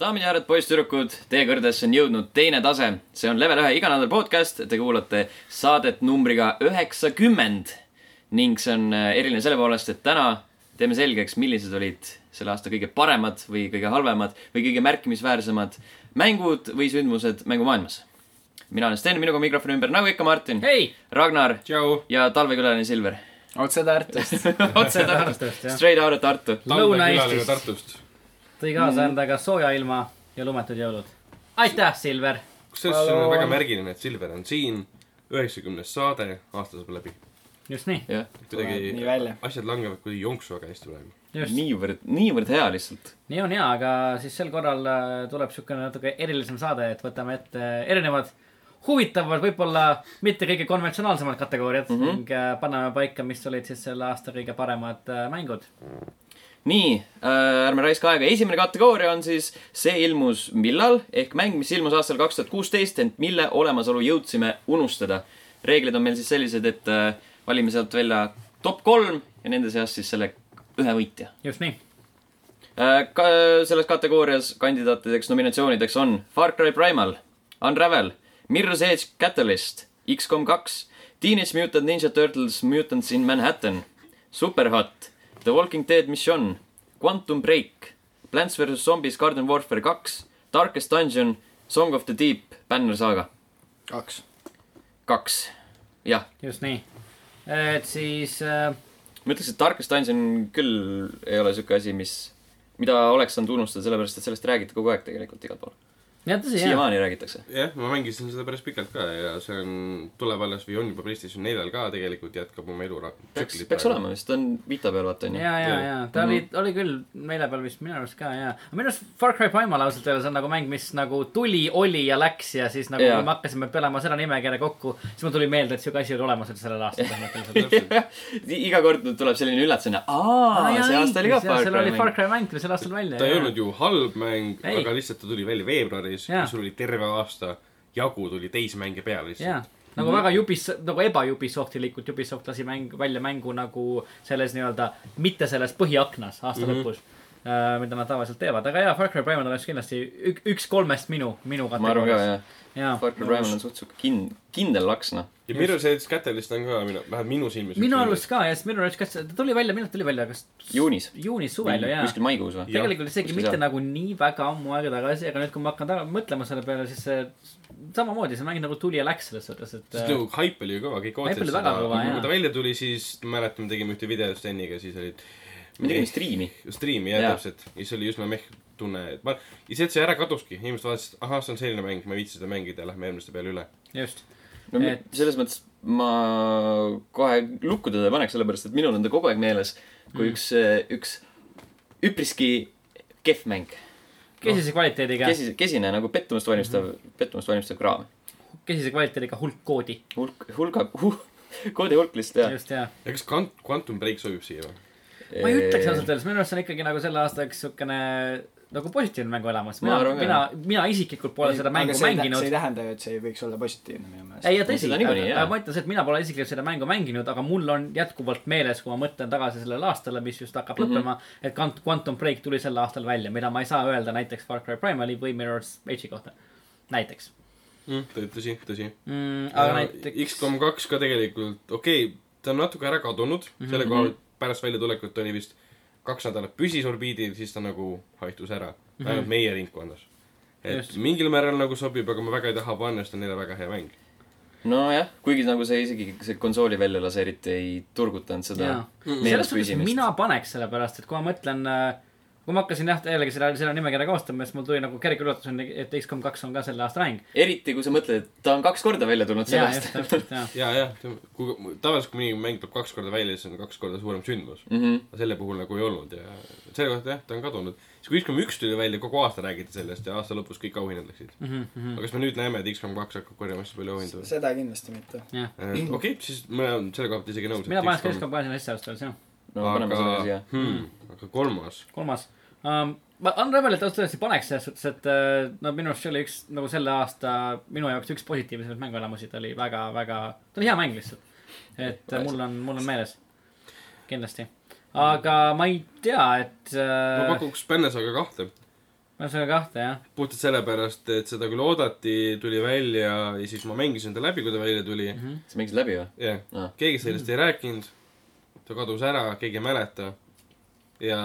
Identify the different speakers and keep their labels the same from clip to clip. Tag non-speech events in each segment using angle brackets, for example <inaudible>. Speaker 1: daamid ja härrad , poisssüdrukud , teie kõrdesse on jõudnud teine tase . see on level ühe iganädal podcast , te kuulate saadet numbriga üheksakümmend . ning see on äh, eriline selle poolest , et täna teeme selgeks , millised olid selle aasta kõige paremad või kõige halvemad või kõige märkimisväärsemad mängud või sündmused mängumaailmas . mina olen Sten , minuga mikrofoni ümber , nagu ikka , Martin ,
Speaker 2: hei ,
Speaker 1: Ragnar
Speaker 3: tšau .
Speaker 1: ja talvekülaline Silver . <laughs>
Speaker 3: otse Tartust .
Speaker 1: otse Tartu ,
Speaker 2: Tartust, jah.
Speaker 1: straight out of Tartu .
Speaker 2: Lõuna-Eestist.
Speaker 4: Lõuna-Eestis . Tartust .
Speaker 2: tõi kaasa endaga sooja ilma ja lumetud jõulud . aitäh , Silver .
Speaker 4: kusjuures see on väga märgiline , et Silver on siin , üheksakümnes saade , aasta saab läbi .
Speaker 2: just nii ,
Speaker 1: jah ,
Speaker 3: nii
Speaker 4: kuidagi
Speaker 3: välja .
Speaker 4: asjad langevad kuidagi jonksu väga hästi praegu .
Speaker 2: just .
Speaker 1: niivõrd , niivõrd hea lihtsalt .
Speaker 2: nii on hea , aga siis sel korral äh, tuleb siukene natuke erilisem saade , et võtame ette erinevad huvitavad , võib-olla mitte kõige konventsionaalsemad kategooriad mm -hmm. ning äh, paneme paika , mis olid siis selle aasta kõige paremad äh, mängud .
Speaker 1: nii äh, , ärme raiska aega , esimene kategooria on siis see ilmus millal ehk mäng , mis ilmus aastal kaks tuhat kuusteist , ent mille olemasolu jõudsime unustada . reeglid on meil siis sellised , et äh, valime sealt välja top kolm ja nende seas siis selle ühe võitja .
Speaker 2: just nii ,
Speaker 1: Äh, Ka selles kategoorias kandidaatideks nominatsioonideks on Far Cry Primal , Unravel , Mirror's Edge Catalyst , X-kom kaks , Teenage Mutant Ninja Turtles Mutants in Manhattan , Superhot , The Walking Dead Mission , Quantum Break , Plants vs Zombies Garden Warfare kaks , Darkest Dungeon , Song of the Deep , Banner Saga
Speaker 3: kaks .
Speaker 1: kaks . jah ,
Speaker 2: just nii . et siis äh,
Speaker 1: ma ütleks , et Darkest Dungeon küll ei ole siuke asi , mis , mida oleks saanud unustada , sellepärast et sellest räägiti kogu aeg tegelikult igal pool .
Speaker 2: jah , tõsi jah ,
Speaker 1: siiamaani räägitakse .
Speaker 4: jah , ma mängisin seda päris pikalt ka ja see on , tuleb alles või on juba PlayStation neljal ka tegelikult jätkab oma elu .
Speaker 1: peaks , peaks . olema vist , on Vita peal vaata onju .
Speaker 2: ja ,
Speaker 1: <laughs>
Speaker 2: ja , ja ta oli , oli küll meile peal vist minu arust ka ja , aga minu arust Far Cry Primal ausalt öeldes on nagu mäng , mis nagu tuli , oli ja läks ja siis nagu
Speaker 1: Jaa.
Speaker 2: yeah. me hakkasime pelama selle nimekirja kokku , siis mul tuli meelde , et siuke asi oli olemas üldse sellel aastal
Speaker 1: <laughs>
Speaker 2: põhimõtteliselt .
Speaker 1: iga kord tuleb selline üllatusena , aa , see aasta oli ka Far
Speaker 2: seal oli
Speaker 1: Cry
Speaker 2: Far
Speaker 1: mäng .
Speaker 2: Cry mäng tuli sel aastal välja .
Speaker 4: ta ei olnud ju halb mäng ,
Speaker 2: Ei.
Speaker 4: aga lihtsalt ta tuli välja veebruaris
Speaker 2: Jaa.
Speaker 4: ja sul oli terve aasta jagu tuli täismänge peale
Speaker 2: jaa
Speaker 4: lihtsalt .,
Speaker 2: nagu väga Ubis- , nagu ebajubisoftilikult Ubisoft lasi mäng , välja mängu nagu selles nii-öelda , mitte selles põhiaknas aasta
Speaker 1: Mhm.
Speaker 2: mm -hmm. lõpus äh, mida nad tavaliselt teevad , aga jaa , Far Cry Primal oleks kindlasti ük- , üks kolmest minu , minu
Speaker 1: ma arvan ka
Speaker 2: kategoorias .
Speaker 1: jah ,
Speaker 2: jaa
Speaker 1: Far Cry Primal on suht siuke kin- , kindel laks noh .
Speaker 4: ja Mirror's Edge Catalyst on ka minu , vähemalt minu silmis .
Speaker 2: minu arust . ka jah , sest minu arust , kas ta tuli välja , millal ta tuli välja , kas
Speaker 1: juunis .
Speaker 2: juunis suvel ju jaa .
Speaker 1: kuskil maikuus või ?
Speaker 4: jah,
Speaker 2: tegelikult isegi
Speaker 1: kuskil
Speaker 2: mitte
Speaker 1: seal.
Speaker 2: nagu nii väga ammu aega tagasi , aga nüüd , kui ma hakkan taga- mõtlema selle peale , siis see samamoodi see mäng nagu tuli ja läks selles suhtes , et
Speaker 4: sest
Speaker 2: äh,
Speaker 4: nagu haip oli ju kõva , kõik
Speaker 2: Haip
Speaker 4: ootasid
Speaker 2: oli väga
Speaker 4: seda ,
Speaker 2: kõva,
Speaker 4: aga
Speaker 2: jaa.
Speaker 4: kui ta välja tuli , siis ma mäletan , me tegime ühte videot Steniga , siis olid
Speaker 1: me tegime striimi .
Speaker 4: striimi jah
Speaker 1: Jaa.
Speaker 4: ja. , täpselt . ja siis oli üsna meh tunne , et ma , ja see , et see ära kaduski , inimesed vaatasid , ahah , see on selline mäng , ma ei viitsi seda mängida , lähme eelmiste peale üle .
Speaker 2: äh, just ,
Speaker 1: no mi-
Speaker 2: Et-
Speaker 1: selles mõttes ma kohe lukku teda ei paneks , sellepärast et minul on ta kogu aeg meeles
Speaker 2: Mm.
Speaker 1: kui üks , üks üpriski kehv mäng .
Speaker 2: kesise kvaliteediga ,
Speaker 1: kesine , kesine nagu pettumust valmistav ,
Speaker 2: Mhm.
Speaker 1: pettumust valmistav kraam .
Speaker 2: kesise kvaliteediga hulk koodi ,
Speaker 1: hulk , hulga <laughs> huh, , koodi hulk lihtsalt jah .
Speaker 2: just jaa .
Speaker 4: ja kas Quant- , Quantum Break sobib siia või ?
Speaker 2: ma ei ütleks ausalt öeldes , minu arust see on ikkagi nagu selle aasta üks siukene nagu positiivne mänguelamus ,
Speaker 1: Ma
Speaker 2: mina
Speaker 1: arvan , ka,
Speaker 2: mina , mina isiklikult pole seda mängu
Speaker 3: see
Speaker 2: mänginud
Speaker 3: ei . tähenda ju , et see ei võiks olla positiivne minu meelest .
Speaker 2: ei , ja tõsi ,
Speaker 1: Seda
Speaker 2: aga
Speaker 1: niikuinii, jaa.
Speaker 2: aga ma ütlen seda , et mina pole isiklikult seda mängu mänginud , aga mul on jätkuvalt meeles , kui ma mõtlen tagasi sellele aastale , mis just hakkab
Speaker 1: Mhm.
Speaker 2: mm -hmm. lõppema , et Quant- Quantum Break tuli sel aastal välja , mida ma ei saa öelda näiteks Far Cry Primali või Mirror's Edge'i kohta , näiteks
Speaker 4: tõsi , tõsi .
Speaker 2: mm, . aga näiteks ,
Speaker 4: X-kom kaks ka tegelikult , okei okay, , ta on natuke ära kadunud
Speaker 2: Mhm.
Speaker 4: mm , -hmm. selle koha pealt pärast väljatulekut oli vist kaks nädalat püsis orbiidil , siis ta nagu haihtus ära mm , -hmm. ainult meie ringkonnas . et
Speaker 2: Mhm. Just.
Speaker 4: Just. mingil määral nagu sobib , aga ma väga ei taha panna , sest ta on neile väga hea mäng .
Speaker 1: nojah , kuigi nagu see isegi , see konsooli välja laseeriti , ei turgutanud seda
Speaker 2: jaa . selles
Speaker 1: Mhm. meeles
Speaker 2: suhtes
Speaker 1: püsimist .
Speaker 2: mina paneks selle pärast , et kui ma mõtlen , kui ma hakkasin jah , jällegi selle , selle nimekirja koostama , siis mul tuli nagu kerge üllatus , et X-kom kaks on ka selle aasta mäng .
Speaker 1: eriti , kui sa mõtled , et ta on kaks korda välja tulnud
Speaker 2: jaa , just
Speaker 1: sellest .
Speaker 2: täpselt , jaa .
Speaker 4: ja , jah , kui tavaliselt , kui mingi mäng tuleb kaks korda välja , siis on kaks korda suurem sündmus mm .
Speaker 1: Mhm.
Speaker 4: aga selle puhul nagu ei olnud ja selle kohta jah , ta on kadunud . siis kui XCOM üks tuli välja , kogu aasta räägiti sellest ja aasta lõpus kõik auhinnad läksid
Speaker 2: Mhm.
Speaker 4: mm . -hmm.
Speaker 1: <laughs>
Speaker 4: aga kas me nüüd näeme , et XCOM kaks hakkab korjama hästi palju auhindu või ?
Speaker 3: seda kindlasti mitte .
Speaker 4: Äh, okei okay, , siis ma olen selle koha pealt isegi nõus .
Speaker 2: mina paneks Keskkond kahe sinna sisse ausalt öeldes , jah .
Speaker 1: <laughs> no paneme selle siia .
Speaker 4: hmm, aga kolmas ,
Speaker 2: kolmas um, . ma Unravelit ausalt öeldes ei paneks selles suhtes , et äh, no minu arust see oli üks nagu selle aasta minu jaoks üks positiivsemaid mänguelamusi , ta oli väga , väga , ta oli hea mäng lihtsalt . et äh, mul on , mul on meeles . kindlasti . aga ma ei tea , et
Speaker 4: ma
Speaker 2: äh,
Speaker 4: pakuks Bännesaga kahte .
Speaker 2: no see oli kahte jah .
Speaker 4: puhtalt sellepärast , et seda küll oodati , tuli välja ja siis ma mängisin ta läbi , kui ta välja tuli .
Speaker 2: Mhm,
Speaker 1: sa mängisid läbi või ?
Speaker 4: jah
Speaker 1: Aa. ,
Speaker 4: keegi sellest ei rääkinud . ta kadus ära , keegi ei mäleta . ja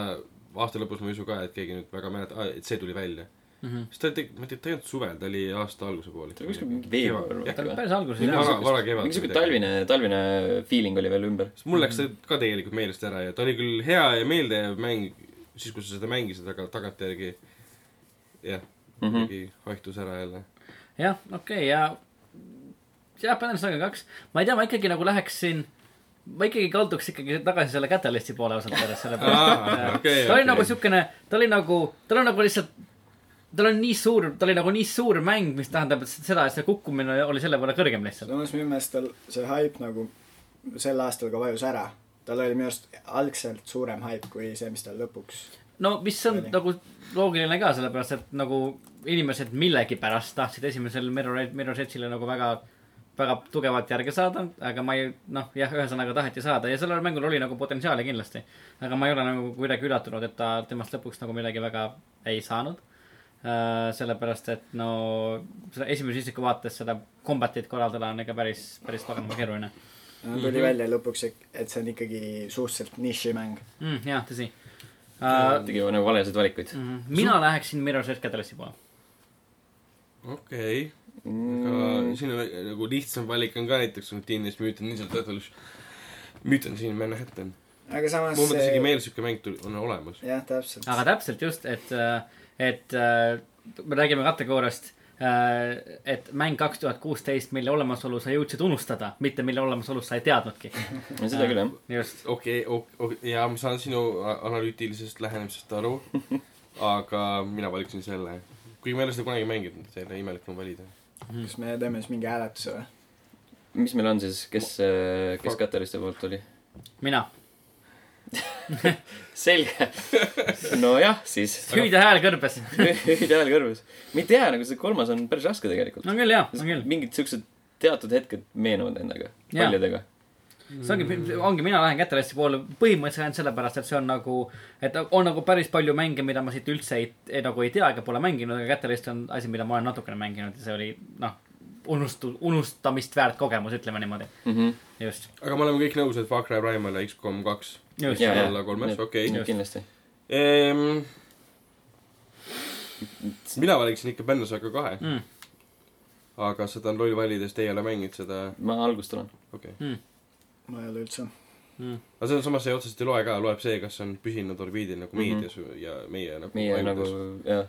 Speaker 4: aasta lõpus ma ei usu ka , et keegi nüüd väga mäletab , et see tuli välja .
Speaker 2: mhm.
Speaker 4: sest ta oli , ma ei tea , ta ei olnud suvel , ta oli aasta alguse poole .
Speaker 1: ta oli kuskil mingi veebruar
Speaker 2: ta oli
Speaker 1: või ?
Speaker 2: päris alguses
Speaker 4: Mingi
Speaker 2: jah .
Speaker 4: vara , varakevad .
Speaker 1: mingi siuke . talvine , talvine feeling oli veel ümber .
Speaker 4: sest mul läks see ka tegelikult meelest ära ja ta oli küll hea ja meeldejääv mäng , siis kui sa seda mängisid , aga tagantjärgi jah , kuidagi haihtus ära jälle .
Speaker 2: jah , okei okay, ja , jah , Banner Saga kaks , ma ei tea , ma ikkagi nagu läheksin , ma ikkagi kalduks ikkagi tagasi selle Catalysti poole ausalt öeldes , sellepärast
Speaker 4: Aa,
Speaker 2: et okay,
Speaker 4: okei,
Speaker 2: ta oli
Speaker 4: okei.
Speaker 2: okay. nagu siukene , ta oli nagu , tal on nagu lihtsalt , tal on nii suur , ta oli nagu nii suur mäng , mis tähendab et seda , et see kukkumine oli selle võrra kõrgem lihtsalt .
Speaker 3: samas minu meelest tal see haip nagu sel aastal ka vajus ära . tal oli minu arust algselt suurem haip kui see , mis tal lõpuks .
Speaker 2: no mis on
Speaker 3: Oli.
Speaker 2: nagu loogiline ka , sellepärast et nagu inimesed millegipärast tahtsid esimesel Mirror , Mirror Edge'ile nagu väga väga tugevalt järge saada , aga ma ei , noh , jah , ühesõnaga taheti saada ja sellel mängul oli nagu potentsiaali kindlasti . aga ma ei ole nagu kuidagi üllatunud , et ta temast lõpuks nagu midagi väga ei saanud . sellepärast , et no seda esimese isiku vaates seda kombatit korraldada on ikka päris , päris paganama keeruline Mhm.
Speaker 3: tuli välja lõpuks , et see on ikkagi suhteliselt nišimäng .
Speaker 2: mm, . jah , tõsi uh, .
Speaker 1: tegi nagu valesid valikuid .
Speaker 2: mina läheksin Mirror's Edge Catalysti poole .
Speaker 4: okei okay. , aga siin on vä- nagu lihtsam valik on ka näiteks on Teenage Mutant Ninja Turtles . Mutant siin Manhattan .
Speaker 3: aga samas
Speaker 4: mu mõttes isegi meil siuke mäng tuli , on olemas .
Speaker 3: jah , täpselt .
Speaker 2: aga täpselt just , et , et äh, me räägime kategooriast , et mäng kaks tuhat kuusteist , mille olemasolu sa jõudsid unustada , mitte mille olemasolu sa ei teadnudki .
Speaker 1: seda
Speaker 2: Äh.
Speaker 1: küll jah .
Speaker 2: just ,
Speaker 4: okei , okei , jaa , ma saan sinu a- analüütilisest lähenemisest aru . <laughs> aga mina valiksin selle . kuigi ma ei ole seda kunagi mänginud , selle imelik on valida .
Speaker 3: kas me teeme siis mingi hääletuse või ?
Speaker 1: mis meil on siis , kes , kes Katariste poolt oli ?
Speaker 2: mina .
Speaker 1: selge . <laughs> nojah , siis
Speaker 4: <laughs>
Speaker 2: hüüde hääl kõrbes .
Speaker 1: hüüd hääl kõrvus . ma ei tea , nagu see kolmas on päris raske tegelikult .
Speaker 2: on küll jaa , on küll .
Speaker 1: mingid siuksed teatud hetked meenuvad endaga ,
Speaker 2: Jaa.
Speaker 1: paljudega .
Speaker 2: see ongi , ongi , mina lähen Catalysti poole põhimõtteliselt ainult sellepärast , et see on nagu , et on nagu päris palju mänge , mida ma siit üldse ei, ei , nagu ei tea ega pole mänginud , aga Catalyst on asi , mida ma olen natukene mänginud ja see oli , noh , unustu- , unustamist väärt kogemus , ütleme niimoodi . just ,
Speaker 4: aga me oleme kõik nõus , et Far Cry Primal ja X-kom kaks .
Speaker 2: just .
Speaker 1: Jaa, jaa.
Speaker 4: alla kolmes ,
Speaker 1: Need-
Speaker 4: okei .
Speaker 1: Just. kindlasti . Ehm.
Speaker 4: mina valiksin ikka Bannersaga kahe
Speaker 2: Mm.
Speaker 4: aga seda on loll valida , sest ei ole mänginud seda ,
Speaker 1: ma algust olen .
Speaker 4: okei okay. .
Speaker 3: ma ei ole üldse .
Speaker 2: mm.
Speaker 4: aga selles samas see otseselt ei loe ka , loeb see , kas on püsinud orbiidil nagu meedias mm -hmm. ja meie nagu
Speaker 1: Mhm. meie nagu
Speaker 4: ajudes.
Speaker 1: jah ,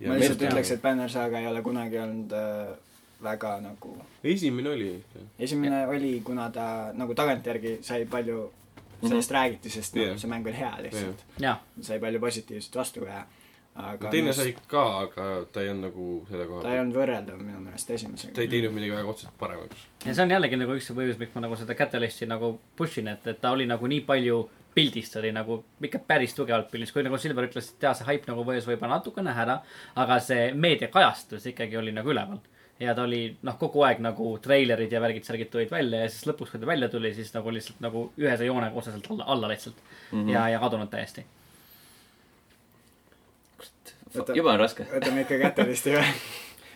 Speaker 4: ja
Speaker 3: ma lihtsalt
Speaker 4: meil-
Speaker 3: ütleks , et Banner Saga ei ole kunagi olnud äh, väga nagu ,
Speaker 4: esimene oli ikka .
Speaker 3: esimene oli , kuna ta nagu tagantjärgi sai palju , sellest räägiti , sest
Speaker 4: Mhm. Jah.
Speaker 3: noh , see mäng oli hea lihtsalt .
Speaker 2: jah ,
Speaker 3: sai palju positiivset vastukaja . aga
Speaker 4: teine
Speaker 3: mis-
Speaker 4: sai ka , aga ta ei olnud nagu selle koha
Speaker 3: ta ei
Speaker 4: peal ,
Speaker 3: olnud võrreldav minu meelest
Speaker 4: ta
Speaker 3: esimesega .
Speaker 4: ei teinud midagi väga otseselt paremaks .
Speaker 2: ja see on jällegi nagu üks põhjus , miks ma nagu seda Catalysti nagu push in , et , et ta oli nagu nii palju pildis , ta oli nagu ikka päris tugevalt pildis , kui nagu Silver ütles , et jaa , see haip nagu võis võib-olla natukene ära , aga see meediakajastus ikkagi oli nagu üleval . ja ta oli noh , kogu aeg nagu treilerid ja värgid , särgid tulid välja ja siis lõpuks , kui ta välja tuli , siis nagu lihtsalt nagu ühese joonega otseselt alla , alla lihtsalt mm . -hmm. ja , ja kadunud täiesti .
Speaker 3: Oota.
Speaker 1: juba on raske .
Speaker 3: võtame ikka Catalysti
Speaker 4: <laughs>
Speaker 3: üle .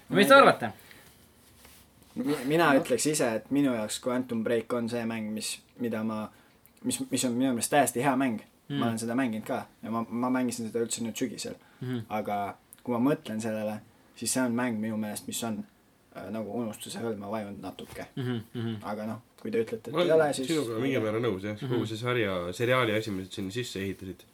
Speaker 2: mis te ? arvate ?
Speaker 3: mina ütleks ise , et minu jaoks Quantum Break on see mäng , mis , mida ma , mis , mis on minu meelest täiesti hea mäng mm. .
Speaker 4: Mhm.
Speaker 3: ma olen seda mänginud ka ja ma , ma mängisin seda üldse nüüd sügisel
Speaker 4: Mhm.
Speaker 3: mm. . aga kui ma mõtlen sellele , siis see on mäng minu meelest , mis on äh, nagu unustuse hõlma vajunud natuke mm . -hmm. aga noh , kui te ütlete ,
Speaker 4: ma
Speaker 3: et ei ole ,
Speaker 4: olen
Speaker 3: siis
Speaker 4: sinuga mingil määral nõus jah ,
Speaker 1: Mhm.
Speaker 4: kogu see sarja , seriaali asi , mis nad sinna sisse ehitasid ,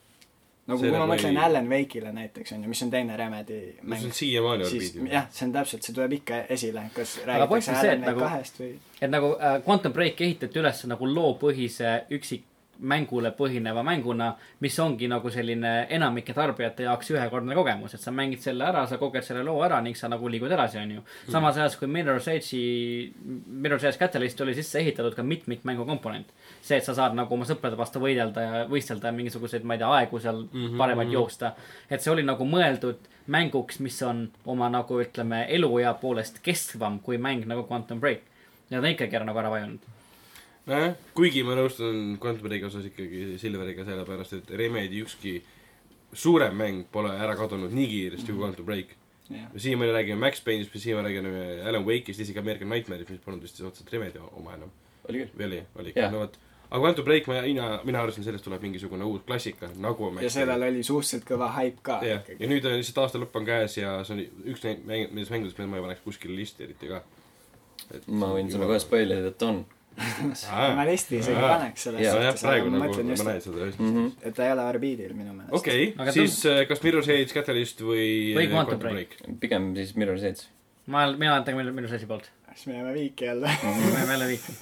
Speaker 3: nagu
Speaker 4: see
Speaker 3: kui ma
Speaker 4: nagu
Speaker 3: mõtlen
Speaker 4: ei-
Speaker 3: Alan Wake'ile näiteks on ju , mis on teine Remedi
Speaker 4: no see
Speaker 3: mäng
Speaker 4: on , siiamaani
Speaker 3: siis
Speaker 4: orbiidil .
Speaker 3: jah , see on täpselt , see tuleb ikka esile , kas
Speaker 2: point
Speaker 3: räägitakse
Speaker 2: on see, et
Speaker 3: Alan Wake
Speaker 2: nagu-
Speaker 3: kahest või
Speaker 2: et nagu äh, Quantum Break ehitati üles nagu loopõhise üksik mängule põhineva mänguna , mis ongi nagu selline enamike tarbijate jaoks ühekordne kogemus , et sa mängid selle ära , sa koged selle loo ära ning sa nagu liigud edasi , onju . samas ajas kui Mirror's Edge'i , Mirror's Edge Catalyst oli sisse ehitatud ka mitmikmängu komponent . see , et sa saad nagu oma sõprade vastu võidelda ja võistelda ja mingisuguseid , ma ei tea , aegu seal paremaid joosta . et see oli nagu mõeldud mänguks , mis on oma nagu ütleme , eluea poolest kestvam kui mäng nagu Quantum Break Nad on ikkagi ära nagu ära vajunud .
Speaker 4: nojah , kuigi ma nõustun Quantum Breaki osas ikkagi Silveriga , sellepärast et Remedi ükski suurem mäng pole ära kadunud nii kiiresti
Speaker 3: Mhm.
Speaker 4: kui Quantum Break .
Speaker 3: jah .
Speaker 4: siiamaani räägime Max Payne'ist , me siiamaani räägime Alan Wake'ist , isegi American Nightmare'ist , mis polnud vist otseselt Remedi oma enam .
Speaker 1: oli küll .
Speaker 4: või oli , oli
Speaker 1: Jah.
Speaker 4: yeah. , no vot . aga Quantum Break , ma , mina , mina arvasin , sellest tuleb mingisugune uus klassika , nagu
Speaker 3: ja sellel oli suhteliselt kõva haip ka
Speaker 4: jah , ja nüüd on lihtsalt aasta lõpp on käes ja see on üks neid mäng , nendest mängudest , mida ma ei paneks kuskile listi eriti ka .
Speaker 1: ma võin sulle kohe . spoil ida , et on .
Speaker 3: ma listi isegi
Speaker 4: Aa.
Speaker 3: paneks selles
Speaker 4: jah ,
Speaker 3: suhtes , aga
Speaker 4: praegu
Speaker 3: ma
Speaker 4: nagu
Speaker 3: mõtlen
Speaker 4: ma
Speaker 3: just ,
Speaker 4: näen seda just .
Speaker 1: Mhm.
Speaker 3: et ta ei ole orbiidil minu meelest .
Speaker 4: okei
Speaker 2: Aga ,
Speaker 4: siis äh, kas Mirror's Edge , Catalyst või äh,
Speaker 2: Või Quantum Break. .
Speaker 1: pigem siis Mirror's Edge .
Speaker 2: ma , mina olen tegelikult minu sassi poolt .
Speaker 3: siis me jääme viiki
Speaker 4: <laughs>
Speaker 3: jälle .
Speaker 2: me jääme jälle viiki .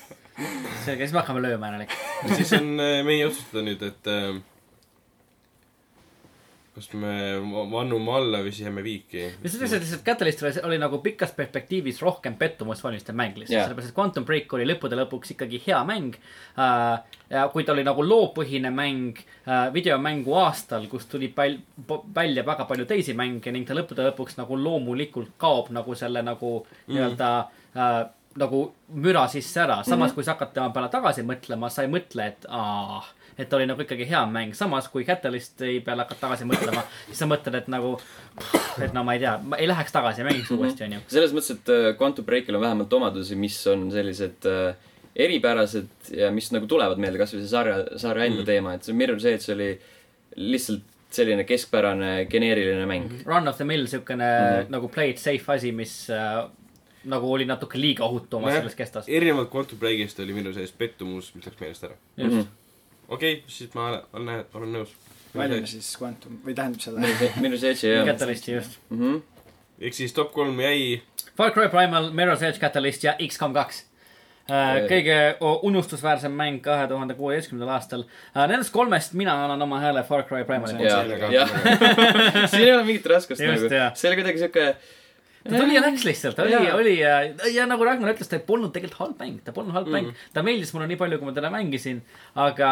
Speaker 2: selge , siis me hakkame lööma jälle .
Speaker 4: siis on äh, meie otsustada nüüd , et äh, kas me va- vannume alla või siis jääme viiki .
Speaker 2: kusjuures lihtsalt Catalyst oli, oli nagu pikas perspektiivis rohkem pettumust valmistav mäng lihtsalt
Speaker 1: Jaa.
Speaker 2: yeah. , sellepärast et Quantum Break oli lõppude lõpuks ikkagi hea mäng uh, . kuid ta oli nagu loopõhine mäng uh, videomängu aastal , kus tuli päl- , välja väga palju teisi mänge ning ta lõppude lõpuks nagu loomulikult kaob nagu selle nagu mm. nii-öelda uh, nagu müra sisse ära , samas mm -hmm. kui sa hakkad tema peale tagasi mõtlema , sa ei mõtle , et aa , et ta oli nagu ikkagi hea mäng , samas kui Catalyst'i peale hakkad tagasi mõtlema , siis sa mõtled , et nagu , et no ma ei tea , ma ei läheks tagasi ja mängiks uuesti , onju .
Speaker 1: selles mõttes , et äh, Quantum Breakil on vähemalt omadusi , mis on sellised äh, eripärased ja mis nagu tulevad meelde , kasvõi see sarja , sarja
Speaker 2: Mhm.
Speaker 1: enda mm. teema , et see Mirror's Edge oli lihtsalt selline keskpärane geneeriline mäng mm .
Speaker 2: Run of the Mill , siukene mm -hmm. nagu play it safe asi , mis äh, nagu oli natuke liiga ohutu oma selles kestas .
Speaker 4: erinevalt Quantum Breakist oli minu sees pettumus , mis läks meelest ära .
Speaker 1: -hmm.
Speaker 4: okei okay, , siis ma olen- olen , olen nõus .
Speaker 3: valime siis Quantum või tähendab
Speaker 4: <laughs>
Speaker 3: selle .
Speaker 1: Mirror's Edge ja jah
Speaker 2: Catalyst'i just .
Speaker 1: mm -hmm. .
Speaker 4: ehk siis top kolm jäi
Speaker 2: Far Cry Primal , Mirror's Edge Catalyst ja X-COM kaks .
Speaker 1: Oi.
Speaker 2: kõige o- unustusväärsem mäng kahe tuhande kuueteistkümnendal aastal . Nendest kolmest mina annan oma hääle Far Cry Primalile .
Speaker 1: ja
Speaker 4: sellega- ,
Speaker 1: ja <laughs> siin ei ole mingit raskust
Speaker 2: Just,
Speaker 1: nagu
Speaker 2: jah. ,
Speaker 1: see oli kuidagi siuke
Speaker 2: ta tuli ja läks lihtsalt , ta oli ,
Speaker 1: Jaa.
Speaker 2: oli ja, ja nagu Ragnar ütles , ta ei polnud tegelikult halb mäng , ta polnud halb mm. mäng . ta meeldis mulle nii palju , kui ma teda mängisin , aga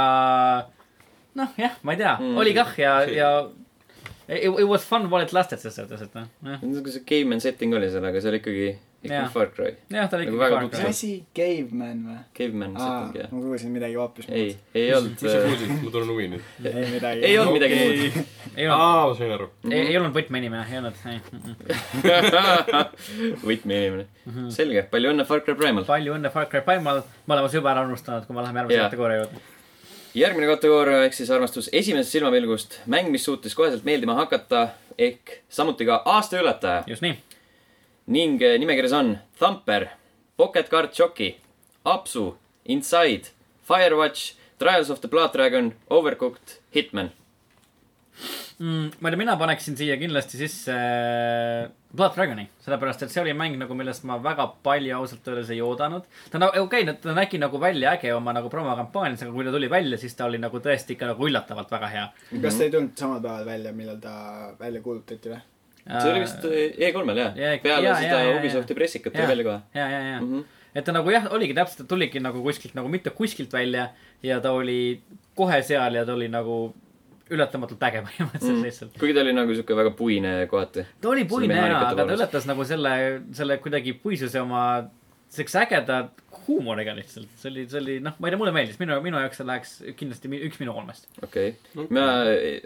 Speaker 2: noh , jah , ma ei tea mm. , oli kah ja ,
Speaker 4: See-
Speaker 2: ja it, it was fun while it lasted selles suhtes , et noh , jah ,
Speaker 1: nagu see caveman setting oli seal , aga see oli ikkagi ,
Speaker 2: Jaa.
Speaker 1: ikkagi Far Cry .
Speaker 2: jah , ta oli
Speaker 1: Nagu
Speaker 2: ikkagi
Speaker 1: väga
Speaker 2: Far
Speaker 1: tuttav.
Speaker 2: Cry .
Speaker 3: asi , Caveman või ?
Speaker 1: Caveman
Speaker 3: aa ,
Speaker 1: setting
Speaker 3: ma
Speaker 1: jah .
Speaker 3: kuulsin midagi hoopis
Speaker 1: ei
Speaker 3: muud .,
Speaker 1: ei olnud äh,
Speaker 4: mis , sa kuulsid , ma tunnen huvi nüüd .
Speaker 3: ei midagi .
Speaker 1: ei olnud midagi muud . <laughs>
Speaker 2: ei olnud ,
Speaker 4: aa , ma sain aru .
Speaker 1: Ah.
Speaker 2: ei, ei olnud võtmeinimene , ei olnud , ei .
Speaker 4: Mhm.
Speaker 1: võtmeinimene . selge , palju õnne Far Cry Primal .
Speaker 2: palju õnne Far Cry Primal , me oleme juba ära unustanud , kui me läheme järgmise
Speaker 1: Jaa.
Speaker 2: kategooria juurde .
Speaker 1: järgmine kategooria ehk siis armastus esimesest silmapilgust , mäng , mis suutis koheselt meeldima hakata ehk samuti ka aasta ületaja
Speaker 2: just nii ,
Speaker 1: ning eh, nimekirjas on Thumper , Pocket Card Jockey , Apsu , Inside , Firewatch , Trials of the Blood Dragon , Overcooked , Hitman .
Speaker 2: mm, . ma ei tea , mina paneksin siia kindlasti sisse äh, Blood Dragoni , sellepärast et see oli mäng nagu , millest ma väga palju ausalt öeldes ei oodanud . ta nagu , okei okay, , ta nägi nagu välja äge oma nagu promokampaanias , aga kui ta tuli välja , siis ta oli nagu tõesti ikka nagu üllatavalt väga hea .
Speaker 3: kas ta ei tulnud samal päeval välja , millal ta välja kuulutati või ?
Speaker 1: see oli vist eh, E3-l jah
Speaker 2: Jaa, ,
Speaker 1: peale
Speaker 2: Äh, E jaa,
Speaker 1: seda
Speaker 2: jaa, jaa,
Speaker 1: Ubisofti
Speaker 2: jaa.
Speaker 1: pressikat tuli välja kohe .
Speaker 2: ja , ja , ja mm ,
Speaker 1: Mhm.
Speaker 2: -hmm. et ta nagu jah , oligi täpselt , ta tuligi nagu kuskilt nagu mitte kuskilt välja ja ta oli kohe seal ja ta oli nagu üllatamatult äge põhimõtteliselt mm. lihtsalt .
Speaker 1: kuigi ta oli nagu siuke väga puine kohati .
Speaker 2: ta oli puine jaa ,
Speaker 1: mehaanikate
Speaker 2: aga ta
Speaker 1: poolest.
Speaker 2: ületas nagu selle , selle kuidagi puisuse oma siukse ägeda huumoriga lihtsalt . see oli , see oli , noh , ma ei tea , mulle meeldis , minu , minu jaoks see läheks kindlasti mi- üks minu kolmest .
Speaker 1: okei okay. , ma eh,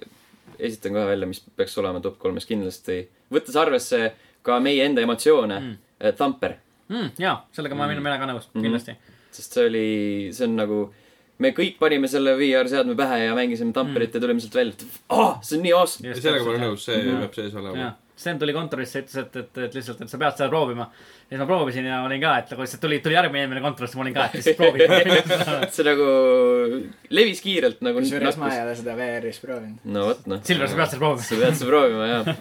Speaker 1: esitan kohe välja , mis peaks olema top kolmes kindlasti , võttes arvesse ka meie enda emotsioone mm. , Thumper ,
Speaker 2: Mm, jaa , sellega ma olen minu meelega nõus mm , -hmm. kindlasti .
Speaker 1: sest see oli , see on nagu , me kõik panime selle VR-seadme pähe ja mängisime Thumperit mm. ja tulime sealt välja , et aa , see on nii awesome .
Speaker 4: sellega ma olen nõus , see
Speaker 2: Mhm.
Speaker 4: peab sees olema
Speaker 2: jaa ., Sten tuli kontorisse , ütles , et , et , et lihtsalt , et sa pead seda proovima . ja siis ma proovisin ja olin ka , et nagu lihtsalt tuli , tuli järgmine inimene kontorisse , ma olin ka , et lihtsalt proovi .
Speaker 1: <laughs> see nagu levis kiirelt nagu .
Speaker 3: kusjuures ma ei ole seda VR-is proovinud .
Speaker 1: no vot noh , sa
Speaker 2: Silver , sa pead seda proovima .
Speaker 1: pead seda proovima jah ,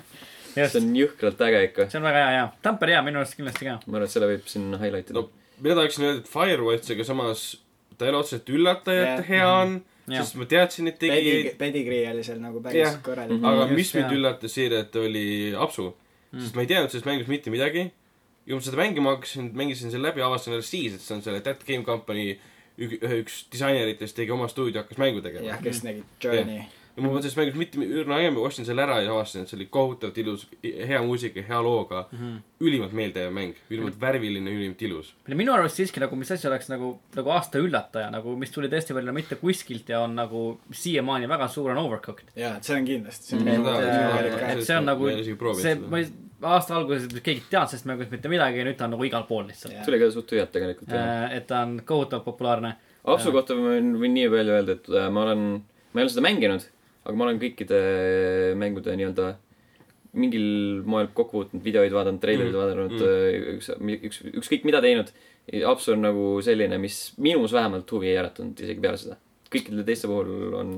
Speaker 1: see
Speaker 2: just ,
Speaker 1: on jõhkralt äge ikka .
Speaker 2: see on väga hea , jaa . Tamper hea minu arust kindlasti ka .
Speaker 1: ma arvan , et selle võib siin highlight ida
Speaker 4: no . mina tahaksin öelda , et Firewatch , aga samas ta ei ole otseselt üllataja , et ta hea on ,
Speaker 2: Jah.
Speaker 4: sest ma teadsin , et
Speaker 3: Pedi
Speaker 4: tegijaid ,,
Speaker 3: pedigree oli seal nagu päris
Speaker 4: Jah.
Speaker 3: korralik .
Speaker 4: aga
Speaker 2: Just,
Speaker 4: mis mind
Speaker 2: jah.
Speaker 4: üllatas siiralt , oli apsu . sest ma ei teadnud sellest mängust mitte midagi . ja kui ma seda mängima hakkasin , mängisin selle läbi , avastasin alles siis , et see on selle That Game Company ük- ühe- üks disaineritest tegi oma stuudio , hakkas mängu tegema
Speaker 3: Mhm. jah ,. kes nägi Journey .
Speaker 4: ja ma mõtlesin, et mängus mitte üürna aega , ma ostsin selle ära ja avastasin , et see oli kohutavalt ilus , hea muusika , hea looga mm , -hmm. ülimalt meeldejääv mäng , ülimalt värviline , ülimalt ilus .
Speaker 2: minu arust siiski nagu , mis asi oleks nagu , nagu aasta üllataja nagu , mis tuli tõesti välja mitte kuskilt ja on nagu siiamaani väga suur on Overcooked .
Speaker 3: jaa , et see on kindlasti .
Speaker 4: Mhm. Seda- seda-
Speaker 3: see
Speaker 2: et see on nagu
Speaker 4: ma ei ole isegi , proovinud
Speaker 2: see ,
Speaker 4: seda.
Speaker 2: ma ei , aasta alguses keegi ei teadnud sellest mängust mitte midagi ja nüüd ta on nagu igal pool lihtsalt .
Speaker 1: tuli ka suht tühjalt tegelikult jah .
Speaker 2: et ta on kohutavalt populaarne .
Speaker 1: Apsu kohta ma võin , võin nii palju öelda , et äh, ma olen , ma ei ole seda mänginud , aga ma olen kõikide mängude nii-öelda mingil moel kokku puutunud , videoid vaadanud , treilerid mm. vaadanud mm. , üks , üks , ükskõik mida teinud . Apsu on nagu selline , mis minus vähemalt huvi ei äratanud isegi peale seda . kõikide teiste puhul on ,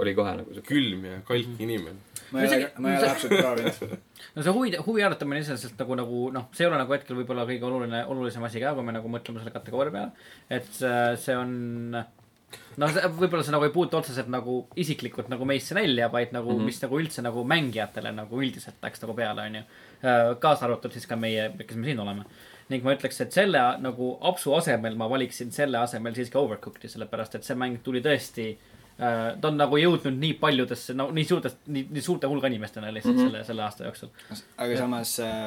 Speaker 1: oli kohe nagu siuke .
Speaker 4: külm ja kalk inimene .
Speaker 3: ma ei ole , ma ei ole <laughs> täpselt proovinud .
Speaker 2: no see huvi , huvi arutamine iseenesest nagu , nagu noh , see ei ole nagu hetkel võib-olla kõige oluline , olulisem asi ka , kui me nagu mõtleme selle kategooria peale . et see see on , noh , võib-olla see nagu ei puutu otseselt nagu isiklikult nagu meisse välja , vaid nagu mm , -hmm. mis nagu üldse nagu mängijatele nagu üldiselt läks nagu peale , onju . kaasa arvatud siis ka meie , kes me siin oleme . ning ma ütleks , et selle nagu apsu asemel ma valiksin selle asemel siiski Overcooked'i , sellepärast et see mäng tuli tõesti äh, ta on nagu jõudnud nii paljudesse , no nii suurtest , nii , nii suurte hulga inimestena lihtsalt mm -hmm. selle , selle aasta jooksul .
Speaker 3: aga samas äh,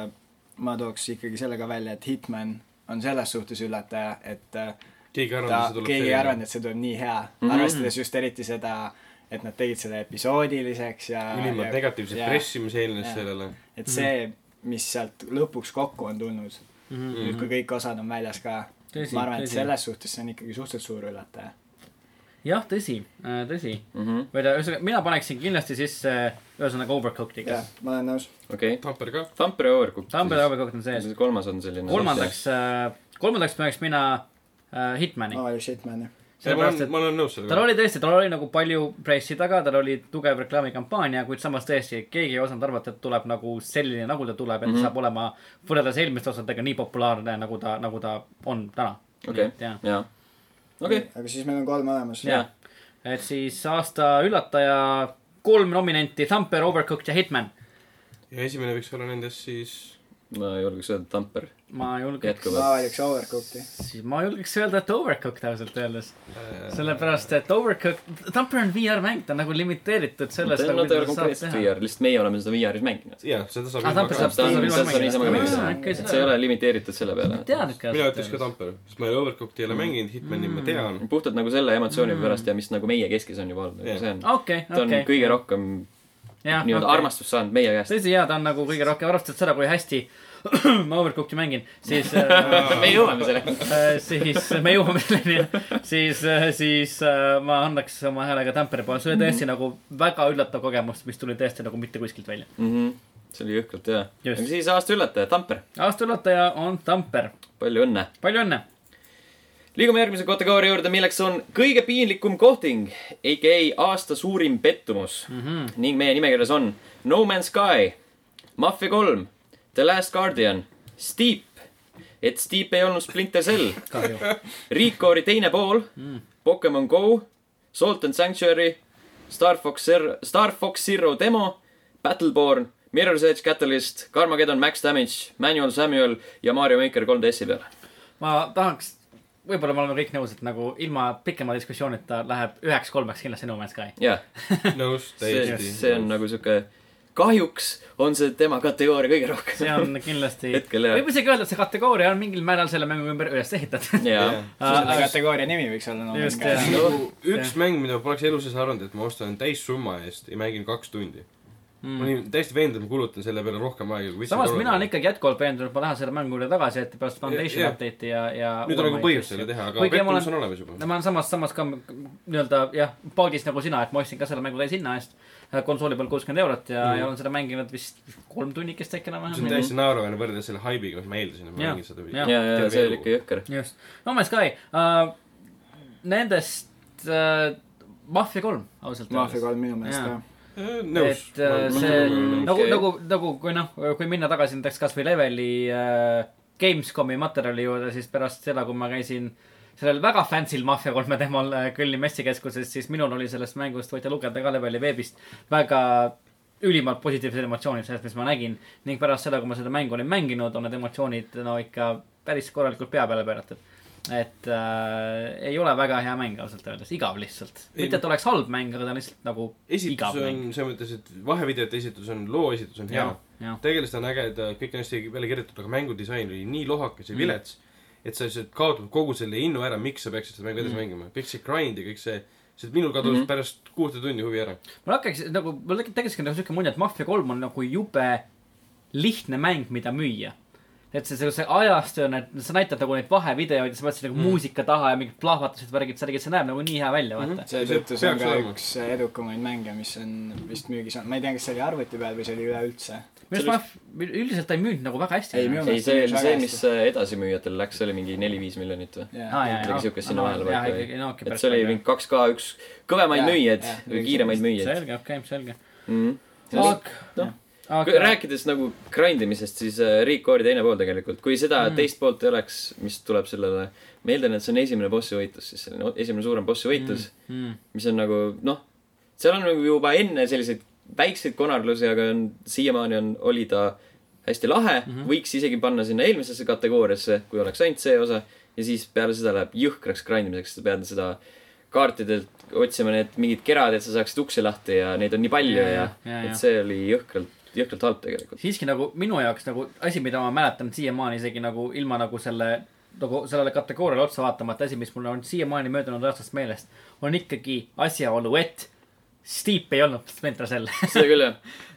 Speaker 3: ma tooks ikkagi selle ka välja , et Hitman on selles suhtes üllataja , et äh,
Speaker 4: keegi ei
Speaker 3: ta
Speaker 4: arvanud , et see , tuleb
Speaker 3: keegi ei arvanud , et see tuleb nii hea mm . -hmm. arvestades just eriti seda , et nad tegid seda episoodiliseks ja
Speaker 4: ülimalt negatiivset
Speaker 3: ja-
Speaker 4: pressi , mis eelnes
Speaker 3: jaa.
Speaker 4: sellele .
Speaker 2: Mhm.
Speaker 3: et see , mis sealt lõpuks kokku on tulnud mm , -hmm. nüüd kui kõik osad on väljas ka ,
Speaker 2: Mhm. Tõsi,
Speaker 3: ma arvan , et
Speaker 2: tõsi.
Speaker 3: selles suhtes see on ikkagi suhteliselt suur üllataja .
Speaker 2: jah , tõsi , tõsi mm .
Speaker 1: Mhm.
Speaker 2: või ta , ühesõnaga , mina paneksin kindlasti sisse , ühesõnaga Overcooked'iga
Speaker 3: jah . ma olen nõus .
Speaker 1: okei okay. ,
Speaker 4: Tamper ka .
Speaker 1: Tampere Overcooked .
Speaker 2: Tambel Overcooked on sees .
Speaker 1: siis kolmas on selline .
Speaker 2: kolmandaks , kolmandaks paneks mina äh, Hitmani
Speaker 3: ma . olen shit man jah .
Speaker 4: ma
Speaker 2: sellepärast ,
Speaker 4: olen ,
Speaker 2: et
Speaker 4: ma olen nõus
Speaker 2: tal
Speaker 4: sellega .
Speaker 2: oli tõesti , tal oli nagu palju pressi taga , tal oli tugev reklaamikampaania , kuid samas tõesti , keegi ei osanud arvata , et tuleb nagu selline , nagu ta tuleb , et mm -hmm. saab olema võrreldes eelmiste osadega nii populaarne , nagu ta , nagu ta on täna .
Speaker 1: okei ,
Speaker 2: jah .
Speaker 1: jaa . okei ,
Speaker 3: aga siis meil on kolm olemas .
Speaker 2: jah , et siis aasta üllataja kolm nominenti , Thumper , Overcooked ja Hitman .
Speaker 4: ja esimene võiks olla nendest siis
Speaker 1: ma julgeks öelda Tamper .
Speaker 2: ma julgeks ,
Speaker 1: Jätkuvalt.
Speaker 3: ma valiks Overcooki .
Speaker 2: ma julgeks öelda , et Overcooked ausalt öeldes .
Speaker 4: äh, .
Speaker 2: sellepärast , et Overcooked , Thumper on VR-mäng , ta on nagu limiteeritud selles . nagu
Speaker 1: Nad ei ole konkreetselt VR , lihtsalt meie oleme seda VR-is mänginud .
Speaker 4: jaa , seda saab
Speaker 2: aa ,
Speaker 4: ilma
Speaker 2: Thumper
Speaker 4: ka-
Speaker 2: Ah, saab , ta saab
Speaker 1: Steamis
Speaker 2: ilma
Speaker 1: saab seda niisama mängida. et see ei
Speaker 2: mängida . Ah,
Speaker 1: ole limiteeritud selle peale .
Speaker 2: teadnud ka .
Speaker 4: mina ütleks ka . Tamper , sest ma ei ole Overcooked'i
Speaker 2: Mm.
Speaker 4: ei ole mänginud , Hitmani ma tean .
Speaker 1: puhtalt nagu selle emotsiooni mm. pärast ja mis nagu meie keskis on juba olnud ,
Speaker 4: Jah.
Speaker 1: nagu see on okay, . ta
Speaker 2: okei ,
Speaker 1: on
Speaker 2: okei
Speaker 1: okay. . kõige rohkem nii-öelda okay. . armastust saanud meie käest .
Speaker 2: tõsi , jaa , ta on nagu kõige rohkem , arvestades seda , kui hästi <clears throat> ma Overcooked'i mängin , siis äh,
Speaker 1: me jõuame selleni .
Speaker 2: Äh, siis me jõuame selleni , siis , siis äh, ma annaks oma hääle ka Tampere poole , see oli tõesti
Speaker 1: Mhm.
Speaker 2: nagu väga üllatav kogemus , mis tuli tõesti nagu mitte kuskilt välja .
Speaker 1: Mhm. see oli jõhkralt hea .
Speaker 2: Just.
Speaker 1: aga siis aasta üllataja , Tamper ,
Speaker 2: aasta üllataja on Tamper ,
Speaker 1: palju õnne .
Speaker 2: palju õnne .
Speaker 1: liigume järgmise kategooria juurde , milleks on kõige piinlikum kohting , aka aasta suurim pettumus mm . -hmm. ning meie nimekirjas on No Man's Sky , Mafia kolm , The Last Guardian , Steep , et Steep ei olnud Splinter Cell
Speaker 2: kahju .
Speaker 1: Recore'i teine pool mm. , Pokemon Go , Salt and Sanctuary , Star Fox Zero , Star Fox Zero demo , Battleborn , Mirror's Edge Catalyst , Carmageddon Max Damage , Manual Samuel ja Mario Maker 3DS-i peale .
Speaker 2: ma tahaks , võib-olla me oleme kõik nõus , et nagu ilma pikema diskussioonita läheb üheks-kolmeks kindlasti No Man's Sky .
Speaker 1: jah ,
Speaker 2: <laughs>
Speaker 4: nõus ,
Speaker 1: see ,
Speaker 4: täiesti .
Speaker 1: see on nagu sihuke , kahjuks on see tema kategooria kõige rohkem .
Speaker 2: see on
Speaker 4: <laughs>
Speaker 2: kindlasti ,
Speaker 1: Hetkel, jah.
Speaker 2: võib isegi öelda , et see kategooria on mingil määral selle mängu ümber üles ehitatud .
Speaker 1: <laughs>
Speaker 2: <laughs>
Speaker 1: jaa ,
Speaker 3: selle kategooria nimi võiks olla No Man's
Speaker 2: just ,
Speaker 3: Sky .
Speaker 2: jah .
Speaker 4: nagu üks mäng , mida ma poleks elu sees arvanud , et ma ostan täissumma eest ja mängin kaks tundi mm. . ma olin täiesti veendunud , et ma kulutan selle peale rohkem aega kui
Speaker 2: Mm. samas mina olen . ikkagi jätkuvalt veendunud , ma lähen selle mängu juurde tagasi , et pärast Foundation
Speaker 4: jah.
Speaker 2: update'i ja , ja
Speaker 4: nüüd on nagu põhjust selle teha , aga
Speaker 2: Oh kuigi ma
Speaker 4: pettumus
Speaker 2: olen
Speaker 4: on olemas juba
Speaker 2: no . ma olen samas , samas ka nii-öelda jah , paadis nagu sina , et ma ostsin ka selle mängu täis hinna eest . konsooli peal kuuskümmend eurot ja mm. , ja olen seda mänginud vist kolm tunnikest äkki
Speaker 4: see on
Speaker 2: enam-vähem .
Speaker 4: täiesti naeruväärne võrreldes selle haibiga , mis ma eeldasin , et ma
Speaker 2: Jaa.
Speaker 4: mängin seda .
Speaker 2: Jaa.
Speaker 1: jaa , jaa , see oli ikka jõhker .
Speaker 2: just . no Man's Sky uh, , nendest uh, Mafia kolm ausalt
Speaker 3: Mafia . kolm minu meelest
Speaker 2: Jaa.
Speaker 3: ka .
Speaker 4: nõus .
Speaker 2: et uh, see
Speaker 1: Mm,
Speaker 2: nagu
Speaker 1: okei. ,
Speaker 2: nagu , nagu kui noh , kui minna tagasi näiteks kasvõi leveli uh, Gamescomi materjali juurde , siis pärast seda , kui ma käisin sellel väga fancy'l Mafia kolme teemal äh, Külli messikeskuses , siis minul oli sellest mängust , võite lugeda ka leveli veebist , väga ülimalt positiivsed emotsioonid sellest , mis ma nägin . ning pärast seda , kui ma seda mängu olin mänginud , on need emotsioonid no ikka päris korralikult pea peale pööratud . et äh, ei ole väga hea mäng ausalt öeldes , igav lihtsalt . mitte , et oleks halb mäng , aga ta on lihtsalt nagu igav
Speaker 4: esitus on
Speaker 2: mäng .
Speaker 4: selles mõttes , et vahevideote esitus on , loo esitus on hea
Speaker 2: Jah, jah. .
Speaker 4: tegelikult on äge , et kõik on hästi välja kirjutatud , aga mängudisain oli nii lohakas ja
Speaker 2: Mm.
Speaker 4: vilets , et sa lihtsalt kaotad kogu selle innu ära , miks sa peaksid seda mängu
Speaker 2: Mm.
Speaker 4: edasi mängima . kõik see grind ja kõik see , see minul kadus
Speaker 2: Mhm.
Speaker 4: mm -hmm. pärast kuute tundi huvi ära .
Speaker 2: mul hakkaks nagu , mul tek- tekkiski nagu siuke mulje , et Mafia kolm on nagu jube lihtne mäng , mida müüa . et see , see , see ajastu on , et sa näitad nagu neid vahevideoid ja sa mõtlesid nagu mm. muusika taha ja mingid plahvatused , värgid , särgid , see näeb nagu nii hea välja , vaata mm .
Speaker 1: Mhm.
Speaker 2: -hmm.
Speaker 3: seetõttu
Speaker 4: See
Speaker 3: see on
Speaker 4: peaks
Speaker 3: ka
Speaker 4: olema.
Speaker 3: üks äh, edukamaid mänge , mis on vist müügis olnud , ma ei tea , kas see oli arvuti peal või see oli üleüldse .
Speaker 2: minu arust Mafia , üldiselt ta ei müünud nagu väga hästi .
Speaker 3: Ei müünud.
Speaker 1: ei , see , see , mis äh, edasimüüjatel läks , see oli mingi neli-viis miljonit või ?
Speaker 2: Aa, Ah, jaa, jaa.
Speaker 1: midagi siukest sinna
Speaker 2: Aa,
Speaker 1: vahele
Speaker 2: jaa,
Speaker 1: paika
Speaker 2: ikkagi, no okei,
Speaker 1: oli . et
Speaker 2: päris
Speaker 1: see oli
Speaker 2: palju.
Speaker 1: mingi kaks K üks kõvemaid
Speaker 3: Jaa,
Speaker 1: müüjaid
Speaker 3: jaa,
Speaker 1: või kiiremaid müüjaid .
Speaker 2: selge , okei , selge .
Speaker 1: noh
Speaker 2: aga ,,
Speaker 1: kui
Speaker 2: aga ,
Speaker 1: rääkides nagu grind imisest , siis äh, Riik Koori teine pool tegelikult , kui seda
Speaker 2: Mhm.
Speaker 1: mm. teist poolt ei oleks , mis tuleb sellele , ma eeldan , et see on esimene bossi võitlus , siis selline o- esimene suurem bossi võitlus mm. ,
Speaker 2: Mm.
Speaker 1: mis on nagu noh , seal on nagu juba enne selliseid väikseid konarlusi , aga on siiamaani on , oli ta hästi lahe mm ,
Speaker 2: Mhm.
Speaker 1: -hmm. võiks isegi panna sinna eelmisesse kategooriasse , kui oleks ainult see osa ja siis peale seda läheb jõhkraks grind imiseks , sa pead seda kaartidelt otsima need mingid kerad , et sa saaksid ukse lahti ja neid on nii palju
Speaker 2: Ja,
Speaker 1: ja, ja,
Speaker 2: ja, ja,
Speaker 1: ja ,
Speaker 2: ja.
Speaker 1: et see oli jõhkralt , jõhkralt halb tegelikult .
Speaker 2: siiski nagu minu jaoks nagu asi , mida ma mäletan siiamaani isegi nagu ilma nagu selle , nagu sellele kategooriale otsa vaatamata , asi , mis mul on siiamaani möödunud aastast meelest , on ikkagi asjaolu , et Steep ei olnud Splinter Cell . <laughs>
Speaker 1: seda küll jah .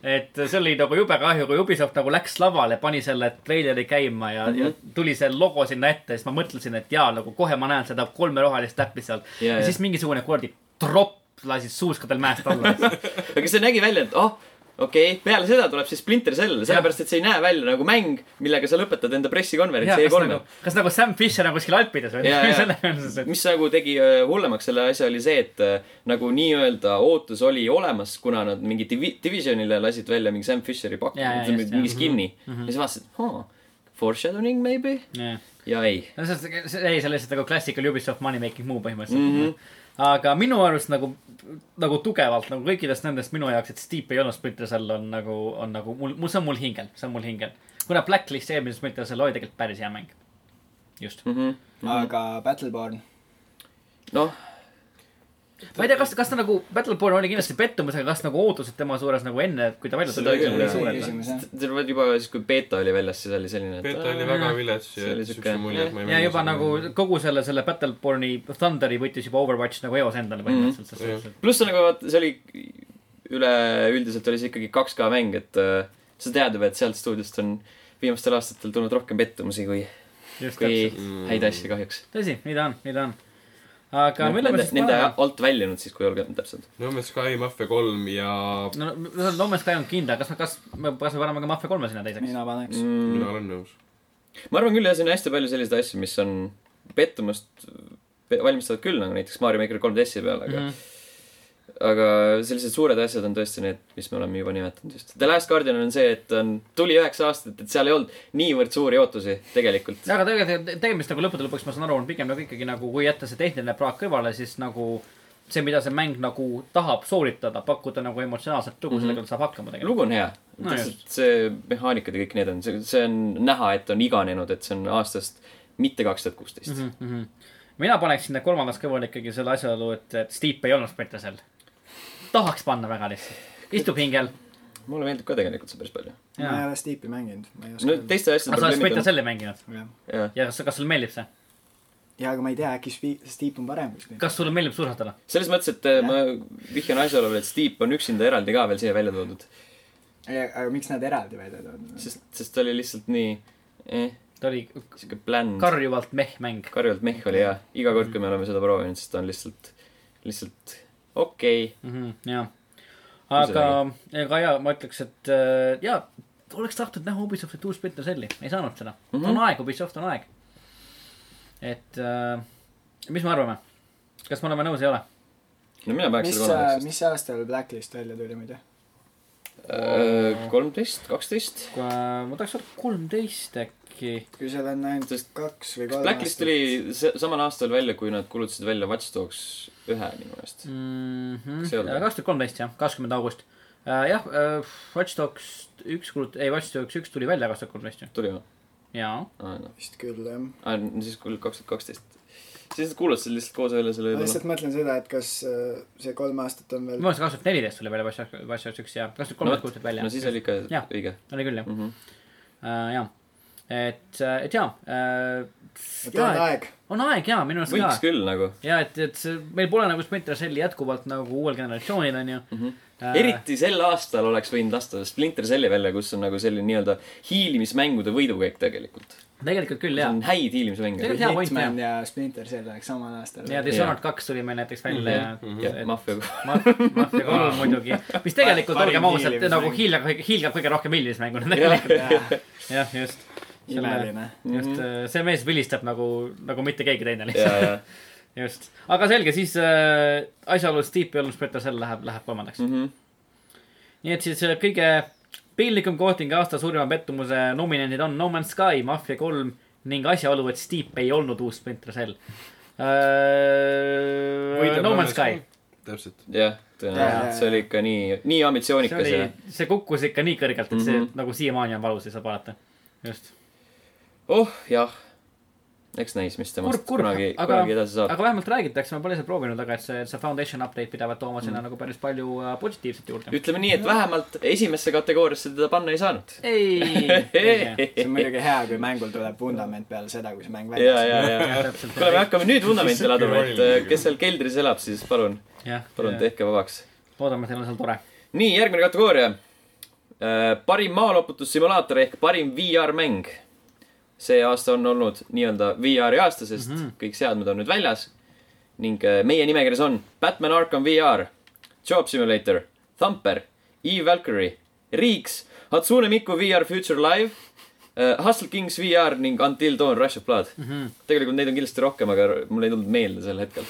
Speaker 2: et see oli nagu jube kahju , kui Ubisoft nagu läks lavale , pani selle treileri käima ja mm , -hmm.
Speaker 1: Mhm.
Speaker 2: ja tuli see logo sinna ette , siis ma mõtlesin , et jaa , nagu kohe ma näen seda kolme rohelist täppi seal
Speaker 1: Jaa,
Speaker 2: ja, ja
Speaker 1: jaa.
Speaker 2: siis mingisugune kuradi tropp lasi suuskadel mäest
Speaker 1: <laughs>
Speaker 2: alla .
Speaker 1: aga see nägi välja , et oh , okei okay, , peale seda tuleb siis Splinter Cell , sellepärast et see ei näe välja nagu mäng , millega sa lõpetad enda
Speaker 2: kas,
Speaker 1: pressikonverentsi
Speaker 2: nagu,
Speaker 1: E3-l .
Speaker 2: kas nagu Sam Fisher on kuskil Alpides <laughs> või
Speaker 1: Jaa, jaa.
Speaker 2: selles mõttes , et
Speaker 1: mis nagu tegi äh, hullemaks selle asja , oli see , et äh, nagu nii-öelda ootus oli olemas , kuna nad mingi divi- , Divisionile lasid välja mingi Sam Fisheri pakkumise
Speaker 2: Jaa, jaa,
Speaker 1: yeah,
Speaker 2: just,
Speaker 1: yeah, mingi
Speaker 2: jaa. Mhm,
Speaker 1: skin'i mm . -hmm. ja siis vaatasid , haa , foreshadowing maybe ?
Speaker 2: jah.
Speaker 1: ja ei .
Speaker 2: no see , see , see , ei , see on lihtsalt nagu klassikaline Ubisoft money making muu põhimõtteliselt mm .
Speaker 1: Mhm.
Speaker 2: -hmm. aga minu arust nagu , nagu tugevalt nagu kõikidest nendest minu jaoks , et Steep ei olnud Splinter Cell on nagu , on nagu mul , mul , see on mul hingel , see on mul hingel . kuna Blacklist eelmises Splinter Cell oli tegelikult päris hea mäng . just
Speaker 1: Mhm.
Speaker 2: mm . -hmm.
Speaker 3: aga Battleborn ,
Speaker 1: noh ,
Speaker 2: ma ei tea , kas , kas ta nagu , Battleborn oli kindlasti pettumus , aga kas nagu ootused tema suures nagu enne , kui ta välja
Speaker 1: Seda
Speaker 2: tuli , olid
Speaker 1: küll,
Speaker 2: nagu
Speaker 1: jah.
Speaker 2: nii suured või ?
Speaker 3: küsimus jah .
Speaker 1: juba siis , kui beeta oli väljas , siis oli selline , et
Speaker 4: Peeta oli
Speaker 1: äh,
Speaker 4: väga vilets ja
Speaker 1: see oli
Speaker 4: siukse
Speaker 1: siuke-
Speaker 4: mulje , et ma ei
Speaker 2: ja juba nagu kogu selle , selle Battleborni Thunderi võttis juba Overwatch nagu eos endale põhimõtteliselt mm , -hmm.
Speaker 1: pluss on nagu vaata , see oli üleüldiselt oli see ikkagi 2K mäng , et äh, sa tead juba , et sealt stuudiost on viimastel aastatel tulnud rohkem pettumusi kui ,
Speaker 2: just
Speaker 1: kui
Speaker 2: täpselt .
Speaker 1: häid asju kahjuks .
Speaker 2: tõsi , nii ta on , nii ta on . aga no, millal me
Speaker 1: Nende,
Speaker 2: siis
Speaker 1: nende
Speaker 2: paneme ?
Speaker 1: alt väljunud siis , kui olgem täpsed .
Speaker 4: No Man's Sky , Mafia kolm ja
Speaker 2: no loomulikult ka ei olnud kindel , kas , kas , kas me paneme ka Mafia kolme sinna teiseks ?
Speaker 3: mina paneks .
Speaker 4: mina olen nõus .
Speaker 1: Mm, ma arvan küll , jah , siin on hästi palju selliseid asju , mis on pettumust pe- valmistavad küll , nagu näiteks Mario Maker 3DS-i peal , aga mm ,
Speaker 2: Mhm.
Speaker 1: -hmm. aga sellised suured asjad on tõesti need , mis me oleme juba nimetanud just . The Last Guardian on see , et on , tuli üheksa aastat , et seal ei olnud niivõrd suuri ootusi tegelikult .
Speaker 2: aga tegelikult tegemist nagu lõppude lõpuks , ma saan aru , on pigem nagu ikkagi nagu , kui jätta see tehniline praak kõrvale , siis nagu see , mida see mäng nagu tahab sooritada , pakkuda nagu emotsionaalset lugu mm ,
Speaker 1: Mhm.
Speaker 2: -hmm. sellega ta saab hakkama tegelikult .
Speaker 1: lugu on hea
Speaker 2: No
Speaker 1: no, . lihtsalt see mehaanikad ja kõik need on , see , see on näha , et on iganenud , et see on aastast mitte kaks tuhat kuusteist .
Speaker 2: Mhm. mina paneks sinna kolmandas kõrval ikkagi selle asjaolu , et , et Steep ei olnud Spetesel . tahaks panna väga lihtsalt , istub hingel .
Speaker 1: mulle meeldib ka tegelikult see päris palju .
Speaker 3: ma ei ole Steepi mänginud , ma ei oska
Speaker 1: no
Speaker 3: öelda .
Speaker 1: teiste asjade
Speaker 2: aga sa oled
Speaker 1: probleemid on . noh.
Speaker 2: Speteseli mänginud
Speaker 3: jah .
Speaker 1: jah ,
Speaker 2: ja kas , kas sulle meeldib see ?
Speaker 3: jaa , aga ma ei tea , äkki Spi- Steep on parem kuskil .
Speaker 2: kas sulle meeldib suusatada ?
Speaker 1: selles mõttes , et äh, ma vihjan asjaolule , et Steep on üksinda eraldi ka veel siia välja toodud ,
Speaker 3: aga miks nad eraldi välja toodud ?
Speaker 1: sest , sest ta oli lihtsalt nii eh, ,
Speaker 2: ta oli
Speaker 1: sihuke bland ,
Speaker 2: karjuvalt mehmäng .
Speaker 1: karjuvalt mehh oli ja iga kord , kui me oleme seda proovinud , siis ta on lihtsalt , lihtsalt okei okay. .
Speaker 2: jah . Mhm, aga , aga jaa , ma ütleks , et äh, jaa , oleks tahtnud näha Ubisoftilt uus Splinter Celli , ei saanud seda mm .
Speaker 1: Mhm.
Speaker 2: -hmm. on aeg , Ubisoft on aeg . et äh, mis me arvame , kas me oleme nõus , ei ole ?
Speaker 1: no mina paneks
Speaker 3: mis
Speaker 1: seda , kolmteist ,
Speaker 3: mis aastal Blacklist välja tuli muide ?
Speaker 1: Äh, kolmteist , kaksteist .
Speaker 2: äh, ma tahaks öelda kolmteist äkki .
Speaker 3: kui seal on ainult
Speaker 1: Sest
Speaker 3: kaks või kolm
Speaker 1: Blacklist tuli se- samal aastal välja , kui nad kuulutasid välja Watch Dogs ühe minu meelest . See oli-
Speaker 2: Mhm. Äh, kaks tuhat kolmteist jah , kakskümmend august . jah , Watch Dogs üks kuulut- , ei Watch Dogs üks tuli välja kaks tuhat kolmteist ju .
Speaker 1: tuli või ?
Speaker 2: jaa .
Speaker 1: aa , noh .
Speaker 3: vist küll jah .
Speaker 1: aa , siis kui kaks tuhat kaksteist . sa lihtsalt kuulasid lihtsalt koos välja selle
Speaker 3: ma
Speaker 1: võib-olla .
Speaker 3: lihtsalt mõtlen seda , et kas äh, see kolm aastat on
Speaker 2: minu
Speaker 3: veel ,
Speaker 2: meelest kaks tuhat neliteist tuli välja Watch Dogs , Watch Dogs üks ja kaks tuhat kolmteist kuulutati välja .
Speaker 1: no siis oli ikka
Speaker 2: Jah.
Speaker 1: õige .
Speaker 2: oli küll jah
Speaker 1: Mhm.
Speaker 2: Äh, jah , et , et jaa äh, .
Speaker 3: et on aeg .
Speaker 2: on aeg jaa , minu arust
Speaker 1: võiks
Speaker 2: ka .
Speaker 1: küll nagu .
Speaker 2: ja et , et see, meil pole nagu Splinter Celli jätkuvalt nagu uuel generatsioonil onju mm . -hmm.
Speaker 1: eriti sel aastal oleks võinud lasta Splinter Celli välja , kus on nagu selline nii-öelda hiilimismängude võidukäik tegelikult .
Speaker 2: tegelikult küll
Speaker 1: see
Speaker 2: jaa
Speaker 1: on . häid hiilimismänge .
Speaker 2: Tegelikult- hea point,
Speaker 3: Hitman ja Splinter Cell oleks samal aastal .
Speaker 2: ja Dishonored kaks tuli meil näiteks välja ja mm
Speaker 1: Mhm. jah , maffia .
Speaker 2: Mafia kolm muidugi , mis tegelikult
Speaker 3: Parim
Speaker 2: olgem ausad
Speaker 3: hiilimismäng. ,
Speaker 2: nagu hiilgab , hiilgab kõige rohkem hiilimismänguna tegelikult . <laughs> jah , just .
Speaker 3: imeline .
Speaker 2: just , see mees vilistab nagu , nagu mitte keegi teine
Speaker 1: ja ,
Speaker 2: lihtsalt .
Speaker 1: ja
Speaker 2: just , aga selge , siis äh, asjaolus Deep Yellow Splinter Cell läheb , läheb kolmandaks .
Speaker 1: <laughs> Mhm.
Speaker 2: nii et siis äh, kõige piinlikum koht ning aasta suurima pettumuse nominendid on No Man's Sky , Mafia kolm ning asjaolu , et Steep ei olnud uus Splinter Cell äh, . No Man's Sky .
Speaker 4: täpselt .
Speaker 1: jah ,
Speaker 3: Jaa, jaa,
Speaker 1: tõenäoliselt see oli ikka nii , nii
Speaker 2: see
Speaker 1: ambitsioonikas ja
Speaker 2: oli , see kukkus ikka nii kõrgelt , et see mm
Speaker 1: Mhm.
Speaker 2: -hmm. nagu siiamaani on valus ja saab vaadata . just .
Speaker 1: oh jah , eks näis , mis temast
Speaker 2: kurb , kurb ,
Speaker 1: kunagi ,
Speaker 2: aga ,
Speaker 1: kunagi edasi saab
Speaker 2: aga . vähemalt räägitakse , ma pole seda proovinud , aga et see , see foundation update pidavat tooma
Speaker 1: Mhm.
Speaker 2: sinna mm -hmm. nagu päris palju äh, positiivset juurde .
Speaker 1: ütleme nii , et vähemalt esimesse kategooriasse teda panna ei saanud . <laughs>
Speaker 2: ei ,
Speaker 3: see on muidugi hea , kui mängul tuleb vundament peale seda , kui see mäng välja
Speaker 1: ja , ja , ja .
Speaker 2: <laughs> täpselt .
Speaker 1: kuule , me hakkame nüüd vundamenti laduma , et äh, kes seal keldris elab , siis palun ,
Speaker 2: jah ,
Speaker 1: palun tehke vabaks .
Speaker 2: loodame , teil on seal tore .
Speaker 1: nii , järgmine kategooria . parim maaloputussimulaator ehk parim VR-mäng . see aasta on olnud nii-öelda VR-i aasta , sest mm -hmm. kõik seadmed on nüüd väljas . ning äh, meie nimekirjas on Batman Arkham VR , Job Simulator , Thumper , E-Valkyrie , Riiks , Hatsune Miku VR Future Live . Hustle Kings VR ning Until Dawn Rush of Blood mm . -hmm. tegelikult neid on kindlasti rohkem , aga mul ei tulnud meelde sel hetkel .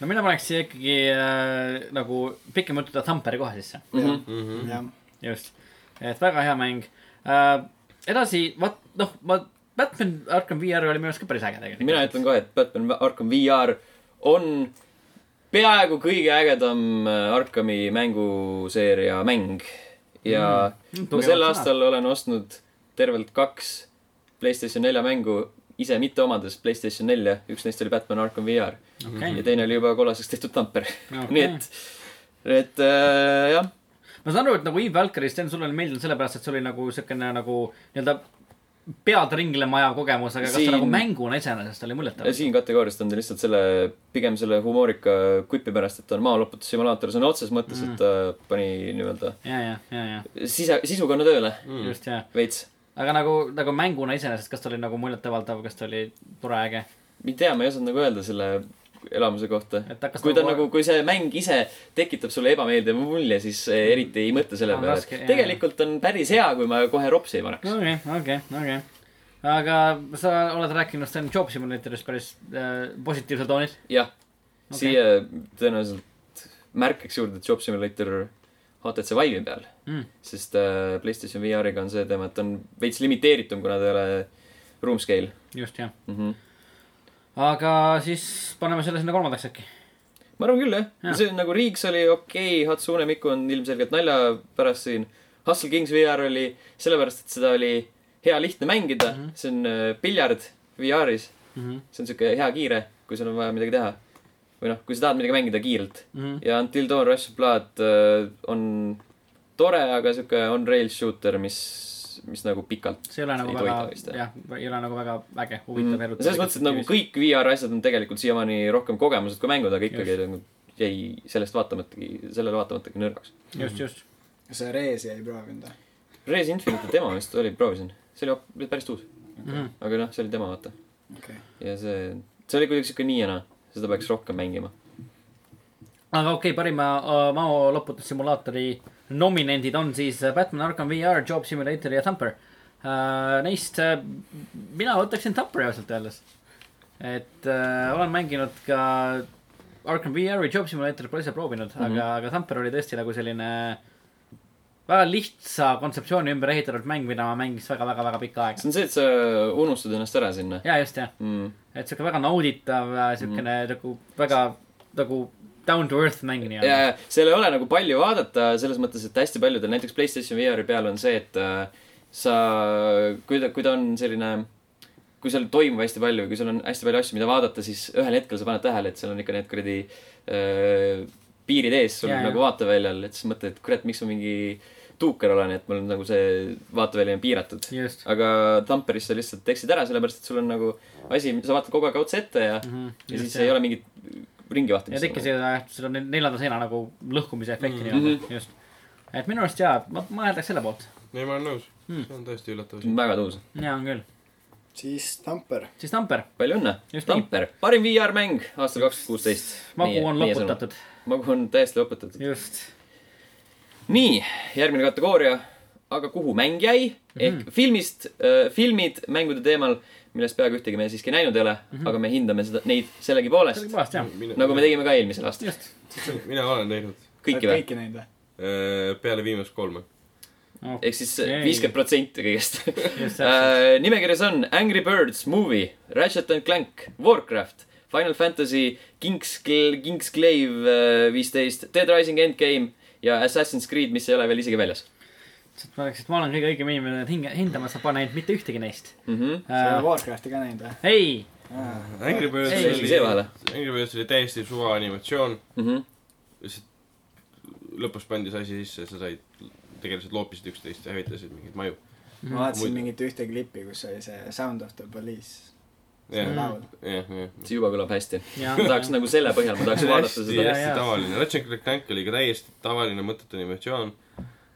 Speaker 2: no mina paneks siia ikkagi äh, nagu pikem jutt Tampere koha sisse .
Speaker 3: mm . -hmm.
Speaker 2: just , et väga hea mäng äh, . edasi , vaat noh , ma , Batman Arkham VR oli minu arust ka päris äge tegelikult .
Speaker 1: mina ütlen kohe , et Batman Arkham VR on peaaegu kõige ägedam äh, Arkhami mänguseeria mäng . ja
Speaker 2: Mm,
Speaker 1: mm, ma
Speaker 2: tugevad
Speaker 1: sel
Speaker 2: sõnad.
Speaker 1: aastal olen ostnud tervelt kaks Playstation nelja mängu , ise mitte omades Playstation nelja , üks neist oli Batman Arkham VR ja
Speaker 2: okei ,
Speaker 1: teine oli juba kollaseks tehtud tamper okay. . <laughs>
Speaker 2: Okei.
Speaker 1: nii et , et äh, jah ,
Speaker 2: ma saan aru , et nagu Eve Valkyrie , Sten , sulle ei meeldinud sellepärast , et see oli nagu siukene nagu nii-öelda pead ringlema ajav kogemus , aga kas
Speaker 1: Siin-
Speaker 2: ta nagu mänguna iseenesest oli muljetav ?
Speaker 1: siin kategooriast on ta lihtsalt selle , pigem selle humoorika kuipi pärast , et ta on maaloputussimulaator sõna otseses mõttes mm. , et ta pani nii-öelda
Speaker 2: ja , ja , ja , ja ,
Speaker 1: sise , sisukonda tööle
Speaker 2: just ja ,
Speaker 1: veits .
Speaker 2: aga nagu , nagu mänguna iseenesest , kas ta oli nagu muljetavaldav , kas ta oli tore , äge ?
Speaker 1: ei tea , ma ei osanud nagu öelda selle elamuse kohta
Speaker 2: Et hakkas .
Speaker 1: kui ta
Speaker 2: nagu-
Speaker 1: nagu , kui see mäng ise tekitab sulle ebameeldiva mulje , siis eriti ei mõtle selle
Speaker 2: On
Speaker 1: peale
Speaker 2: Mm. Ah, raske, . jah.
Speaker 1: tegelikult on päris hea , kui ma kohe ropsi ei paneks .
Speaker 2: okei , okei , okei . aga sa oled rääkinud Sten Job Simulatorist päris äh, positiivsel toonil .
Speaker 1: jah ,
Speaker 2: Okei.
Speaker 1: siia tõenäoliselt märkaks juurde Job Simulator HTC Vive'i peal
Speaker 2: Mm.
Speaker 1: sest äh, PlayStation VR-iga on see teema , et ta on veits limiteeritum , kuna ta ei ole room scale
Speaker 2: just , jah .
Speaker 1: mm . -hmm.
Speaker 2: aga siis paneme selle sinna kolmandaks äkki .
Speaker 1: ma arvan küll jah ja.
Speaker 2: Jah. ,
Speaker 1: see nagu Riigs oli okei okay, , Hatsune Miku on ilmselgelt nalja pärast siin . Hustle Kings VR oli sellepärast , et seda oli hea lihtne mängida
Speaker 2: Mhm.
Speaker 1: mm , -hmm. see on äh, piljard VR-is , see on siuke hea kiire , kui sul on vaja midagi teha . või noh , kui sa tahad midagi mängida kiirelt mm .
Speaker 2: Mhm.
Speaker 1: -hmm. ja Until Dawn Rush of Blood äh, on tore , aga siuke on-rail shooter , mis , mis nagu pikalt
Speaker 2: see ei ole nagu
Speaker 1: ei toida vist
Speaker 2: väga , jah , ei ole nagu väga äge , huvitav
Speaker 1: mm. . selles mõttes , et nagu . kõik VR asjad on tegelikult siiamaani rohkem kogemused kui mängud , aga ikkagi nagu jäi sellest vaatamatagi , sellele vaatamatagi nõrgaks .
Speaker 2: just , just .
Speaker 3: sa Reesi ei proovinud või ?
Speaker 1: Res Infinite'i demo vist oli , proovisin , see oli hop- oli päris uus
Speaker 2: Mhm. .
Speaker 1: aga noh , see oli demo , vaata .
Speaker 3: okei okay. .
Speaker 1: ja see , see oli kuidagi siuke nii ja naa , seda peaks rohkem mängima .
Speaker 2: aga okei okay, , parima äh, mao loputussimulaatori nominendid on siis äh, Batman Arkham VR , Job Simulator ja Thumper äh, . Neist äh, mina võtaksin Thumperi ausalt öeldes . et äh, olen mänginud ka Arkham VR-i , Job Simulator pole ise proovinud mm , -hmm. aga , aga Thumper oli tõesti nagu selline väga lihtsa kontseptsiooni ümber ehitatud mäng , mida ma mängiks väga-väga-väga pikka aega .
Speaker 1: see on see , et sa unustad ennast ära sinna .
Speaker 2: ja just jah ,
Speaker 1: Mm.
Speaker 2: et siuke väga nauditav , siukene nagu väga nagu down to earth mäng
Speaker 1: ja ,
Speaker 2: nii-öelda .
Speaker 1: ja seal ei ole nagu palju vaadata selles mõttes , et hästi paljudel näiteks Playstation VR-i peal on see , et äh, sa , kui ta , kui ta on selline , kui kui seal toimub hästi palju , kui sul on hästi palju asju , mida vaadata , siis ühel hetkel sa paned tähele , et seal on ikka need kuradi öö, piirid ees sul
Speaker 2: Jaa,
Speaker 1: ja,
Speaker 2: jaa.
Speaker 1: nagu vaateväljal , et siis mõtled , et kurat , miks ma mingi tuuker olen , et mul on nagu see vaatevälja on piiratud .
Speaker 2: just .
Speaker 1: aga Tamperis sa lihtsalt teksid ära , sellepärast et sul on nagu asi , sa vaatad kogu aeg otse ette ja mm , -hmm. ja siis ei ole mingit ringi
Speaker 2: Mhm, ja
Speaker 1: vahtimist .
Speaker 2: tekkisid , jah , seal on ne- neljanda seina nagu lõhkumise
Speaker 1: Mm.
Speaker 2: efekti
Speaker 4: Mhm.
Speaker 2: nii-öelda , just . et minu arust jaa , ma , ma hääldaks selle poolt .
Speaker 4: ei , ma olen nõus
Speaker 2: Hmm.
Speaker 4: hmm. . see on täiesti üllatav asi .
Speaker 1: väga tõus .
Speaker 2: jaa , on küll .
Speaker 3: siis Tamper .
Speaker 2: siis Tamper ,
Speaker 1: palju õnne
Speaker 2: Just . nii.
Speaker 1: Tamper , parim VR-mäng aastal kaks tuhat kuusteist .
Speaker 2: magu on . loputatud ,
Speaker 1: magu on täiesti loputatud .
Speaker 2: just .
Speaker 1: nii , järgmine kategooria . aga kuhu mäng jäi ?
Speaker 2: Mhm.
Speaker 1: ehk mm -hmm. filmist äh, , filmid mängude teemal , millest peaaegu ühtegi me siiski näinud ei ole mm , -hmm. aga me hindame seda , neid sellegipoolest ,
Speaker 2: Mhm. sellegipoolest jah ,
Speaker 1: nagu me tegime ka eelmisel aastal .
Speaker 2: just .
Speaker 4: tegime . mina olen teinud
Speaker 1: kõiki või ?
Speaker 3: kõiki neid või ?
Speaker 4: peale viimast kolme .
Speaker 1: ehk siis äh,
Speaker 2: Ei.
Speaker 1: viiskümmend protsenti kõigest . <laughs>
Speaker 2: just täpselt ,
Speaker 1: Äh, nimekirjas on Angry Birds Movie , Ratchet and Clank , Warcraft , Final Fantasy , King's , King's Glaive äh, viisteist , Dead Rising Endgame ja Assassin's Creed , mis ei ole veel isegi väljas
Speaker 2: sest ma oleks , et ma olen kõige õigem inimene et hinge , hindama saab panna ainult mitte ühtegi neist .
Speaker 1: mm . -hmm.
Speaker 3: sa
Speaker 2: Äh.
Speaker 3: ei ole Warcrafti ka näinud või ?
Speaker 2: ei ,
Speaker 4: Angry Birds
Speaker 2: Ei,
Speaker 1: isegi see vahele. .
Speaker 4: Angry Birds oli täiesti suva animatsioon ,
Speaker 1: Mm -hmm.
Speaker 4: lihtsalt lõpus pandi see asi sisse , sa said , tegelased loopisid üksteist ja hävitasid mingeid maju .
Speaker 2: Mhm.
Speaker 3: ma vaatasin
Speaker 4: Muidu.
Speaker 3: mingit ühte klippi , kus oli see Sound of the Police .
Speaker 4: jah ,
Speaker 2: Mm.
Speaker 3: laul .
Speaker 4: jah , jah .
Speaker 1: see juba kõlab hästi .
Speaker 2: jaa
Speaker 1: ma . tahaks nagu selle põhjal , ma tahaks vaadata
Speaker 4: hästi ,
Speaker 1: seda .
Speaker 2: jaa.
Speaker 4: hästi tavaline , Ratchet and Clank oli ka täiesti tavaline mõttetu animatsioon .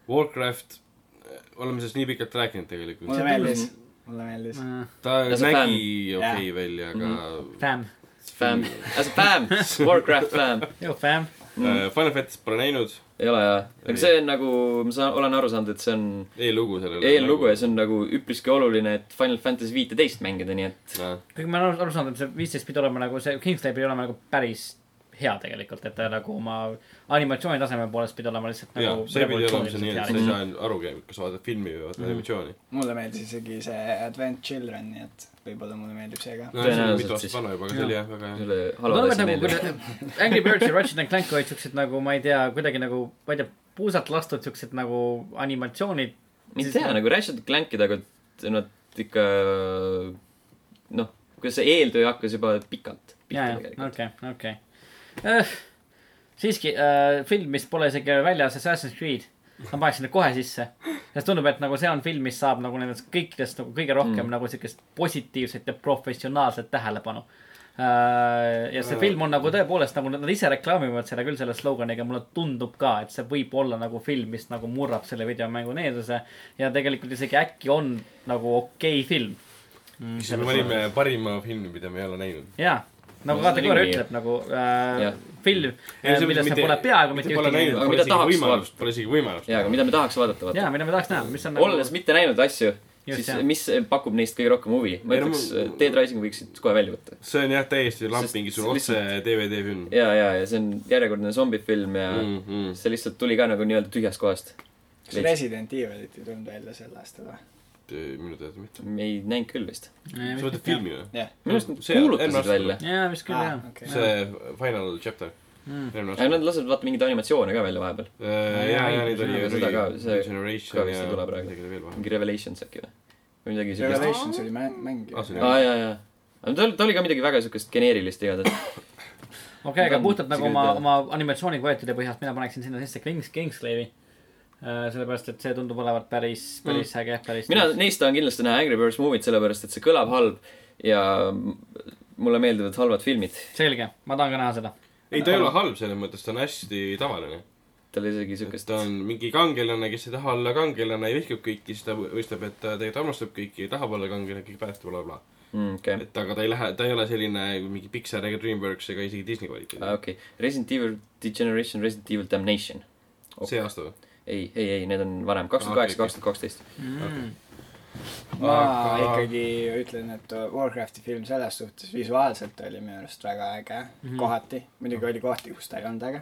Speaker 4: Warcraft , oleme sellest nii pikalt rääkinud tegelikult .
Speaker 3: mulle meeldis , mulle meeldis .
Speaker 2: Mhm. Äh,
Speaker 4: ta
Speaker 1: Ja see Mhm.
Speaker 4: nägi okei
Speaker 3: Jah.
Speaker 4: okay välja , aga
Speaker 2: Fam ,
Speaker 1: Fam , as a fam , Warcraft fam .
Speaker 2: joo fam ,
Speaker 1: Mhm.
Speaker 4: Äh, Final Fantasy pole näinud ,
Speaker 1: ei ole jah , aga see on nagu , ma saan , olen aru saanud , et see on
Speaker 4: eellugu sellele .
Speaker 1: eellugu ja see on nagu üpriski oluline , et Final Fantasy viiteist mängida , nii et
Speaker 4: on .
Speaker 2: kuigi ma olen aru- aru saanud , et see viisteist pidi olema nagu see , Kingsley pidi olema nagu päris hea tegelikult , et ta nagu oma animatsiooni taseme poolest pidi olema lihtsalt
Speaker 4: jaa
Speaker 2: nagu ., Mhm.
Speaker 4: see pidi olema see nii , et sa ei
Speaker 1: Mhm.
Speaker 4: saa arugi , kas sa vaatad filmi või vaatad animatsiooni .
Speaker 3: mulle meeldis isegi see Advent Children , nii et võib-olla mulle meeldib see ka .
Speaker 4: no see on
Speaker 1: Tõenäoliselt
Speaker 4: mitu
Speaker 1: siis.
Speaker 4: aastat vana juba , aga see oli jah , väga hea .
Speaker 1: selle
Speaker 2: ma
Speaker 1: halva
Speaker 2: arvan , et
Speaker 1: asja
Speaker 2: nagu
Speaker 1: meeldib .
Speaker 2: kuida- Angry Birds ja Ratchet and Clank olid siuksed nagu , ma ei tea , kuidagi nagu , ma ei tea , puusalt lastud siuksed nagu animatsioonid .
Speaker 1: ma ei tea , nagu Ratchet and Clankid , aga t- nad ikka noh , kuidas see eeltöö hakkas juba pikalt .
Speaker 2: ja , ja , okei , okei . siiski äh, film , mis pole isegi veel väljas , Assassin's Creed . ma paneks sinna kohe sisse , sest tundub , et nagu see on film , mis saab nagu nendest kõikidest nagu kõige rohkem
Speaker 1: Mm.
Speaker 2: mm. nagu siukest positiivset ja professionaalset tähelepanu . ja see film on nagu tõepoolest nagu nad ise reklaamivad seda küll selle sloganiga , mulle tundub ka , et see võib olla nagu film , mis nagu murrab selle videomängu needuse ja tegelikult isegi äkki on nagu okei okay film mm,
Speaker 4: siis me valime parima filmi , mida me ei ole
Speaker 1: Äh,
Speaker 4: näinud .
Speaker 2: jaa ,
Speaker 1: No
Speaker 2: nagu
Speaker 1: see
Speaker 2: kategooria
Speaker 1: oli nii.
Speaker 2: ütleb nagu äh,
Speaker 1: Jah.
Speaker 2: film , millest sa pole peaaegu mitte ühtegi
Speaker 1: Aga
Speaker 4: näinud .
Speaker 1: mida
Speaker 4: Pole isegi
Speaker 1: tahaks
Speaker 4: võimalust , pole isegi võimalust .
Speaker 1: ja , aga mida me tahaks vaadata , vaata .
Speaker 2: jaa , mida me tahaks näha , mis on nagu-
Speaker 1: olles mitte näinud asju ,
Speaker 2: Just,
Speaker 1: siis
Speaker 2: jah.
Speaker 1: mis pakub neist kõige rohkem huvi ? ma
Speaker 4: Ei, no
Speaker 1: ütleks
Speaker 4: ma- ,
Speaker 1: Dead Rising võiksid kohe välja võtta .
Speaker 4: see on jah , täiesti
Speaker 1: Sest
Speaker 4: lamp mingisugune otse DVD film .
Speaker 1: ja , ja , ja see on järjekordne zombifilm ja mm.
Speaker 4: Mm
Speaker 1: see lihtsalt tuli ka nagu nii-öelda tühjast kohast .
Speaker 3: kas Resident Evilit ei tulnud välja sel aastal või ?
Speaker 4: -hmm. minu teada mitte .
Speaker 1: me ei näinud küll vist .
Speaker 2: Mm.
Speaker 4: sa mõtled ? filmi või ?
Speaker 3: jah .
Speaker 1: minu arust nad
Speaker 4: See on- eelmine
Speaker 1: kuulutasid
Speaker 4: aasta
Speaker 1: välja .
Speaker 2: jaa , vist küll jaa . Mm.
Speaker 3: okei .
Speaker 4: see Final Chapter .
Speaker 1: aga nad lasevad vaata mingeid animatsioone ka välja vahepeal .
Speaker 4: jaa ,
Speaker 2: jaa,
Speaker 4: jaa , neid
Speaker 2: seda
Speaker 4: oli
Speaker 1: ka- see ka
Speaker 4: Generation
Speaker 1: vist ei
Speaker 4: ja
Speaker 1: tule praegu.
Speaker 4: midagi oli veel vahepeal .
Speaker 1: mingi Revelations äkki või ? või midagi siukest .
Speaker 3: Revelations oli mäng , mäng ju
Speaker 4: Ah, see oli-
Speaker 1: aa , jaa , jaa . aga tal , tal oli ka midagi väga siukest geneerilist igatahes .
Speaker 2: okei , aga
Speaker 1: on
Speaker 2: puhtalt nagu
Speaker 1: sigaret
Speaker 2: oma ,
Speaker 1: peal.
Speaker 2: oma animatsioonivõetude põhjalt mina paneksin sinna sisse Kings , Kingsleivi . sellepärast , et see tundub olevat päris , päris äge , päris
Speaker 1: mina neist tahan kindlasti näha Angry Birds Movie't , sellepärast et see kõlab halb ja mulle meeldivad halvad filmid .
Speaker 2: selge , ma tahan ka näha seda .
Speaker 4: ei , ta ei ole halb selles mõttes , ta on hästi tavaline .
Speaker 1: tal isegi
Speaker 4: et
Speaker 1: siukest
Speaker 4: ta on mingi kangelane , kes ei taha olla kangelane ja vihkab kõiki , siis ta mõistab , et ta tegelikult armastab kõiki ja tahab olla kangelane , kõik päästab , blablabla .
Speaker 1: mm, . okei
Speaker 4: et aga ta ei lähe , ta ei ole selline mingi Pixar ega Dreamworks ega isegi Disney kvaliteet
Speaker 1: aa , Ah, okei okay. . Resident Evil Degeneration , Resident Evil Damnation .
Speaker 4: okay. . see aasta või ?
Speaker 1: ei , ei , ei , need on varem ,
Speaker 4: Ah,
Speaker 1: kaks tuhat kaheksa , kaks tuhat kaksteist .
Speaker 2: Mm.
Speaker 3: ma
Speaker 4: Aga-
Speaker 3: ikkagi ütlen , et Warcrafti film selles suhtes visuaalselt oli minu arust väga äge
Speaker 2: Mhm.
Speaker 3: mm , -hmm. kohati . muidugi oli kohti , kus ta ei olnud äge .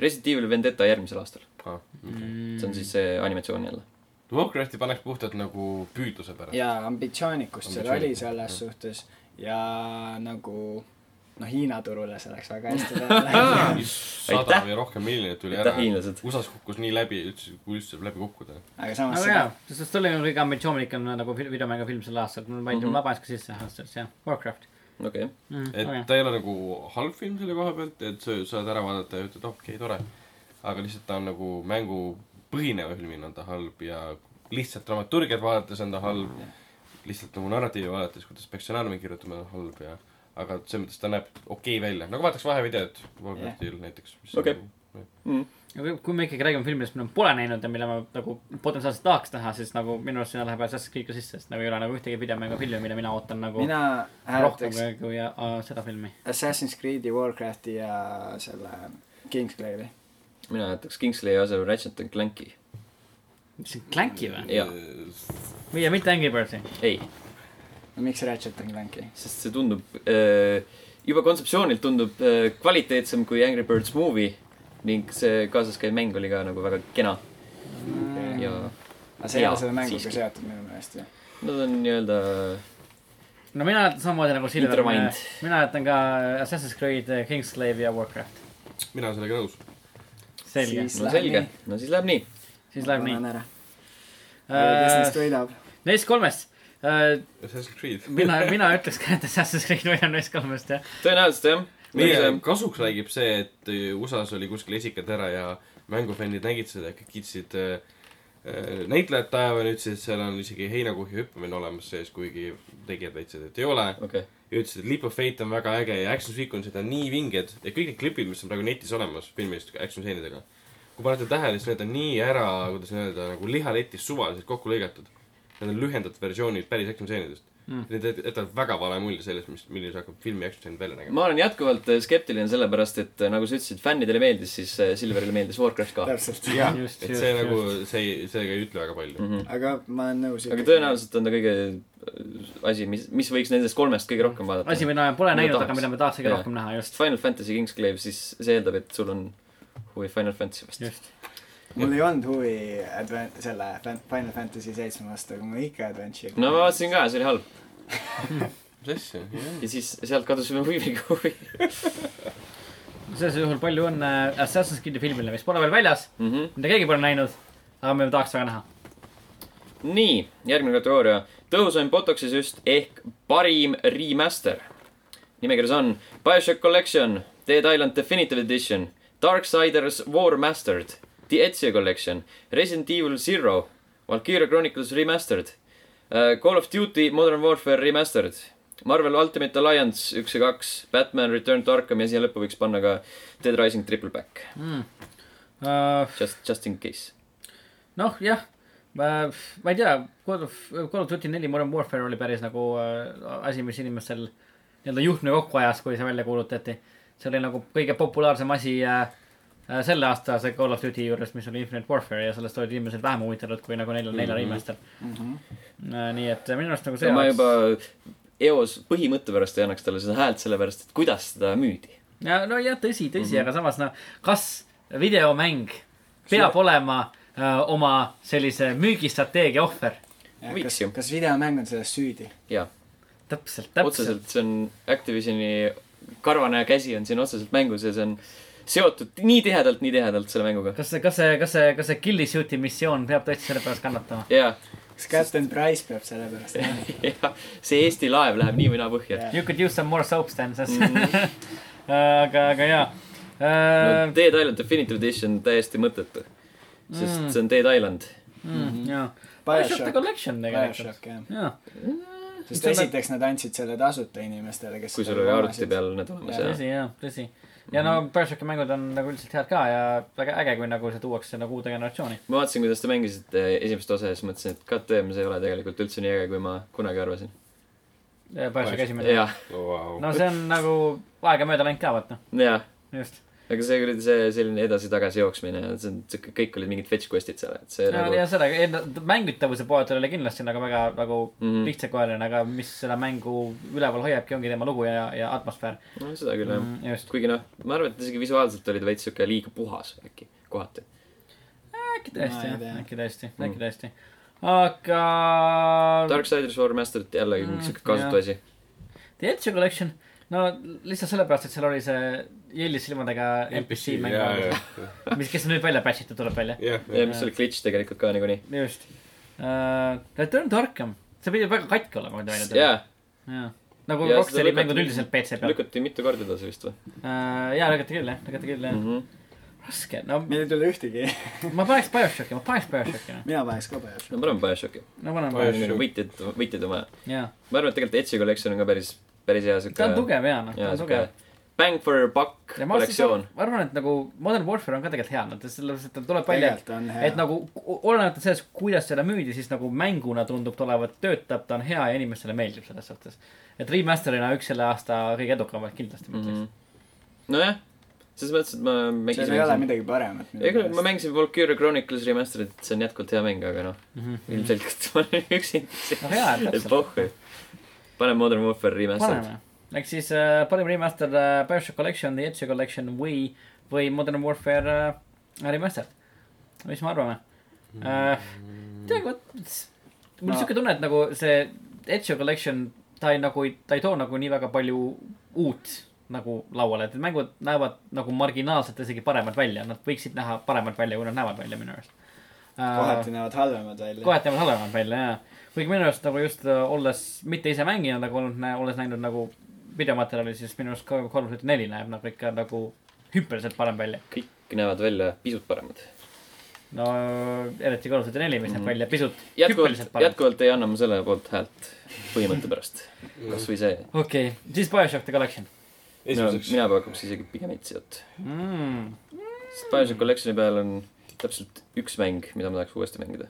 Speaker 1: Resident Evil Vendetta järgmisel aastal .
Speaker 4: aa , okei .
Speaker 2: Mm.
Speaker 1: see on siis see animatsioon jälle .
Speaker 4: Warcrafti paneks puhtalt nagu püüdluse pärast .
Speaker 3: ja ambitsioonikust seal oli
Speaker 4: Ambitsioonikust,
Speaker 3: selles suhtes ja nagu noh , Hiina turule see läks väga
Speaker 1: <laughs>
Speaker 3: hästi peale .
Speaker 4: sada
Speaker 1: Aitäh!
Speaker 4: või rohkem miljonit tuli
Speaker 1: Aitäh,
Speaker 4: ära .
Speaker 1: hiinlased.
Speaker 4: USA-s kukkus nii läbi , üldse , kui üldse saab läbi kukkuda .
Speaker 3: aga samas
Speaker 2: aga
Speaker 3: seda
Speaker 2: jaa , sest see oli nagu kõige ambitsioonikum nagu fil- videomängufilm sel aastal , ma panin tema vabaks ka sisse aastas , jah , Warcraft . Mm,
Speaker 1: okei .
Speaker 4: et okay. ta ei ole nagu halb film selle koha pealt , et sa saad ära vaadata ja ütled , okei okay, , tore . aga lihtsalt ta on nagu mängupõhineva filmina on ta halb ja lihtsalt dramaturgiat vaadates on ta halb . lihtsalt nagu narratiivi vaadates , kuidas peaks stsenaariumi kirjutama , on halb ja , aga selles mõttes ta näeb okei okay välja , nagu vaataks vahevideot Warcraftil yeah. näiteks . nagu-
Speaker 1: Okei.
Speaker 2: kui me ikkagi räägime filmidest , mida ma pole näinud ja mille ma nagu potentsiaalselt tahaks näha , siis nagu minu arust sinna läheb Assassin's Creed ka sisse , sest nagu ei ole nagu ühtegi videomängufilmi , mida mina ootan nagu
Speaker 3: mina
Speaker 2: rohkem
Speaker 3: hääletaks
Speaker 2: kui- kui äh, seda filmi .
Speaker 3: Assassin's Creed'i , Warcrafti ja selle Kingsclave'i .
Speaker 1: mina jätaks Kingsley asemel Ratchet and Clanki .
Speaker 2: mis see , Clanki või ?
Speaker 1: jaa ,
Speaker 2: või ja mitte Angry Birdsi .
Speaker 1: ei ,
Speaker 3: no miks Ratchet and Clanki ?
Speaker 1: sest see tundub äh, , juba kontseptsioonilt tundub äh, kvaliteetsem kui Angry Birds movie ning see kaasas käiv mäng oli ka nagu väga kena
Speaker 3: Mm.
Speaker 1: ja
Speaker 3: aga see ei
Speaker 1: Jaa,
Speaker 3: ole selle mänguga
Speaker 1: siiski.
Speaker 3: seotud minu meelest ju .
Speaker 1: nad on nii-öelda ,
Speaker 2: no mina hääletan samamoodi nagu Silver ,
Speaker 1: Intertwined.
Speaker 2: mina hääletan ka Assassin's Creed , Kingslave ja Warcraft .
Speaker 4: mina olen sellega nõus .
Speaker 2: selge ,
Speaker 3: Siis Äh,
Speaker 1: no
Speaker 3: läheb
Speaker 1: selge
Speaker 3: nii. ,
Speaker 1: no siis läheb nii .
Speaker 2: siis läheb nii
Speaker 3: panen . ära . kes neist
Speaker 2: Äh,
Speaker 3: võidab ?
Speaker 2: Neist kolmest äh, ,
Speaker 4: Assassin's Creed .
Speaker 2: mina , mina ütleks ka , et Assassin's Creed võidab neist kolmest jah .
Speaker 1: tõenäoliselt jah .
Speaker 4: meie kasuks räägib see , et äh, USA-s oli kuskil esikad ära ja mängufännid nägid seda ja kõik kiitsid äh, äh, näitlejad taeva ja nüüd siis seal on isegi heinakuhja hüppamine olemas sees , kuigi tegijad väitsid , et ei ole .
Speaker 1: okei ,
Speaker 4: ja ütlesid , et Leap of Fate on väga äge ja action sequence'id on nii vinged ja kõik need klipid , mis on praegu netis olemas filmist action stseenidega . kui panete tähele , siis need on nii ära , kuidas öelda , nagu lihaletis suvaliselt kokku lõigatud . Need on lühendatud versioonid päris action stseenidest mm. . Need jät- jätavad väga vale mulje sellest , mis , milline hakkab filmi action stseen välja nägema .
Speaker 1: ma olen jätkuvalt äh, skeptiline sellepärast , et äh, nagu sa ütlesid , fännidele meeldis , siis äh, Silverile meeldis Warcraft ka .
Speaker 3: täpselt .
Speaker 2: Just,
Speaker 4: et
Speaker 2: just,
Speaker 4: see
Speaker 2: just.
Speaker 4: nagu , see ei , sellega ei ütle väga palju mm .
Speaker 3: aga ma olen nõus .
Speaker 1: Mhm. aga tõenäoliselt on ta kõige äh, asi , mis , mis võiks nendest kolmest kõige rohkem vaadata .
Speaker 2: asi , mida me pole
Speaker 1: Mida
Speaker 2: näinud ,
Speaker 1: tahaks.
Speaker 2: aga mida me tahaks kõige
Speaker 1: Jaa.
Speaker 2: rohkem näha , just ,
Speaker 1: Final Fantasy Kingsclave , siis see eeldab , et sul on huvi Final Fantasy vastu .
Speaker 2: just .
Speaker 3: mul ei olnud huvi adven- , selle Fan- Final Fantasy seitsme vastu , aga mul ikka Adventure .
Speaker 1: no ma vaatasin ka , see oli halb .
Speaker 4: -hmm. mis asja , jah .
Speaker 1: ja siis sealt kadus minu huviga <laughs> huvi .
Speaker 2: selles juhul palju õnne Assassin's Creed'i filmile , mis pole veel väljas ,
Speaker 1: Mhm.
Speaker 2: mida keegi pole näinud , aga me tahaks väga näha .
Speaker 1: nii , järgmine kategooria . tõhusaim botox'i süst ehk parim remaster . nimekirjas on BioShock Collection , Dead Island Definitive Edition , Darksiders War Mastered , The Ezio Collection , Resident Evil Zero , Valkyria Chronicles Remastered , Call of Duty Modern Warfare Remastered , Marvel Ultimate Alliance üks ja kaks , Batman Return to Arkham ja siia lõppu võiks panna ka Dead Rising Triple Back , just , just in case .
Speaker 2: Äh, noh , jah , ma , ma ei tea , Call of , Call of Duty neli Modern Warfare oli päris nagu äh, asi , mis inimestel nii-öelda juhtme kokku ajas , kui see välja kuulutati . see oli nagu kõige populaarsem asi äh, äh, selle aasta see Call of Duty juures , mis oli Infinite Warfare ja sellest olid inimesed vähem huvitatud kui nagu neljal , neljal inimestel . nii et äh, minu arust nagu see
Speaker 1: ja Mhm. ma juba eos põhimõtte pärast ei annaks talle seda häält , sellepärast et kuidas seda müüdi .
Speaker 2: ja no jah , tõsi , tõsi mm , -hmm. aga samas noh , kas videomäng peab olema äh, oma sellise müügistrateegia ohver ?
Speaker 3: kas
Speaker 1: võiks ju. ,
Speaker 3: kas videomäng on selles süüdi ?
Speaker 1: jaa ,
Speaker 2: täpselt , täpselt .
Speaker 1: otseselt see on Activisioni karvane käsi on siin otseselt mängus ja see on seotud nii tihedalt , nii tihedalt selle mänguga .
Speaker 2: kas see , kas see , kas see , kas see Killi Shooti missioon peab tõesti selle pärast kannatama ?
Speaker 1: jaa ,
Speaker 3: kas Captain Price peab selle pärast olema ?
Speaker 1: jaa , see Eesti laev läheb nii või naa põhja .
Speaker 2: You could use some more soaps then , sest <laughs> aga , aga jaa
Speaker 1: no
Speaker 2: äh, .
Speaker 1: Dead Island Definitive Edition täiesti mõttetu , sest see on Dead Island .
Speaker 2: Mm, jaa ,
Speaker 1: nagu
Speaker 2: Bioshock
Speaker 3: BioShock ,
Speaker 2: Collection tegelikult .
Speaker 3: BioShock
Speaker 1: Hmm.
Speaker 3: jah .
Speaker 2: jaa ,
Speaker 3: sest esiteks nad andsid selle tasuta inimestele , kes
Speaker 1: kui sul oli arvuti . peal need olemas
Speaker 3: Jaa.
Speaker 1: ja
Speaker 2: tõsi jaa , tõsi .
Speaker 1: Mhm.
Speaker 2: ja no Bioshocki mängud on nagu üldiselt head ka ja väga äge , kui nagu see tuuakse nagu uude generatsiooni .
Speaker 1: ma vaatasin , kuidas te mängisite eh, esimest osa ja siis mõtlesin , et KTM , see ei ole tegelikult üldse nii äge , kui ma kunagi arvasin .
Speaker 2: Bioshocki esimene .
Speaker 1: jah ,
Speaker 4: Wow.
Speaker 2: no see on nagu aegamööda läinud ka vaata ,
Speaker 1: jah
Speaker 2: just .
Speaker 1: aga see oli see selline edasi-tagasi jooksmine , see on , see kõik olid mingid fetch quest'id seal , et see
Speaker 2: ja ,
Speaker 1: nagu
Speaker 2: ja seda enda- mängitavuse poolelt oli kindlasti nagu väga nagu mm -hmm.
Speaker 1: Mhm.
Speaker 2: lihtsakoeline , aga mis seda mängu üleval hoiabki , ongi tema lugu ja , ja atmosfäär
Speaker 1: no seda küll jah .
Speaker 2: mm, . just ,
Speaker 1: kuigi noh , ma arvan , et isegi visuaalselt oli ta veits siuke liiga puhas äkki kohati .
Speaker 2: äkki tõesti
Speaker 3: Ma ei
Speaker 2: jah
Speaker 3: tea. ,
Speaker 2: äkki tõesti mm. ,
Speaker 1: Mm.
Speaker 2: äkki tõesti . aga
Speaker 1: Darksiders War Mastered jällegi mingi
Speaker 2: Mm,
Speaker 1: siuke kasutu
Speaker 2: jah.
Speaker 1: asi .
Speaker 2: The Edge Collection , no lihtsalt sellepärast , et seal oli see jõllis silmadega NPC
Speaker 4: NPC ,
Speaker 2: mäng
Speaker 4: jaa , jaa ,
Speaker 2: mis , kes nüüd välja patch itud tuleb välja .
Speaker 1: ja
Speaker 4: jah .
Speaker 1: mis oli glitch tegelikult ka niikuinii .
Speaker 2: just uh, . ta on targem , see pidi väga katki olema , kui ta välja tuli .
Speaker 1: jaa ,
Speaker 2: jaa . nagu
Speaker 1: Ja
Speaker 2: Rockstari
Speaker 1: seda
Speaker 2: mängud
Speaker 1: lükati-
Speaker 2: üldiselt PC peal .
Speaker 1: lükati mitu korda edasi vist või
Speaker 2: jaa , lükati küll jah , lükati küll jah .
Speaker 1: Mhm.
Speaker 2: raske , no
Speaker 3: meil ei tule ühtegi ,
Speaker 2: ma paneks BioShocki , ma paneks BioShocki noh .
Speaker 3: mina paneks ka peale .
Speaker 1: no paneme BioShocki .
Speaker 2: no paneme
Speaker 4: Bioshock.
Speaker 2: BioShocki ,
Speaker 1: meil on võitjaid , võitjaid on vaja .
Speaker 2: jaa .
Speaker 1: ma arvan , et tegelikult Etsi kollektsioon on ka päris , päris hea siuke .
Speaker 2: ta on tugev jaa , noh , ta
Speaker 1: jaa ,
Speaker 2: on
Speaker 1: siuke
Speaker 2: tugev .
Speaker 1: bang for buck
Speaker 2: ja ma arvan
Speaker 1: kollektsioon .,
Speaker 2: ma arvan , et nagu Modern Warfare on ka tegelikult hea , nad sellepärast , et tal tuleb välja ,
Speaker 3: tegelikult on
Speaker 2: et
Speaker 3: hea .
Speaker 2: nagu o- olenemata sellest , kuidas seda müüdi , siis nagu mänguna tundub tulevat , töötab , ta on hea ja inimestele meeldib selles suhtes . et remaster'ina üks selle aasta kõige edukamaid kindlasti
Speaker 1: Mhm.
Speaker 2: ma ütleks .
Speaker 1: nojah , selles mõttes , et ma
Speaker 3: seal ei ole
Speaker 1: mängisin .
Speaker 3: midagi paremat .
Speaker 1: ega ma mängisin Valkyria Chronicles Remastered , see on jätkuvalt hea mäng , aga noh , ilmselgelt <laughs> ma olen üksinda .
Speaker 2: no Noh, hea , et
Speaker 1: et
Speaker 2: täpselt ,
Speaker 1: pohhu . paneme Modern Warfare Remastered .
Speaker 2: paneme . ehk siis äh, parim remaster äh, Bioshock Collection , The Edge Collection või , või Modern Warfare äh, remaster . mis me arvame äh, ? tead , vot mul on
Speaker 3: Ma-
Speaker 2: siuke tunne , et nagu see Edge Collection , ta ei nagu , ta ei too nagu nii väga palju uut nagu lauale , et need mängud näevad nagu marginaalselt isegi paremad välja , nad võiksid näha paremad välja , kui nad näevad välja minu arust äh,
Speaker 3: kohati näevad halvemad välja .
Speaker 2: kohati on halvemad välja jaa . kuigi minu arust nagu just äh, olles mitte ise mängija , nagu olnud , olles näinud nagu videomaterjali , siis minu arust ka kolm tuhat neli näeb nagu ikka nagu hüppeliselt parem välja .
Speaker 1: kõik näevad välja pisut paremad .
Speaker 2: no eriti kolm tuhat neli ,
Speaker 1: Mhm.
Speaker 2: mis näeb välja pisut
Speaker 1: jätkuvalt
Speaker 2: hüppeliselt , parem .
Speaker 1: jätkuvalt ei anna ma selle poolt häält põhimõtte pärast .
Speaker 4: Mhm.
Speaker 1: kasvõi see .
Speaker 2: okei okay. , siis BioShock The Collection
Speaker 1: mina
Speaker 4: esimeseks .
Speaker 1: mina pakuks isegi pigem Etsiot .
Speaker 2: mm. .
Speaker 1: sest Bioshock Collectioni peal on täpselt üks mäng , mida ma tahaks uuesti mängida .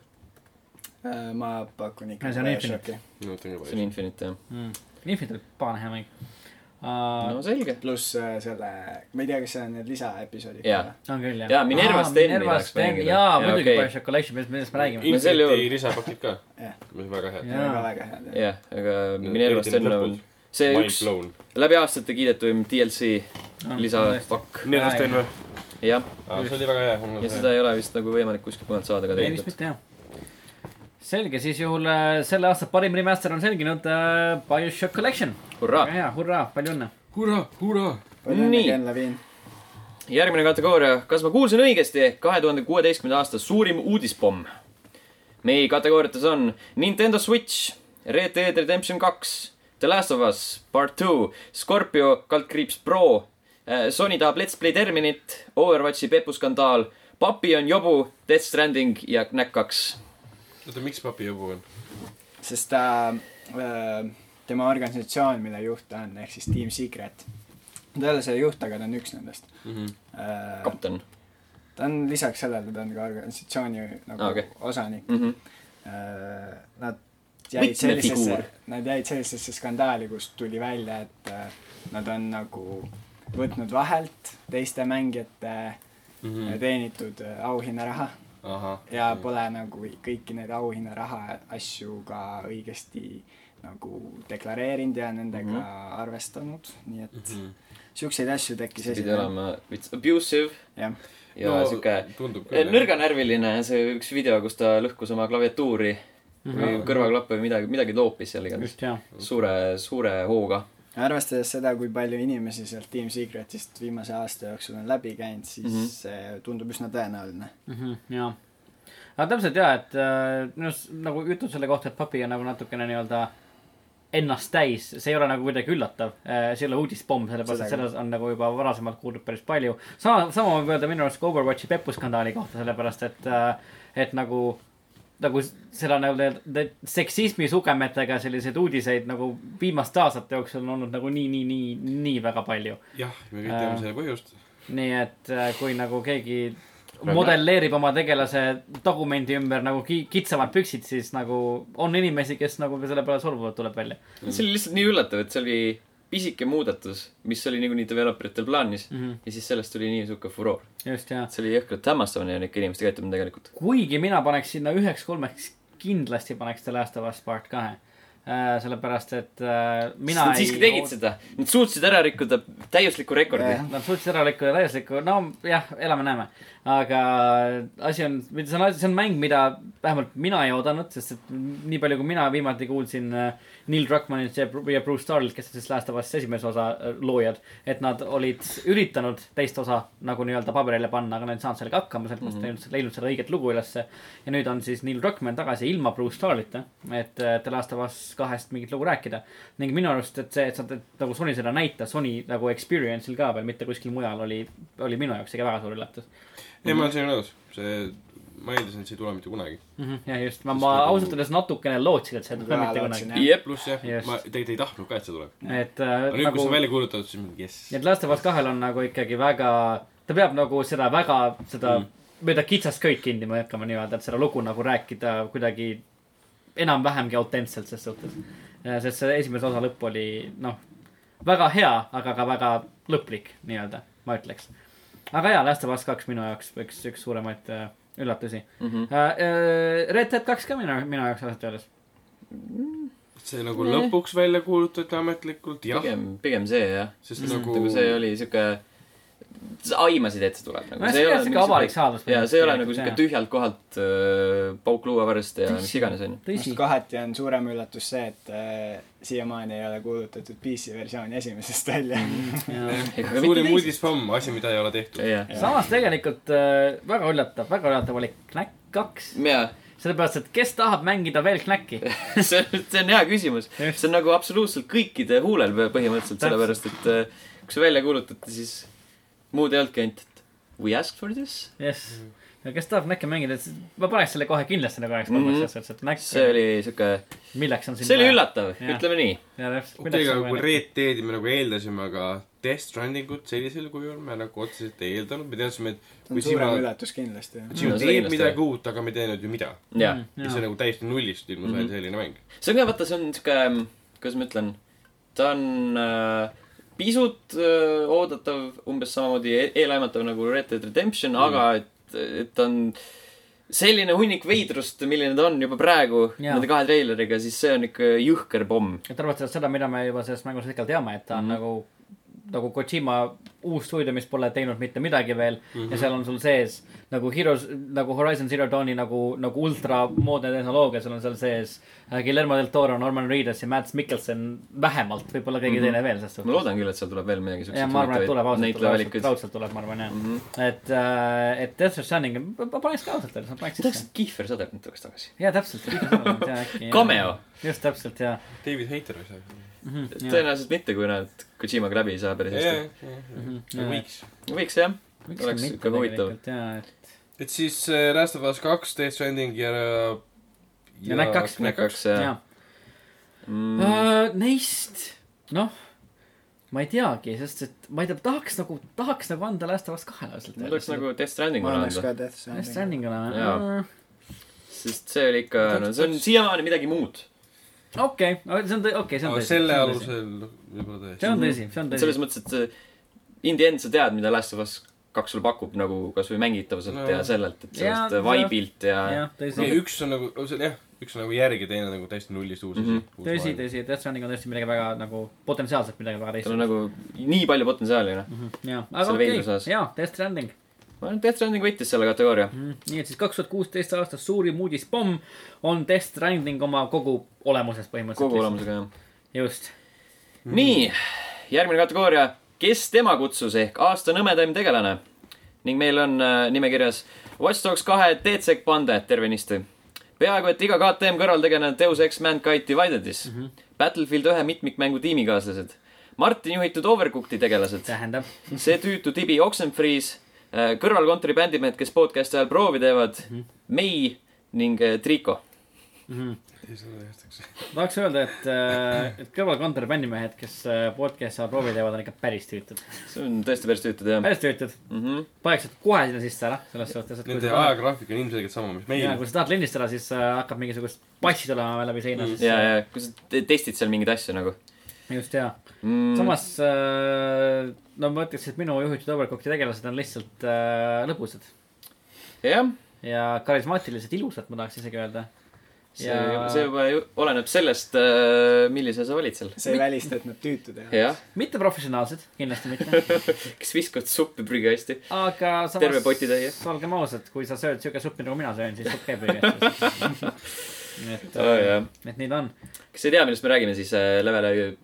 Speaker 3: Äh, ma pakun ikka
Speaker 2: No see on
Speaker 3: BioShocki .
Speaker 4: ma mõtlen ka
Speaker 1: see on Infinite jah .
Speaker 2: Mm. Infinite oli pahane hea mäng uh, .
Speaker 1: no selge .
Speaker 3: pluss äh, selle , ma ei tea , kas see on need lisaepisoodid
Speaker 1: Jaa.
Speaker 3: ka .
Speaker 2: on küll jah .
Speaker 1: Jaa, Minerva Stenni tahaks mängida.
Speaker 2: jaa ,
Speaker 1: Jaa,
Speaker 2: muidugi
Speaker 1: okei.
Speaker 2: okay. BioShock Collection , millest , millest me räägime .
Speaker 1: No sel juhul-
Speaker 4: Infinity lisapakid ka ,
Speaker 3: jah ,
Speaker 4: mis on väga head .
Speaker 2: Jaa.
Speaker 3: väga väga head .
Speaker 1: jah , aga Minerva Sten on see
Speaker 4: Mind
Speaker 1: üks
Speaker 4: blown .
Speaker 1: läbi aastate kiidetuim DLC
Speaker 2: Ah,
Speaker 1: lisapakk .
Speaker 4: Minerva Sten või ?
Speaker 1: jah ,
Speaker 4: see oli väga hea .
Speaker 1: ja seda ei ole vist nagu võimalik kuskilt mujalt saada ka
Speaker 2: ei ,
Speaker 1: tegelikult .
Speaker 2: vist mitte jah . selge , siis juhul äh, selle aasta parim remaster on selginud äh, BioShock Collection .
Speaker 1: hurraa
Speaker 2: väga . hea , hurraa , palju õnne .
Speaker 4: hurraa , hurraa .
Speaker 3: palju õnne
Speaker 1: Nii. ,
Speaker 3: Ken Levin .
Speaker 1: järgmine kategooria , kas ma kuulsin õigesti , kahe tuhande kuueteistkümnenda aasta suurim uudispomm . meie kategooriates on Nintendo Switch , Red Dead Redemption kaks , The Last of Us Part Two , Scorpio kaldkriips Pro , Sony tahab Let's Play Terminit , Overwatchi pepuskandaal , Papi on jobu , Death Stranding ja Knack kaks .
Speaker 4: oota , miks papi jobu on ?
Speaker 3: sest ta , tema organisatsioon , mille juht ta on , ehk siis Team Secret . ta ei ole selle juht , aga ta on üks nendest . ta
Speaker 1: kapten
Speaker 3: on lisaks sellele , ta on ka organisatsiooni nagu
Speaker 1: Aa, okei.
Speaker 3: osanik .
Speaker 1: mm . -hmm.
Speaker 3: Nad jäid sellisesse
Speaker 1: Võtmefiguur. ,
Speaker 3: nad jäid sellisesse skandaali , kus tuli välja , et äh, nad on nagu võtnud vahelt teiste mängijate
Speaker 4: Hmm.
Speaker 3: äh, teenitud äh, auhinnaraha
Speaker 4: Mhm. ahah .
Speaker 3: ja pole nagu kõiki neid auhinnaraha asju ka õigesti nagu deklareerinud ja nendega mm -hmm. arvestanud , nii et mm -hmm.
Speaker 4: Mhm.
Speaker 3: siukseid asju tekkis
Speaker 1: Mhm. see pidi . olema veits abusive
Speaker 3: jah ,
Speaker 1: ja no, siuke Eh,
Speaker 4: tundub küll .
Speaker 1: nõrganärviline , see üks video , kus ta lõhkus oma klaviatuuri või kõrvaklappe või midagi , midagi loopis seal igatahes .
Speaker 2: Mhm. just jaa .
Speaker 1: suure , suure hooga .
Speaker 3: arvestades seda , kui palju inimesi sealt Team Secretist viimase aasta jooksul on läbi käinud , siis mm
Speaker 1: Mhm.
Speaker 3: -hmm. see tundub üsna tõenäoline .
Speaker 2: Mhm, jaa . aga täpselt jaa , et äh, minu arust nagu jutud selle kohta , et papi on nagu natukene nii-öelda ennast täis , see ei ole nagu kuidagi üllatav . see ei ole uudispomm , sellepärast et
Speaker 3: Seda küll.
Speaker 2: sellest on nagu juba varasemalt kuulnud päris palju . sama , sama võib öelda minu arust ka Overwatchi pepuskandaali kohta , sellepärast et , et nagu , nagu seda nii-öelda seksismi sugemetega selliseid uudiseid nagu viimaste aastate jooksul on olnud nagu nii , nii , nii , nii väga palju .
Speaker 4: jah , me kõik teame
Speaker 2: Äh.
Speaker 4: selle põhjust .
Speaker 2: nii et äh, kui nagu keegi modelleerib oma tegelase dokumendi ümber nagu ki- kitsamad püksid , siis nagu on inimesi , kes nagu selle peale solvuvad , tuleb välja .
Speaker 1: see oli lihtsalt nii üllatav , et see oli pisike muudatus , mis oli niikuinii developeritel plaanis mm
Speaker 2: Mhm.
Speaker 1: -hmm. ja siis sellest tuli nii sihuke furoor .
Speaker 2: just , jaa .
Speaker 1: see oli jõhkralt hämmastavane ja ikka inimeste käitumine tegelikult .
Speaker 2: kuigi mina paneks sinna üheks kolmeks , kindlasti paneks The Last of Us Part kahe . sellepärast , et äh, mina
Speaker 1: Nad siiski tegid seda , nad suutsid ära rikkuda täiusliku rekordi
Speaker 3: Jah. .
Speaker 2: Nad suutsid ära lõikuda täiuslikku , no jah , elame-näeme . aga asi on , see on , see on mäng , mida vähemalt mina ei oodanud , sest et nii palju , kui mina viimati kuulsin äh, Neil Druckmannilt ja Bru- ja Bruce Starlilt , kes on siis Last of Us esimese osa äh, loojad , et nad olid üritanud teist osa nagu nii-öelda paberile panna , aga nad ei saanud sellega hakkama , sellepärast mm -hmm. ei leidnud seda õiget lugu ülesse . ja nüüd on siis Neil Druckmann tagasi ilma Bruce Starlita , et äh, The Last of Us kahest mingit lugu rääkida . ning minu arust , et see , et sa et nagu Sony seda näitas , Sony nagu experience'il ka veel , mitte kuskil mujal , oli , oli minu jaoks ikka väga suur üllatus
Speaker 4: ei , ma olen sinuga nõus , see , ma eeldasin , et see ei tule mitte kunagi .
Speaker 2: mm . -hmm, jah , just , ma ,
Speaker 4: Sest
Speaker 2: ma
Speaker 4: nagu-
Speaker 2: ausalt öeldes natukene lootsin , et see
Speaker 3: Ma
Speaker 2: tuleb
Speaker 3: ka
Speaker 2: mitte
Speaker 3: lootsin,
Speaker 2: kunagi .
Speaker 1: jep ,
Speaker 4: pluss jah
Speaker 2: Just.
Speaker 4: yes. , ma tegelikult ei tahtnud ka , et see tuleb .
Speaker 2: et äh,
Speaker 4: aga nüüd nagu... , kui
Speaker 2: nagu
Speaker 4: see on , välja kuulutatud , siis mingi jess
Speaker 2: et Last of Us kahel on nagu ikkagi väga , ta peab nagu seda väga , seda mm. mööda kitsast köid kinni mõõtkama nii-öelda , et seda lugu nagu rääkida kuidagi enam-vähemgi autentselt ses suhtes . sest see esimese osa lõpp oli , noh , väga hea , aga ka väga lõplik nii-öelda , ma ütleks . aga jaa , Last of Us kaks minu jaoks üks , üks suuremaid äh, üllatusi mm .
Speaker 1: Mhm.
Speaker 2: -hmm. Red Dead kaks ka minu , minu jaoks ausalt öeldes .
Speaker 4: see nagu nee. lõpuks välja kuulutati ametlikult , jah ,
Speaker 1: pigem , pigem see jah .
Speaker 4: sest
Speaker 1: sest
Speaker 4: nagu,
Speaker 1: nagu see oli siuke , sa aimasid , et see tuleb nagu .
Speaker 2: nojah , see ei ole siuke avalik saadus .
Speaker 1: jaa , see ei ole nagu siuke tühjalt kohalt äh, pauk luua pärast ja mis iganes onju . <laughs>
Speaker 2: tõsi ,
Speaker 3: kohati on suurem üllatus see , et äh, siiamaani ei ole kuulutatud PC versiooni esimesest välja .
Speaker 1: Mhm.
Speaker 4: suurim uudisfamm , asi , mida ei ole tehtud .
Speaker 1: jah ,
Speaker 2: samas tegelikult äh, väga üllatav , väga üllatav oli Knack kaks ,
Speaker 1: jaa ,
Speaker 2: sellepärast et kes tahab mängida veel Knacki ,
Speaker 1: see , see on hea küsimus . see on nagu absoluutselt kõikide huulel pö- põhimõtteliselt , sellepärast et äh, kui see välja kuulutati , siis muud ei olnudki ainult , et we asked for this .
Speaker 2: jess .
Speaker 4: Mhm.
Speaker 2: ja kes tahab Knacki mängida , ma paneks selle kohe kindlasti nagu üheks
Speaker 1: Mhm.
Speaker 2: kolmeks asjaks , et Knack ,
Speaker 1: see oli siuke ,
Speaker 2: milleks on siin
Speaker 1: see oli . üllatav ,
Speaker 2: Jah.
Speaker 1: ütleme nii .
Speaker 4: okei , aga kui Red Deadi me nagu eeldasime , aga Death Strandingut sellisel kujul me nagu otseselt ei eeldanud , me teadsime , et
Speaker 3: see on
Speaker 4: kui
Speaker 3: suurem
Speaker 4: sina ,
Speaker 3: üllatus kindlasti .
Speaker 1: No
Speaker 4: sinu
Speaker 1: see
Speaker 4: teeb
Speaker 1: kindlasti, jah.
Speaker 4: midagi uut , aga me ei teinud ju mida .
Speaker 1: jaa
Speaker 4: ja see on nagu täiesti nullist ilmus mm -hmm. ainult selline mäng .
Speaker 1: see on ka , vaata , see on sihuke , kuidas ma ütlen , ta on äh, pisut äh, oodatav , umbes samamoodi e- eelaimatav nagu Red Dead Redemption mm. , aga et , et ta on selline hunnik veidrust , milline ta on juba praegu
Speaker 2: Jaa.
Speaker 1: yeah. nende kahe treileriga , siis see on ikka jõhker pomm .
Speaker 2: et arvestades seda , mida me juba sellest mängust hetkel teame , et ta on mm
Speaker 1: Mhm.
Speaker 2: -hmm. nagu , nagu Kojima uus stuudio , mis pole teinud mitte midagi veel mm .
Speaker 1: Mhm.
Speaker 2: -hmm. ja seal on sul sees nagu Heroes , nagu Horizon Zero Dawni nagu , nagu ultramoodne tehnoloogia , seal on seal sees äh, Guillermo del Toro , Norman Reedus ja Mads Mikkelson vähemalt , võib-olla keegi mm
Speaker 1: Mhm.
Speaker 2: -hmm. teine veel selles
Speaker 1: ma loodan küll , et seal tuleb veel midagi
Speaker 2: ja ma arvan , et tuleb ausalt , tuleb ausalt ,
Speaker 1: näitlejavalikuid .
Speaker 2: raudselt tuleb , ma arvan jah mm .
Speaker 1: Mhm.
Speaker 2: -hmm. et äh, , et Death Stranding , ma paneks ka ausalt öeldes , ma paneks
Speaker 1: sa
Speaker 2: sisse .
Speaker 1: tahaksid Kihver Saderit tuleks tagasi ?
Speaker 2: jaa ,
Speaker 1: <laughs>
Speaker 2: täpselt .
Speaker 1: Cameo. .
Speaker 2: just täpselt jaa
Speaker 4: David Hater või see ?
Speaker 2: mm .
Speaker 1: tõenäoliselt mitte , kui nad Kojimaga läbi ei saa päris hästi .
Speaker 4: jah , Nagu võiks .
Speaker 1: võiks jah .
Speaker 2: Miks
Speaker 1: Oleks
Speaker 2: mitte
Speaker 1: ikka huvitav.
Speaker 2: tegelikult, jaa , et
Speaker 4: et siis äh, Last of Us kaks , Death Stranding ja .
Speaker 2: Ja Knack kaks.
Speaker 1: Knack kaks
Speaker 2: jaa
Speaker 1: ja . Mm.
Speaker 2: Äh, Neist , noh , ma ei teagi , sest et ma ei tea , tahaks nagu , tahaks nagu anda Last of Us kahele ausalt
Speaker 1: mul oleks . nagu Death Stranding
Speaker 3: ma annaks
Speaker 1: anda .
Speaker 3: ka Death
Speaker 2: Death
Speaker 3: Strandingi .
Speaker 2: Strandingule
Speaker 1: Jaa.
Speaker 2: äh, ,
Speaker 1: sest see oli ikka , no see on siiamaani midagi muud .
Speaker 2: Äh, okei , see on tõ- , okei , see on
Speaker 4: aga
Speaker 2: tõsi .
Speaker 4: selle . alusel võib-olla tõesti .
Speaker 2: see on tõsi , see on
Speaker 1: et
Speaker 2: tõsi
Speaker 1: selles . mõttes , et see in the end sa tead , mida Last of Us kaks sulle pakub nagu kasvõi mängitavuselt
Speaker 4: No.
Speaker 1: no. ja sellelt , et
Speaker 2: Jaa,
Speaker 1: sellest
Speaker 2: jah.
Speaker 1: vaibilt ja, ja.
Speaker 2: jah , tõsi
Speaker 4: Ei, . üks on nagu , see on jah , üks on nagu järg ja teine nagu täiesti nullist uus asi
Speaker 1: Mhm.
Speaker 4: mm .
Speaker 2: tõsi ,. tõsi , Death Stranding on tõesti midagi väga nagu , potentsiaalselt midagi väga
Speaker 1: tal on
Speaker 2: teist .
Speaker 1: nagu nii palju potentsiaali , noh .
Speaker 2: jaa , aga
Speaker 1: selle
Speaker 2: okei
Speaker 1: veidruse osas. ,
Speaker 2: jaa , Death Stranding .
Speaker 1: ma arvan , et Death Stranding võitis selle kategooria .
Speaker 2: Mm, nii et siis kaks tuhat kuusteist aasta suurim uudispomm on Death Stranding oma kogu olemuses põhimõtteliselt .
Speaker 1: kogu . olemusega , jah .
Speaker 2: just ,
Speaker 1: Mhm. nii , järgmine kategooria , kes tema kutsus ehk aasta nõmedaim tegelane . ning meil on äh, nimekirjas Watch Dogs kahe DCEC pande tervenisti . peaaegu et iga KTM kõrvaltegelane Deus Ex Mankind Divided'is mm . -hmm. Battlefield ühe mitmikmängu tiimikaaslased . Martin juhitud Overcooked'i tegelased .
Speaker 2: tähendab ,
Speaker 1: see tüütu tibi Oxenfree's , kõrvalkontori bändimehed , kes podcast'i ajal proovi teevad mm , -hmm. Mei ning äh, Triiko .
Speaker 2: Mhm. tahaks öelda , et , et kõrvalkontori bändimehed , kes äh, podcast'i ajal proovi teevad , on ikka päris tüütud .
Speaker 1: see on tõesti päris tüütu teema .
Speaker 2: päris tüütud ,
Speaker 1: Mm -hmm.
Speaker 2: paneks nad kohe sinna sisse ära , selles suhtes , et kui
Speaker 4: Nende
Speaker 2: sa tahad ,
Speaker 4: ajagraafik on ilmselgelt sama , mis
Speaker 2: ja
Speaker 4: meil .
Speaker 2: kui sa tahad lindistada , siis äh, hakkab mingisugust passi tulema läbi seina ,
Speaker 4: Mm.
Speaker 2: siis
Speaker 1: ja , ja kui sa te- testid seal mingeid asju nagu
Speaker 2: äh, just ja .
Speaker 1: mm, .
Speaker 2: samas , no ma ütleks , et minu juhitud overcook'i tegelased on lihtsalt äh, lõbusad
Speaker 1: jah ,
Speaker 2: ja karismaatilised , ilusad , ma tahaks isegi öelda .
Speaker 1: see
Speaker 2: Ja-
Speaker 1: ja... , see juba ju- oleneb sellest , millise sa valid seal .
Speaker 3: see ei välista , et nad tüütud ei ole .
Speaker 1: jah ,
Speaker 2: mitte professionaalsed , kindlasti mitte .
Speaker 1: kes viskavad suppi prügikasti .
Speaker 2: aga samas .
Speaker 1: Terve potitäie.
Speaker 2: olgem ausad , kui sa sööd siuke suppi nagu mina söön , siis supp käib
Speaker 1: <laughs>
Speaker 2: õigesti . <laughs> et äh,
Speaker 1: Oh, jah. ,
Speaker 2: et nii ta on .
Speaker 1: kes ei tea , millest me räägime , siis äh, Levele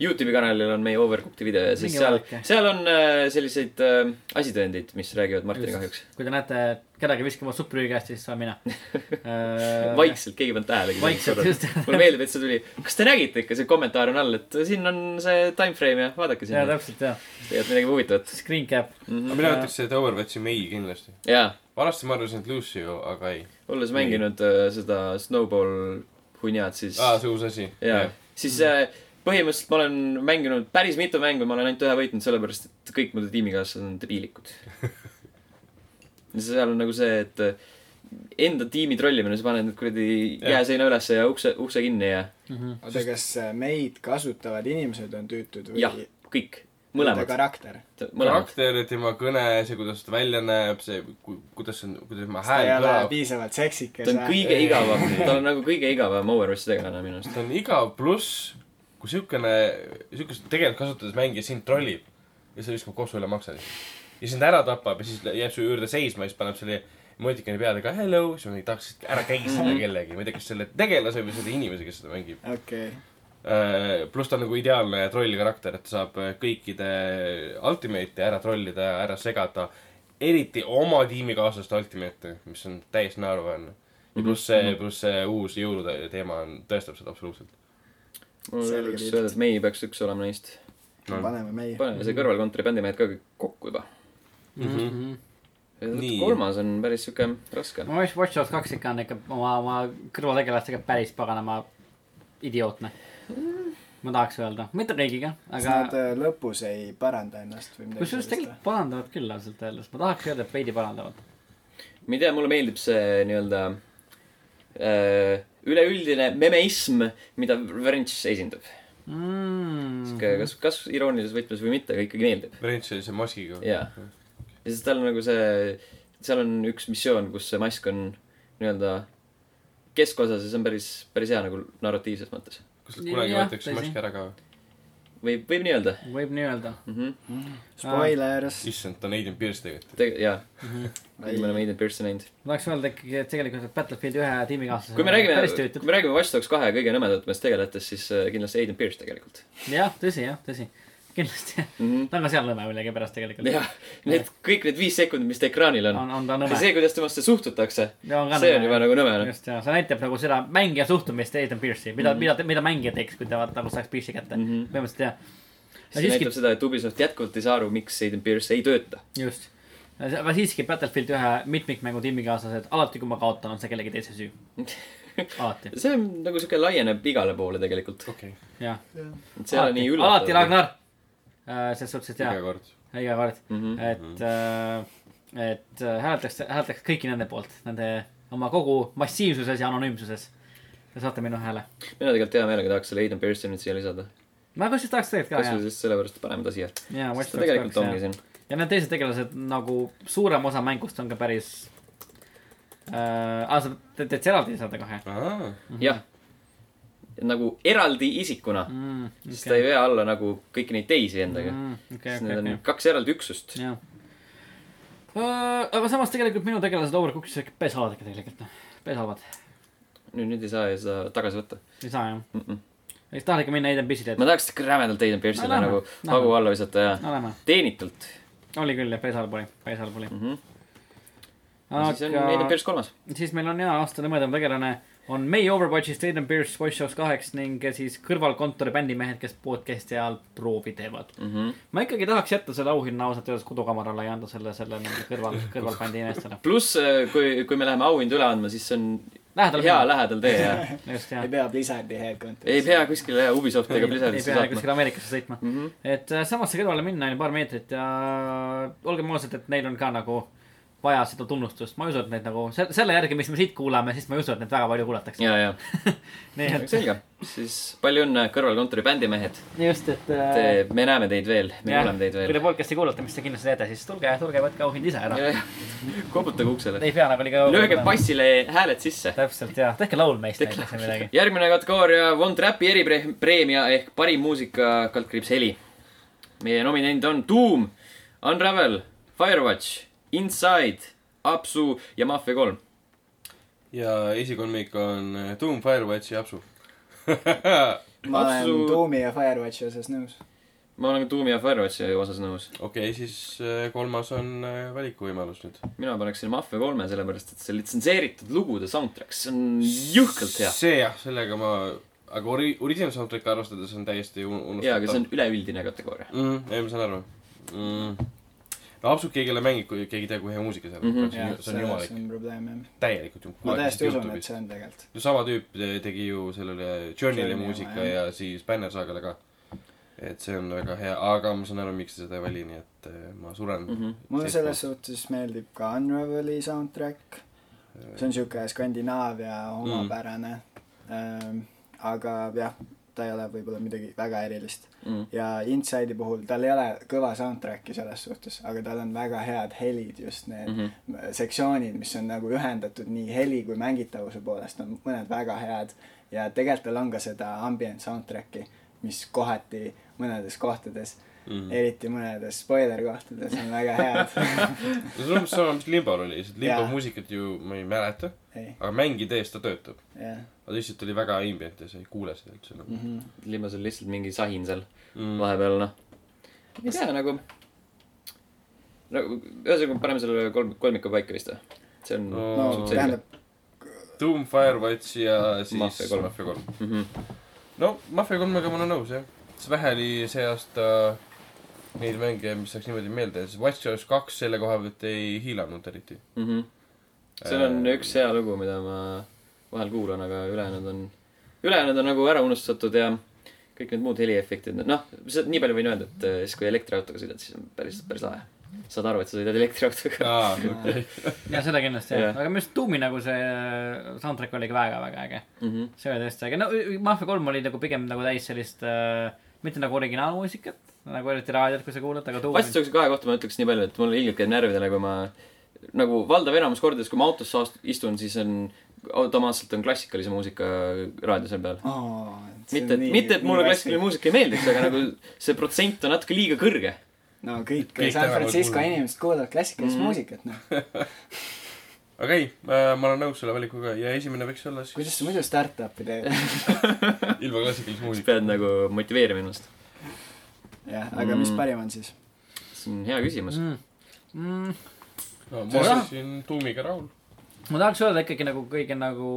Speaker 1: Youtube'i kanalil on meie Overcooked video ja siis
Speaker 2: Minge
Speaker 1: seal
Speaker 2: vaadake. ,
Speaker 1: seal on äh, selliseid äh, asitõendeid , mis räägivad Martini kahjuks .
Speaker 2: kui te näete kedagi viskamas suppi prügikasti , siis see olen mina .
Speaker 1: vaikselt , keegi ei pannud tähelegi .
Speaker 2: Vaikselt, just. <laughs>
Speaker 1: mulle meeldib , et see tuli . kas te nägite ikka , see kommentaar on all , et siin on see time frame ja vaadake
Speaker 2: jaa ,
Speaker 1: sinna .
Speaker 2: täpselt jah .
Speaker 1: tegelikult midagi huvitavat .
Speaker 2: Screen cap .
Speaker 4: aga mina ütleks , et Overwatchi mei kindlasti .
Speaker 1: jaa ,
Speaker 4: vanasti ma arvasin , et Lucio , aga ei .
Speaker 1: olles mänginud äh, seda Snowball hunniat , siis
Speaker 4: aa , see uus asi .
Speaker 1: jaa , siis äh, põhimõtteliselt ma olen mänginud päris mitu mängu , ma olen ainult ühe võitnud , sellepärast et kõik mu tiimikaaslased on
Speaker 4: <laughs>
Speaker 1: debiilikud . ja seal on nagu see , et äh, enda tiimi trollimine , sa paned need kuradi
Speaker 4: Jah.
Speaker 1: jääseina ülesse ja ukse , ukse kinni ja
Speaker 3: oota , kas äh, meid kasutavad inimesed on tüütud või
Speaker 1: jah , kõik ,
Speaker 3: nende
Speaker 1: mõlemad ,
Speaker 3: karakter ?
Speaker 1: mõlemad .
Speaker 4: karakter , tema kõne , see , kuidas ta välja näeb , see , kuidas on , kuidas tema
Speaker 3: ta ei
Speaker 4: hääl
Speaker 3: ole
Speaker 4: kõlab .
Speaker 3: piisavalt seksikas
Speaker 1: ta on . kõige igavam , ta on nagu kõige igavam Overwatchi tegelane minu arust .
Speaker 4: ta on igav , pluss kui siukene , siukest tegelikult kasutades mängija sind trollib ja sa viskad kopsu üle maksa lihtsalt. ja sind ära tapab ja siis lä- jääb su juurde seisma ja siis paneb selle emotikoni peale ka hello , siis ma ei tahaks ära kägistada kellegi , ma ei tea , kas selle tegelase või selle inimese , kes seda mängib .
Speaker 3: okei ,
Speaker 4: pluss ta on nagu ideaalne trollkarakter , et ta saab äh, kõikide ultimate'e ära trollida ja ära segada . eriti oma tiimikaaslaste ultimate'e , mis on täiesti naeruväärne . ja pluss see , pluss see uus jõulude teema on , tõestab seda absoluutselt .
Speaker 1: mul ei ole
Speaker 3: Selge
Speaker 1: üks
Speaker 3: pilt.
Speaker 1: öelda , et meie peaks üks olema neist .
Speaker 3: paneme meie .
Speaker 1: paneme see kõrvalkontori bändimehed ka kõik kokku juba .
Speaker 3: Mhm.
Speaker 1: Mhm.
Speaker 4: Nii.
Speaker 1: kolmas on päris siuke raske .
Speaker 2: ma vist Watch Dogs kaks ikka on ikka oma , oma kõrvaltegelastega päris paganama idiootne . ma tahaks öelda , mitte kõigiga ,
Speaker 3: kas nad
Speaker 2: aga
Speaker 3: äh, lõpus ei paranda ennast või midagi
Speaker 2: kusjuures tegelikult parandavad küll ausalt öeldes , ma tahaks öelda , et veidi parandavad .
Speaker 1: ma ei tea , mulle meeldib see nii-öelda äh, üleüldine memeism , mida Vrenš esindab .
Speaker 2: Mm. Mhm.
Speaker 1: sihuke kas , kas iroonilises võtmes või mitte , aga ikkagi meeldib .
Speaker 4: Brent sellise maskiga .
Speaker 1: Jaa. ja siis tal on nagu see , seal on üks missioon , kus see mask on nii-öelda keskosas ja see on päris , päris hea nagu narratiivses mõttes .
Speaker 4: kas kunagi
Speaker 2: Jah,
Speaker 4: võetakse
Speaker 2: tõsi.
Speaker 4: mask ära ka või ?
Speaker 1: võib , võib nii öelda
Speaker 2: võib nii öelda .
Speaker 1: mm . -hmm.
Speaker 3: Spoilers .
Speaker 4: issand , ta on Aiden Pierce tegelikult .
Speaker 1: Teg- , jaa .
Speaker 2: Mhm.
Speaker 1: me oleme Aiden Pearson näinud .
Speaker 2: ma tahaks öelda ikkagi , et tegelikult Battlefieldi ühe tiimikaaslasega
Speaker 1: kui me räägime ,
Speaker 2: päris
Speaker 1: kui
Speaker 2: töötab .
Speaker 1: me räägime Watch Dogs kahe kõige nõmedatumast tegelatest , siis äh, kindlasti Aiden Pearce tegelikult
Speaker 2: jah , tõsi , jah , tõsi . kindlasti .
Speaker 1: mm . -hmm.
Speaker 2: ta on ka seal nõme millegipärast tegelikult .
Speaker 1: jah , need kõik need viis sekundit , mis ta ekraanil on,
Speaker 2: on , on ta
Speaker 1: on. ,
Speaker 2: nõme .
Speaker 1: see , kuidas temasse suhtutakse ,
Speaker 2: see on
Speaker 1: see on juba nagu nõme , noh .
Speaker 2: just ja see näitab nagu seda mängija suhtumist Aiden Pierce'i , mida mm , -hmm. mida , mida mängija teeks , kui ta vaata nagu saaks Pierce'i kätte mm .
Speaker 1: Mhm.
Speaker 2: -hmm. põhimõtteliselt jah ,
Speaker 1: see
Speaker 2: siiski-
Speaker 1: näitab seda , et Ubisoft jätkuvalt ei saa aru , miks Aiden Pearce ei tööta .
Speaker 2: just . aga siiski Battlefield ühe mitmikmängu tiimikaaslased , alati kui ma kaotan , on see kellegi teise
Speaker 1: <laughs>
Speaker 2: süü . alati ,
Speaker 1: see on nagu siuke laieneb igale poole tegelikult .
Speaker 4: okei ,
Speaker 2: jah .
Speaker 1: et see ei ole nii
Speaker 2: alati
Speaker 1: üllatav .
Speaker 2: Ragnar . selles suhtes , et
Speaker 4: iga
Speaker 2: jah ,
Speaker 4: kord .
Speaker 2: iga kord ,
Speaker 1: Mhm.
Speaker 2: et , et äh, hääletaks , hääletaks kõiki nende poolt , nende oma kogu massiivsuses ja anonüümsuses . Te saate minu hääle .
Speaker 1: mina tegelikult hea meelega tahaks selle Aiden Pearce'i nüüd siia lisada .
Speaker 2: ma kusjuures tahaks tegelikult ka ,
Speaker 1: kasvõi just sellepärast , et paneme ta siia .
Speaker 2: jah . jaa ,
Speaker 1: sest ta tegelikult ongi siin .
Speaker 2: ja need teised tegelased nagu suurem osa mängust on ka päris äh, . aa , sa teed , teed sa eraldi saada kohe
Speaker 4: aa ,
Speaker 2: Mhm.
Speaker 1: jah . nagu eraldi isikuna mm, ,
Speaker 2: mm, ?
Speaker 1: siis ta ei vea alla nagu kõiki neid teisi endaga mm, .
Speaker 2: okei ,
Speaker 1: siis
Speaker 2: okei ,
Speaker 1: need on
Speaker 2: okei ,
Speaker 1: kaks eraldi üksust .
Speaker 2: jah . Äh, aga samas tegelikult minu tegelased Overcookis ikka pesavad ikka tegelikult noh , pesavad .
Speaker 1: nüüd , nüüd ei saa ju seda tagasi võtta
Speaker 2: ei saa jah ,
Speaker 1: mm . -mm.
Speaker 2: ei taha ikka minna Aiden Pissi teed .
Speaker 1: ma tahaks ikka rämedalt Aiden Pearce'ile
Speaker 2: No
Speaker 1: no, nagu
Speaker 2: lähme, lähme.
Speaker 1: hagu alla visata ja
Speaker 2: oleme ,
Speaker 1: teenitult
Speaker 2: oli küll jah , pesal poli , pesal poli .
Speaker 1: mm . -hmm. Aga... siis on Aiden
Speaker 2: aga
Speaker 1: Pearce kolmas .
Speaker 2: siis meil on hea aasta nõmedam tegelane on meie Overwatchist Aiden Pierce , Watch Dogs kaheks ning siis kõrvalkontori bändimehed , kes podcast'i ajal proovi teevad . ma ikkagi tahaks jätta selle auhinna ausalt öeldes kodukamarale ja anda selle , selle nagu kõrval ,
Speaker 1: <laughs>
Speaker 2: kõrvalbändi inimestele .
Speaker 1: pluss , kui , kui me läheme auhindu üle andma , siis see on
Speaker 2: lähedal
Speaker 1: hea . lähedal tee ja
Speaker 2: <laughs> just , jah
Speaker 3: ei . pea Blizzardi head kontot .
Speaker 1: ei pea kuskile jah, Ubisofti ega
Speaker 2: ei
Speaker 1: Blizzardisse
Speaker 2: pea nagu
Speaker 1: saatma .
Speaker 2: kuskile Ameerikasse sõitma .
Speaker 1: Mhm.
Speaker 2: et äh, samasse kõrvale minna on ju paar meetrit ja olgem ausad , et neil on ka nagu vaja seda tunnustust , ma ei usu , et neid nagu se- selle järgi , mis me siit kuulame , siis ma ei usu , et neid väga palju kuulatakse .
Speaker 1: ja ,
Speaker 2: <laughs>
Speaker 1: ja ,
Speaker 2: nii et
Speaker 1: selge . siis palju õnne kõrvalkontori bändimehed .
Speaker 2: <laughs> just , et . äh,
Speaker 1: Te , me näeme teid veel , me kuuleme teid
Speaker 2: kui te
Speaker 1: veel .
Speaker 2: podcast'i kuulate , mis te kindlasti teete , siis tulge , tulge võtke auhind ise ära .
Speaker 1: koputage uksele .
Speaker 2: ei pea nagu liiga .
Speaker 1: lööge . bassile hääled sisse .
Speaker 2: täpselt ja , tehke laul meist näiteks või midagi .
Speaker 1: järgmine kategooria Von Trappi eripreemia ehk parim muusika kaldkriips heli . meie nominent on Doom , Unravel , Firewatch , Inside , Apsu ja Mafia kolm .
Speaker 4: ja esikolmik on äh, Doom , Firewatch ja Apsu . <laughs>
Speaker 3: ma olen
Speaker 1: Apsu-
Speaker 3: Doomi ja Firewatchi osas nõus .
Speaker 1: ma olen ka Doomi ja Firewatchi osas nõus .
Speaker 4: okei , siis äh, kolmas on äh, valikuvõimalus nüüd .
Speaker 1: mina paneksin Mafia kolme , sellepärast et see litsenseeritud lugude soundtrack , see on jõhkralt hea .
Speaker 4: see jah , sellega ma , aga ori- , original soundtrack'i arvestades on täiesti un-
Speaker 1: jaa , aga see on
Speaker 4: unustatav .
Speaker 1: üleüldine kategooria .
Speaker 4: mm, . ei , ma saan aru mm. . no apsud keegi ei ole mänginud , kui keegi ei tea , kui hea muusika seal on
Speaker 1: Mhm.
Speaker 4: mm . -hmm. see on
Speaker 3: see
Speaker 4: jumalik ,
Speaker 3: on probleem jah .
Speaker 4: täielikult
Speaker 3: ma täiesti usun , et
Speaker 4: jumalik .
Speaker 3: see on tegelikult .
Speaker 4: no sama tüüp te- tegi ju sellele Journey'le
Speaker 3: Journey
Speaker 4: muusika
Speaker 3: oma, jah.
Speaker 4: ja siis Banner Saagale ka . et see on väga hea , aga ma saan aru , miks ta seda ei vali , nii et eh, ma suren mm .
Speaker 1: Mhm.
Speaker 3: mulle selles suhtes meeldib ka Unraveli soundtrack . see on siuke Skandinaavia omapärane mm. . aga jah , ta ei ole võib-olla midagi väga erilist .
Speaker 1: Mm.
Speaker 3: ja Inside'i puhul tal ei ole kõva soundtrack'i selles suhtes , aga tal on väga head helid , just need mm -hmm. sektsioonid , mis on nagu ühendatud nii heli kui mängitavuse poolest , on mõned väga head . ja tegelikult tal on ka seda ambient soundtrack'i , mis kohati mõnedes kohtades mm. , eriti mõnedes spoiler kohtades on väga head . <laughs>
Speaker 4: see on umbes sama , mis Limbal oli , lihtsalt Limbo
Speaker 3: Jaa.
Speaker 4: muusikat ju ma ei mäleta ,
Speaker 3: ei ,
Speaker 4: aga mängide eest ta töötab .
Speaker 3: jah .
Speaker 4: aga lihtsalt oli väga ambient ja sa ei kuule seda üldse nagu mm .
Speaker 3: Mhm.
Speaker 1: Limbas on lihtsalt mingi sahin seal
Speaker 4: Mm.
Speaker 1: vahepeal , noh . ei tea nagu . no ühesõnaga , paneme selle kolm , kolmiku paika vist või ? see on
Speaker 4: No,
Speaker 3: no
Speaker 1: suht selge .
Speaker 3: tähendab ,
Speaker 4: Doom , Firewatch ja siis
Speaker 1: Mafia kolm. Mhm.
Speaker 4: Mafia kolm . no Mafia kolmega ma olen nõus jah , sest vähe oli see aasta neid mänge , mis läks niimoodi meelde , siis Watch Dogs kaks selle koha pealt ei hiilanud eriti .
Speaker 1: Mhm. seal on üks hea lugu , mida ma vahel kuulan , aga ülejäänud on , ülejäänud on nagu ära unustatud ja kõik need muud heliefektid , noh , nii palju võin öelda , et eh, siis kui elektriautoga sõidad , siis on päris , päris lahe . saad aru , et sa sõidad elektriautoga . <laughs>
Speaker 4: aa , okei .
Speaker 2: ja seda kindlasti jah
Speaker 1: Jah.
Speaker 2: yeah. , aga minu arust Doomi nagu see soundtrack oligi väga-väga äge .
Speaker 1: Mhm.
Speaker 2: see oli tõesti äge , no ü- Mafia kolm oli nagu pigem nagu täis sellist äh, , mitte nagu originaalmuusikat , nagu eriti raadiot , kui sa kuulad , aga Doom .
Speaker 1: Fast Talk'i kahe kohta ma ütleks nii palju , et mul ilgelt käib närvidele , kui ma nagu valdav enamus kordades , kui ma autos saast- istun , siis on automaatselt on klassikalise muusika raadio seal peal . mitte , et , mitte , et mulle klassikaline muusika ei meeldiks , aga nagu see protsent on natuke liiga kõrge .
Speaker 3: no kõik,
Speaker 4: Kõik
Speaker 3: kõik San
Speaker 4: tänavad
Speaker 3: Francisco
Speaker 4: mulle.
Speaker 3: inimesed kuulavad klassikalist
Speaker 1: Mhm.
Speaker 3: mm -hmm. muusikat , noh .
Speaker 4: aga ei , ma olen nõus selle valikuga ja esimene võiks olla siis
Speaker 3: kuidas sa muidu startup'i
Speaker 1: <laughs>
Speaker 3: teed ?
Speaker 4: ilma klassikalise
Speaker 1: siis
Speaker 4: muusika .
Speaker 1: pead nagu motiveerima ennast .
Speaker 3: jah , aga mis
Speaker 1: Mm.
Speaker 3: parim on siis ?
Speaker 1: see on hea küsimus .
Speaker 2: mm. Mm.
Speaker 4: no ma
Speaker 2: Jah.
Speaker 4: olen siin Doomiga rahul .
Speaker 2: ma tahaks öelda ikkagi nagu kõige nagu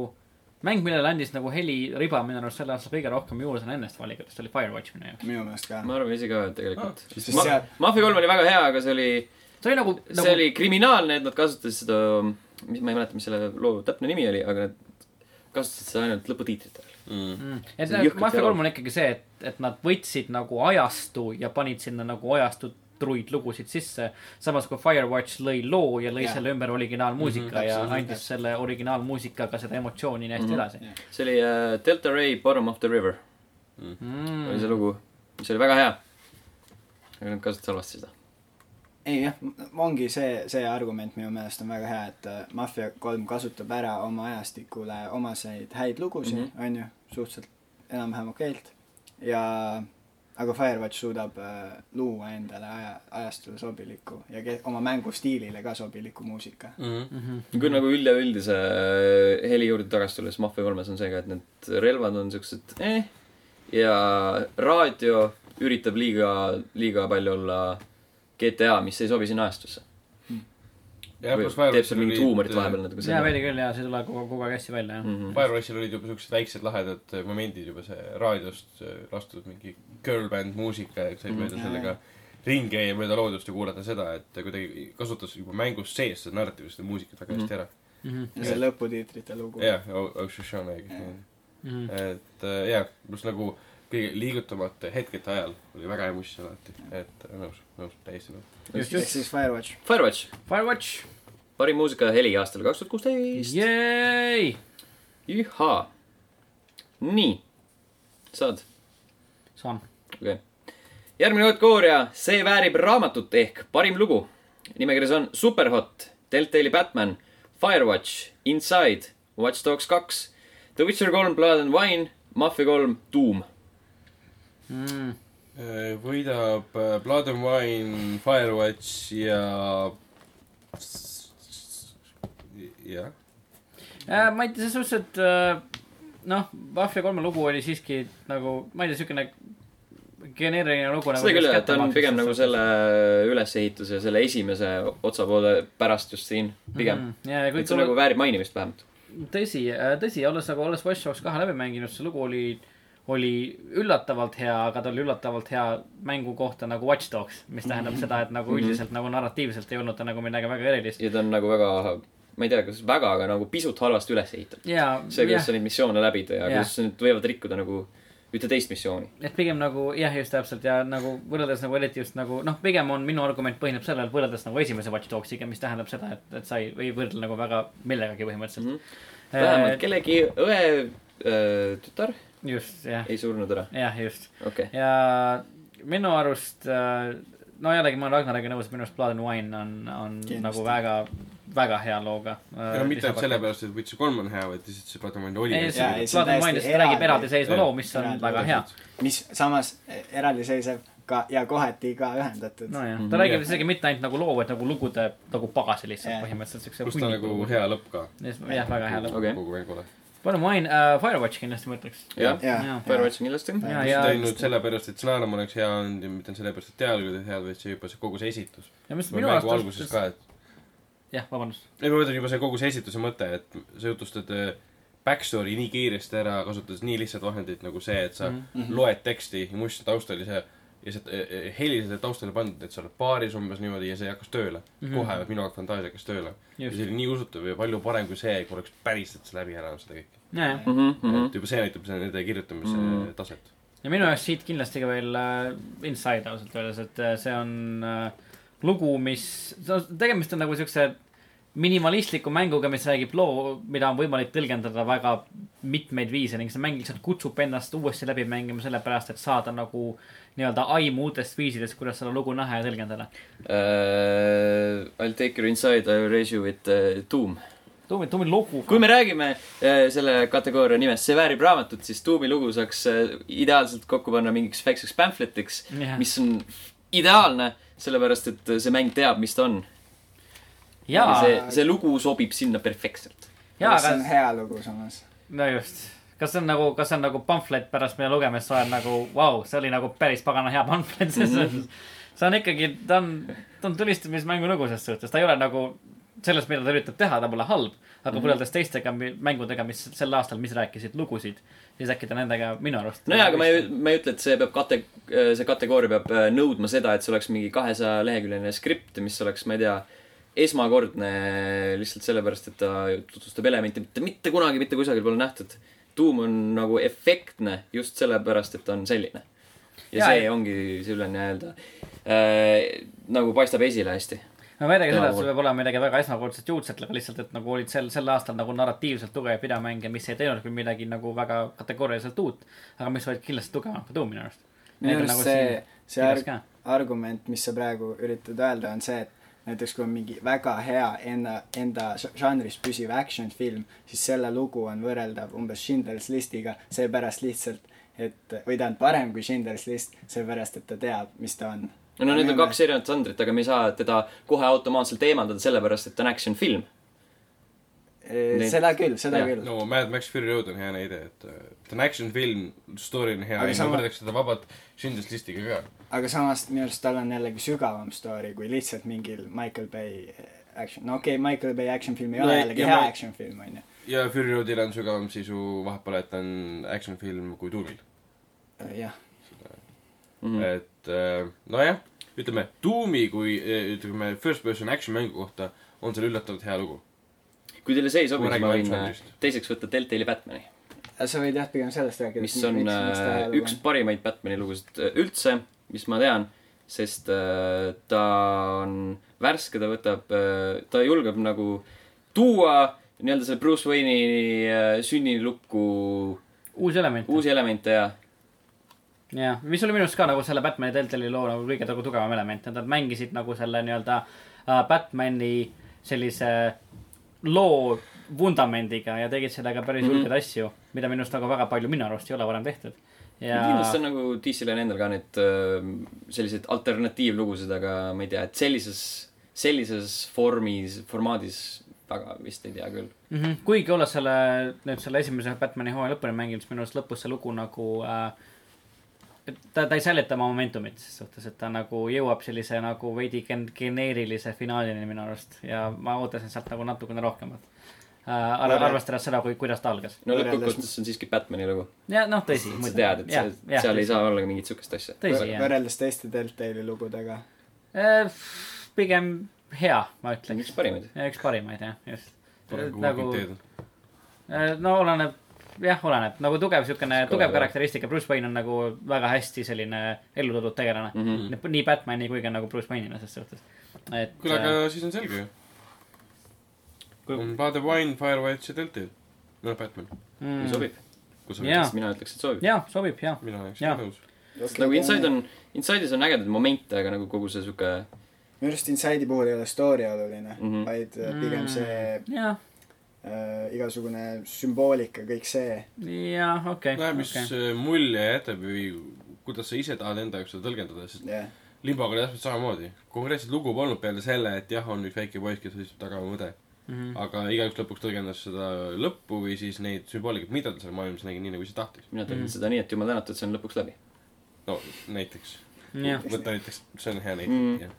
Speaker 2: mäng , millele andis nagu heliriba minu arust sel aastal kõige rohkem juurde on ennast valikutest oli Firewatch minu jaoks .
Speaker 3: minu meelest ka .
Speaker 1: ma arvan ise ka et tegelikult .
Speaker 3: sest
Speaker 1: ma-
Speaker 3: seal ,
Speaker 1: Mafia kolm oli väga hea , aga see oli ,
Speaker 2: see oli nagu ,
Speaker 1: see
Speaker 2: nagu
Speaker 1: oli kriminaalne , et nad kasutasid seda , mis , ma ei mäleta , mis selle loo täpne nimi oli , aga nad kasutasid seda ainult lõputiitrite ajal .
Speaker 2: mm. et
Speaker 1: see on
Speaker 2: nagu
Speaker 1: jõhkralt
Speaker 2: Mafia
Speaker 1: jala.
Speaker 2: kolm on ikkagi see , et , et nad võtsid nagu ajastu ja panid sinna nagu ajastu truid lugusid sisse . samas kui Firewatch lõi loo ja lõi
Speaker 3: Jah.
Speaker 2: selle ümber originaalmuusika mm -hmm, ja
Speaker 3: täpselt,
Speaker 2: andis selle originaalmuusikaga seda emotsiooni nii hästi mm -hmm. edasi
Speaker 1: see oli äh, Delta Ray Bottom of the River mm. oli
Speaker 2: mm. .
Speaker 1: see lugu , mis oli väga hea . aga nad kasutasid halvasti seda .
Speaker 3: ei jah , ongi see , see argument minu meelest on väga hea , et äh, Mafia kolm kasutab ära oma ajastikule omaseid häid lugusid
Speaker 1: Mhm.
Speaker 3: mm , -hmm. on ju , suhteliselt enam-vähem okeilt . ja , aga Firewatch suudab äh, luua endale aja , ajastule sobiliku ja ke- oma mängustiilile ka sobiliku muusika .
Speaker 4: Mhm.
Speaker 1: kui nagu üleüldise äh, heli juurde tagasi tulles Mafia kolmes on see ka , et need relvad on siuksed eh, ja raadio üritab liiga , liiga palju olla GTA , mis ei sobi sinna ajastusse . teeb seal mingit
Speaker 4: äh,
Speaker 1: huumorit vahepeal . natuke
Speaker 2: jaa , veidi küll ja see tuleb kogu , kogu aeg hästi välja jah mm. .
Speaker 1: Mhm.
Speaker 4: Firewatchil olid juba siuksed väiksed lahedad eh, momendid juba see raadiost eh, lastud mingi girl band muusika ja sai mööda
Speaker 3: Mhm.
Speaker 4: sellega ringi käia mööda loodust ja kuulata seda , et kuidagi kasutas juba mängus sees seda narratiivset ja muusikat väga
Speaker 1: Mhm.
Speaker 4: hästi ära .
Speaker 2: Mm
Speaker 3: ja see lõputiitrite lugu .
Speaker 4: jah , Oshishana ja kõik need .
Speaker 2: -hmm.
Speaker 4: et eh, jah , pluss nagu kõige liigutamata hetkete ajal oli väga hea muss alati , et eh, äh, nõus , nõus , täiesti nõus .
Speaker 2: just ,
Speaker 3: ehk
Speaker 2: just .
Speaker 3: siis Firewatch .
Speaker 1: Firewatch ,
Speaker 2: Firewatch ,
Speaker 1: parim muusikaheli aastal kaks tuhat kuusteist .
Speaker 2: jäi ,
Speaker 1: ihaa . nii , saad ,
Speaker 2: saan .
Speaker 1: okei okay. . järgmine kategooria , see väärib raamatut ehk parim lugu . nimekirjas on Superhot , Deltali Batman , Firewatch , Inside , Watch Dogs kaks , The Witcher kolm , Blood and Wine , Mafia kolm , Doom .
Speaker 2: Mhm.
Speaker 4: võidab äh, Blood and Wine , Firewatch ja . jah .
Speaker 2: Äh, ma ei tea , selles suhtes , et äh, noh , Mafia kolme lugu oli siiski nagu , ma ei tea , siukene geneeriline lugu . nagu
Speaker 1: seda küll , et ta on pigem nagu selle ülesehituse , selle esimese otsapoole pärast just siin , pigem .
Speaker 2: Mm, ja , ja
Speaker 1: et
Speaker 2: kõik
Speaker 1: see nagu väärib mainimist vähemalt .
Speaker 2: tõsi , tõsi , olles nagu , olles Watch Dogs kahe läbi mänginud , see lugu oli , oli üllatavalt hea , aga ta oli üllatavalt hea mängu kohta nagu Watch Dogs , mis
Speaker 1: Mhm.
Speaker 2: tähendab seda , et nagu üldiselt nagu narratiivselt ei olnud ta nagu midagi väga erilist .
Speaker 1: ja ta on nagu väga , ma ei tea , kas väga , aga nagu pisut halvasti üles ehitatud .
Speaker 2: ja ,
Speaker 1: see , kuidas
Speaker 2: jah ,
Speaker 1: sa neid missioone läbid ja
Speaker 2: Jah.
Speaker 1: kuidas need võivad rikkuda nagu ühte teist missiooni .
Speaker 2: et pigem nagu jah , just täpselt ja nagu võrreldes nagu eriti just nagu noh , pigem on minu argument põhineb sellel , võrreldes nagu esimese Watch Dogsiga , mis tähendab seda , et , et sa ei , ei võrdle nagu väga millegagi põhimõtteliselt
Speaker 1: Mhm. vähemalt
Speaker 2: Eh,
Speaker 1: kellegi õe öö, tütar
Speaker 2: just , jah ,
Speaker 1: ei surnud ära ,
Speaker 2: jah , just .
Speaker 1: okei okay. .
Speaker 2: ja minu arust , no jällegi ma olen Ragnariga nõus , minu arust Blood and Wine on , on Kindlasti.
Speaker 3: Kindlasti.
Speaker 2: nagu väga , väga hea looga .
Speaker 4: aga mitte ainult . sellepärast , et Witcher kolm on hea , vaid lihtsalt see Blood and Wine oli .
Speaker 2: ei ,
Speaker 3: see- Jaa, ei,
Speaker 2: Blood and
Speaker 3: täiesti
Speaker 2: Wine lihtsalt räägib
Speaker 3: eraldi-
Speaker 2: eraldiseisva
Speaker 4: jah.
Speaker 2: loo , mis on
Speaker 3: Eraldi-
Speaker 2: väga hea .
Speaker 3: mis samas eraldiseisev ka ja kohati ka ühendatud no, .
Speaker 2: nojah ,
Speaker 1: Mhm.
Speaker 2: ta räägib isegi mitte ainult nagu loo , vaid nagu lugude nagu pagasi lihtsalt
Speaker 3: Jah.
Speaker 2: yeah. põhimõtteliselt siukse .
Speaker 4: kus ta nagu . hea lõpp ka .
Speaker 2: jah , väga hea lõpp .
Speaker 1: Okei.
Speaker 4: kogu mängule .
Speaker 2: Blood and Wine uh, , Firewatch kindlasti ma ütleks .
Speaker 1: jah ,
Speaker 3: ja ,
Speaker 1: Firewatch on kindlasti .
Speaker 2: ja , ja
Speaker 4: mitte , ainult sellepärast , et stsenaarium oleks hea olnud ja mitte ainult sellepärast , et dialoogid olid head , vaid see juba see kogu see esitus .
Speaker 2: ja mis
Speaker 4: minu
Speaker 2: minu
Speaker 4: mängu
Speaker 2: arust
Speaker 4: alguses , ka , et .
Speaker 2: jah , vabandust .
Speaker 4: ei , ma mõtlen juba see kogu see esituse mõte , et sa jutustad äh, backstory nii kiiresti ära , kasutades nii lihtsaid vahendeid nagu see , et sa
Speaker 2: Mhm.
Speaker 4: mm
Speaker 3: Mhm.
Speaker 4: -hmm. loed teksti ja must taustal ja see ja see äh, äh, heli selle taustale pandud , et sa oled baaris umbes niimoodi ja see hakkas tööle mm .
Speaker 2: Mhm.
Speaker 4: -hmm. kohe minu jaoks fantaasia hakkas tööle . ja see oli nii usutav ja palju parem kui see , kui oleks päriselt see läbi ära seda kõike
Speaker 2: jajah .
Speaker 4: mm .
Speaker 2: äh,
Speaker 4: -hmm. et juba see näitab seda nende kirjutamise mm
Speaker 1: Mhm.
Speaker 4: -hmm. taset .
Speaker 2: ja minu jaoks siit kindlasti ka veel äh, Inside ausalt öeldes , et äh, see on äh, lugu , mis , tegemist on nagu siukse minimalistliku mänguga , mis räägib loo , mida on võimalik tõlgendada väga mitmeid viise ning see mäng lihtsalt kutsub ennast uuesti läbi mängima sellepärast , et saada nagu nii-öelda aimu uutest viisidest , kuidas seda lugu näha ja tõlgendada .
Speaker 1: Uh, I'll take you inside , I will raise you with uh, Doom .
Speaker 2: Toomi , Toomi lugu .
Speaker 1: kui me räägime uh, selle kategooria nimest See väärib raamatut , siis Doomi lugu saaks uh, ideaalselt kokku panna mingiks väikseks pamfletiks ,
Speaker 2: Jah.
Speaker 1: mis on ideaalne , sellepärast et äh, see mäng teab , mis ta on . ja
Speaker 2: jaa ,
Speaker 1: see , see lugu sobib sinna perfektselt .
Speaker 2: jaa ,
Speaker 3: see on
Speaker 2: aga
Speaker 3: hea lugu samas .
Speaker 2: no just . kas see on nagu , kas see on nagu pamflet pärast meie lugemist , sa oled nagu , vau , see oli nagu päris pagana hea pamflet , selles suhtes . see on ikkagi , ta on , ta on tulistamismängu lugu selles suhtes , ta ei ole nagu sellest , mida ta üritab teha , ta pole halb . aga võrreldes mm -hmm. teistega mi- mängudega , mis sel aastal , mis rääkisid lugusid , siis äkki ta nendega minu arust .
Speaker 1: nojah , aga ma ei , ma ei ütle , et see peab kate- , see kategooria peab äh, nõudma seda , et see oleks mingi kahesaja leheküljeline skript , mis oleks , ma ei tea , esmakordne lihtsalt sellepärast , et ta tutvustab elemente , mida mitte kunagi mitte kusagil pole nähtud . tuum on nagu efektne just sellepärast , et ta on selline . ja
Speaker 2: Jaa,
Speaker 1: see
Speaker 2: ja-
Speaker 1: ongi selle nii-öelda äh, nagu paistab esile hästi .
Speaker 2: ma ei väidagi seda , et
Speaker 1: Jaa,
Speaker 2: sul peab olema midagi väga esmakordselt juudselt , aga lihtsalt , et nagu olid sel , sel aastal nagu narratiivselt tugev pidamänge , mis ei teinud küll midagi nagu väga kategooriliselt uut , aga mis olid kindlasti tugevam kui Doom minu arust . nagu
Speaker 3: minu arust see , see
Speaker 2: kirjas
Speaker 3: arg-
Speaker 2: ka. ,
Speaker 3: argument , mis sa praegu üritad öelda , on see , et näiteks kui on mingi väga hea enda , enda ža- žanris püsiv action film , siis selle lugu on võrreldav umbes Schindler's Listiga , seepärast lihtsalt , et või ta on parem kui Schindler's List , seepärast et ta teab , mis ta on .
Speaker 1: no need on kaks erinevat žanrit , aga me ei saa teda kohe automaatselt eemaldada sellepärast , et ta on action film . Neid-
Speaker 3: Äh, seda küll , seda
Speaker 1: Jah,
Speaker 3: küll .
Speaker 4: no Mad Max Fury Road on hea näide , et äh, ta on action film , story on hea
Speaker 3: Aga
Speaker 4: ja ma
Speaker 3: sama-
Speaker 4: võrdleks seda vabalt Schindler's listiga ka .
Speaker 3: aga samas minu arust tal on jällegi sügavam story kui lihtsalt mingil Michael Bay action , no okei okay, , Michael Bay action film ei
Speaker 4: No
Speaker 3: ole
Speaker 4: ja-
Speaker 3: jällegi
Speaker 4: ja
Speaker 3: hea
Speaker 4: ma-
Speaker 3: action film , on ju .
Speaker 4: ja Fury Roadil on sügavam sisu vahepeal , et ta on action film kui Doomil
Speaker 3: Äh, jah ,
Speaker 1: Mm
Speaker 2: Mhm.
Speaker 4: mm. . et äh, nojah , ütleme Doomi kui äh, ütleme first person action mängu kohta on seal üllatavalt hea lugu .
Speaker 1: kui teile see ei sobi ,
Speaker 4: Kui me
Speaker 1: siis ma
Speaker 4: räägime
Speaker 1: võin äh,
Speaker 4: Alexanderist.
Speaker 1: teiseks võtta Deltali Batmani ,
Speaker 3: sa võid jah , pigem sellest rääkida .
Speaker 1: äh, mis on äh, üks parimaid Batmani lugusid äh, üldse , mis ma tean . sest äh, ta on värske , ta võtab , ta julgeb nagu tuua nii-öelda selle Bruce Wayne'i äh, sünnilukku
Speaker 2: uus element .
Speaker 1: uusi elemente ja
Speaker 2: jah , mis oli minu arust ka nagu selle Batman'i Deltali loo nagu kõige nagu tugevam element , et nad mängisid nagu selle nii-öelda äh, Batman'i sellise loo vundamendiga ja tegid sellega päris hulkaid mm -hmm. asju , mida minu arust nagu väga palju minu arust ei ole varem tehtud . ja
Speaker 1: kindlasti on nagu DC-l on endal ka need äh, selliseid alternatiivlugusid , aga ma ei tea , et sellises , sellises vormis , formaadis väga vist ei tea küll .
Speaker 2: mm , -hmm. kuigi olles selle , nüüd selle esimese Batman'i hooaja lõpuni mänginud , siis minu arust lõpus see lugu nagu äh, et ta , ta ei säilita oma momentumit ses suhtes , et ta nagu jõuab sellise nagu veidi gen- , geneerilise finaalini minu arust ja ma ootasin sealt nagu natukene rohkemat äh, .
Speaker 3: Võrreld-
Speaker 2: arvestades seda , kui , kuidas ta algas .
Speaker 1: no
Speaker 3: Võrreldes-
Speaker 1: lõppkokkuvõttes on siiski Batman'i lugu .
Speaker 2: ja noh , tõsi .
Speaker 1: sa tead , et seal , seal ei . saa olla mingit siukest asja .
Speaker 2: tõsi , jah .
Speaker 3: võrreldes teiste Deltali lugudega .
Speaker 2: Äh, pigem hea , ma ütleks .
Speaker 1: üks parimaid .
Speaker 2: üks parimaid jah , just .
Speaker 4: nagu .
Speaker 2: Eh, no oleneb , jah , oleneb nagu tugev siukene ,
Speaker 1: Kõva,
Speaker 2: tugev
Speaker 1: jah.
Speaker 2: karakteristika , Bruce Wayne on nagu väga hästi selline ellu toodud tegelane
Speaker 1: Mhm.
Speaker 2: mm .
Speaker 4: Mhm.
Speaker 2: -hmm. nii Batman'i kui ka nagu Bruce Wayne'ina ses suhtes . et . äh,
Speaker 4: kuule , aga siis on selge ju .
Speaker 2: Kui-
Speaker 4: on By the Wine , Firewatch ja Deltail . no Batman ,
Speaker 1: kui
Speaker 2: mm, .
Speaker 1: sobib ,
Speaker 4: kui sa
Speaker 2: Jaa.
Speaker 4: yeah.
Speaker 1: siis mina ütleks , et sobib .
Speaker 2: jaa , sobib , jaa .
Speaker 4: mina oleks
Speaker 2: Jaa.
Speaker 4: yeah. nõus .
Speaker 1: nagu Inside on , Inside'is on ägedaid momente , aga nagu kogu see sihuke
Speaker 3: minu arust Inside'i puhul ei ole story oluline mm ,
Speaker 1: Mhm.
Speaker 3: -hmm. vaid äh, pigem see
Speaker 2: jah ,
Speaker 3: äh, igasugune sümboolika , kõik see .
Speaker 2: jaa , okei .
Speaker 4: näe , mis äh, mulje jätab või kuidas sa ise tahad enda jaoks seda tõlgendada , sest
Speaker 3: jah ,
Speaker 4: Limboga oli täpselt samamoodi . konkreetset lugu polnud peale selle , et jah , on üks väike poiss , kes istub taga oma õde .
Speaker 2: Mhm,
Speaker 4: aga igaüks lõpuks tõlgendas seda lõppu või siis neid sümboolikat , mida ta seal maailmas nägi , nii nagu ise tahtis .
Speaker 1: mina
Speaker 2: Mm.
Speaker 1: tõlgin seda nii , et jumal tänatud , see on lõpuks läbi .
Speaker 4: no näiteks .
Speaker 2: jah ,
Speaker 4: võta näiteks , see on hea
Speaker 1: Mm.
Speaker 4: näide mm. .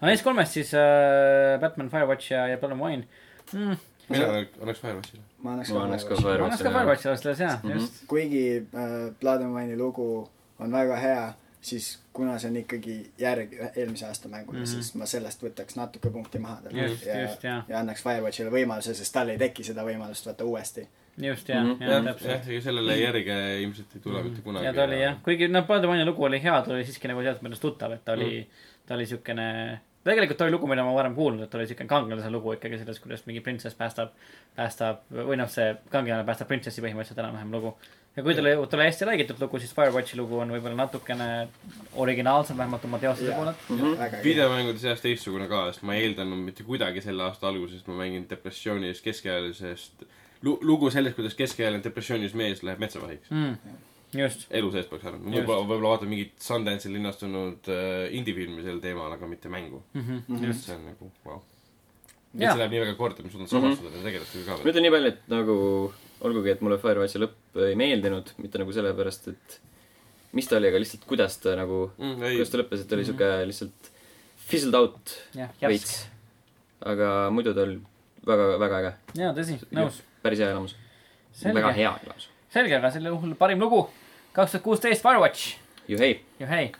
Speaker 2: aga neist kolmest siis äh, Batman , Firewatch ja , ja Blood and Wine mm, .
Speaker 4: mina annaks Firewatchile .
Speaker 3: ma annaks
Speaker 1: ma annaks ka
Speaker 3: Firewatchi.
Speaker 2: ma annaks ka
Speaker 1: Firewatchile .
Speaker 2: Firewatchi selles jaa ,
Speaker 1: Mhm.
Speaker 2: just .
Speaker 3: kuigi äh, Blood and Wine'i lugu on väga hea , siis kuna see on ikkagi järg eelmise aasta mängule
Speaker 2: Mhm.
Speaker 3: mm , -hmm. siis ma sellest võtaks natuke punkti maha tal
Speaker 2: Just,
Speaker 3: ja,
Speaker 2: just, jah.
Speaker 3: ja annaks Firewatchile võimaluse , sest tal ei teki seda võimalust vaata uuesti .
Speaker 2: just jaa ,
Speaker 1: Mhm.
Speaker 2: jaa ,
Speaker 4: jah ,
Speaker 2: täpselt .
Speaker 4: jah , sellele järge ilmselt ei tule mitte kunagi .
Speaker 2: ja ta oli jah , kuigi noh , Padovani lugu oli hea , ta oli siiski nagu teatud mõttes tuttav , et ta oli mm. , ta oli siukene , tegelikult ta oli lugu , mida ma varem kuulnud , et ta oli siukene kangelase lugu ikkagi sellest , kuidas mingi printsess päästab , päästab või noh , see kangelane päästab printsessi põhimõtteliselt enam-vähem lugu . ja kui talle , talle hästi räägitud lugu , siis Firewatchi lugu on võib-olla natukene originaalsem , vähemalt oma teostuse
Speaker 3: Jaa.
Speaker 2: yeah. poolelt .
Speaker 1: Mhm.
Speaker 4: videomängude seas teistsugune ka , sest ma ei eeldanud mitte kuidagi selle aasta alguses , ma mängin depressiooni ees keskealisest lu- , lugu sellest , kuidas keskealine depressioonis mees läheb metsapahiks .
Speaker 2: Mm. just ,
Speaker 4: elu sees peaks arvama ,
Speaker 2: Just.
Speaker 4: võib-olla , võib-olla vaatan mingit Sundance'il linastunud äh, indie-filmi sel teemal , aga mitte mängu mm . -hmm. see on nagu , vau . nii
Speaker 2: Jaa.
Speaker 4: et see läheb nii väga korda , ma suudan samastada nende tegelastega ka
Speaker 1: ma
Speaker 4: veel .
Speaker 1: ütlen nii palju , et nagu olgugi , et mulle Firewatchi lõpp ei meeldinud , mitte nagu sellepärast , et mis ta oli , aga lihtsalt kuidas ta nagu ,
Speaker 4: Mm, ei.
Speaker 1: kuidas ta lõppes , et
Speaker 2: Mhm.
Speaker 1: ta oli sihuke lihtsalt fizzled out
Speaker 2: jah ,
Speaker 1: veits
Speaker 2: järsk ..
Speaker 1: aga muidu ta oli väga , väga äge ,
Speaker 2: jaa , tõsi , nõus .
Speaker 1: päris hea elamus .
Speaker 2: selge
Speaker 1: väga , hea elamus .
Speaker 2: selge , aga sel juhul parim lugu , kaks tuhat kuusteist Firewatch ,
Speaker 1: Juhei .
Speaker 2: juhei .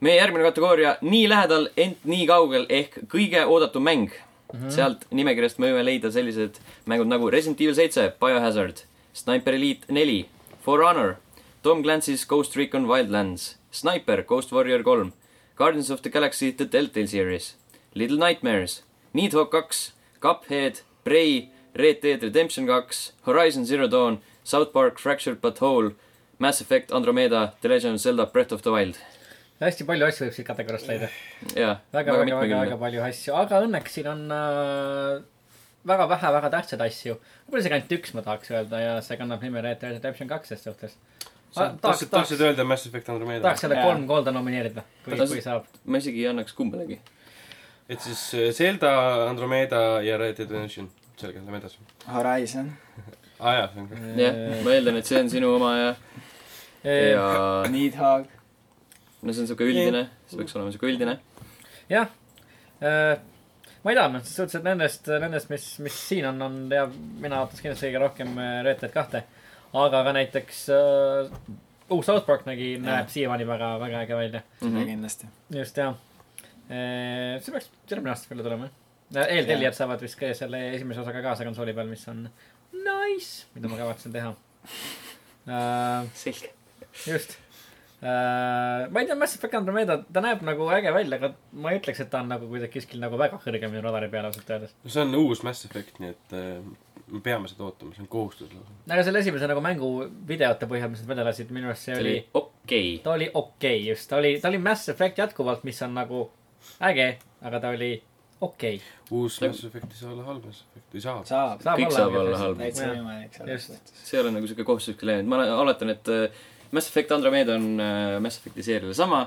Speaker 1: meie järgmine kategooria , nii lähedal , ent nii kaugel ehk kõige oodatum mäng mm . -hmm. sealt nimekirjast me võime leida sellised mängud nagu Resident Evil seitse , Biohazard , Sniper Elite neli , For Honor , Tom Clancy's Ghost Recon Wildlands , Sniper , Ghost Warrior kolm , Guardians of the Galaxy The Telltale Series , Little Nightmares , Need Hawk kaks , Cuphead , Prey , Red Dead Redemption kaks , Horizon Zero Dawn , South Park Fractured But Whole , Mass Effect Andromeda , The Legend of Zelda Breath of the Wild
Speaker 2: hästi palju asju võib siit kategooriast leida
Speaker 1: jaa ,
Speaker 2: väga , väga , väga , väga palju asju , aga õnneks siin on äh, väga vähe väga tähtsaid asju . võib-olla isegi ainult üks , ma tahaks öelda ja see kannab nime Red Dead Redemption kaks ses suhtes . tahaks ,
Speaker 4: tahtsid ,
Speaker 2: tahaks
Speaker 4: tahtsid , öelda Mass Effect Andromeda
Speaker 2: tahaks ? selle
Speaker 3: Jaa.
Speaker 2: kolm kolda nomineerida , kui ,
Speaker 1: Tahaks-
Speaker 2: kui saab .
Speaker 1: ma isegi ei annaks kumbalegi .
Speaker 4: et siis äh, Zelda , Andromeda ja Red Dead Redemption . selge , lähme edasi .
Speaker 3: Horizon ,
Speaker 4: aa jaa , see on ka .
Speaker 1: jah , ma eeldan , et see on sinu oma ja , ja
Speaker 2: jah ,
Speaker 3: Needhog ,
Speaker 1: no see on siuke üldine , see peaks olema siuke üldine .
Speaker 2: Ehm, äh, ma ei tea , selles suhtes , et nendest , nendest , mis , mis siin on , on ja mina ootaks kindlasti kõige rohkem äh, Red Dead kahte . aga ka näiteks äh, uus South Park nägi , näeb siiamaani väga , väga äge välja .
Speaker 1: Mhm.
Speaker 3: seda kindlasti .
Speaker 2: just jah . see peaks järgmine aasta küll tulema jah . eeltellijad saavad vist ka selle esimese osaga kaasa konsooli peal , mis on nice , mida ma kavatsen teha .
Speaker 1: selge .
Speaker 2: just , ma ei tea , Mass Effect Andromeda , ta näeb nagu äge välja , aga ma ei ütleks , et ta on nagu kuidagi kuskil nagu väga kõrge minu radari peal ausalt öeldes .
Speaker 4: see on uus Mass Effect , nii et äh, me peame seda ootama , see on kohustus lausa .
Speaker 2: aga selle esimese nagu mängu videote põhjal , mis nad välja lasid , minu arust see
Speaker 1: see
Speaker 2: oli
Speaker 1: oli , okei okay. .
Speaker 2: ta oli okei okay, just , ta oli , ta oli Mass Effect jätkuvalt , mis on nagu äge , aga ta oli okei okay. .
Speaker 4: uus Mass Effect ei saa olla halb Mass Effect , ei saa .
Speaker 3: saab .
Speaker 2: Saab
Speaker 1: kõik
Speaker 2: olla
Speaker 1: saab
Speaker 2: halb,
Speaker 1: olla
Speaker 2: jah.
Speaker 1: halb .
Speaker 3: täitsa
Speaker 2: Jah.
Speaker 3: võimalik selles
Speaker 2: Just.
Speaker 3: suhtes .
Speaker 1: see ei ole nagu siuke kohustuslik läinud , ma olen- oletan , et äh, Mass Effect Andromeda on äh, Mass Effecti seeriale sama ,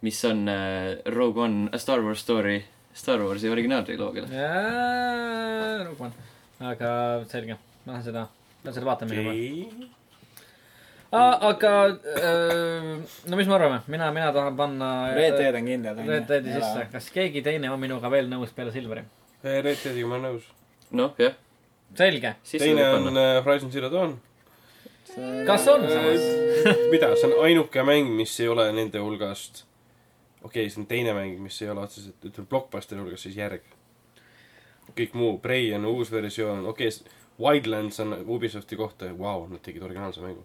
Speaker 1: mis on äh, Rogue One , A Star Wars Story , Star Warsi originaaltriloogiale .
Speaker 2: Rukman , aga selge , ma lähen seda , ma lähen seda vaatama okay. juba .
Speaker 4: okei .
Speaker 2: aga äh, no mis me arvame , mina , mina tahan panna .
Speaker 3: Red Dead on kindel , on
Speaker 2: Red Deadi sisse , kas keegi teine on minuga veel nõus peale Silveri ?
Speaker 4: Red Deadiga ma olen nõus .
Speaker 1: noh , jah ,
Speaker 2: selge ,
Speaker 1: siis
Speaker 4: teine
Speaker 1: võib
Speaker 4: on
Speaker 1: panna .
Speaker 4: äh, Horizon Zero Dawn .
Speaker 2: kas on samas ?
Speaker 4: mida , see on ainuke mäng , mis ei ole nende hulgast , okei okay, , see on teine mäng , mis ei ole otseselt , ütleme , Blockbusteri hulgas siis järg . kõik muu , Prey on uus versioon , okei okay, , Wildlands on Ubisofti kohta , vau , nad tegid originaalse mängu .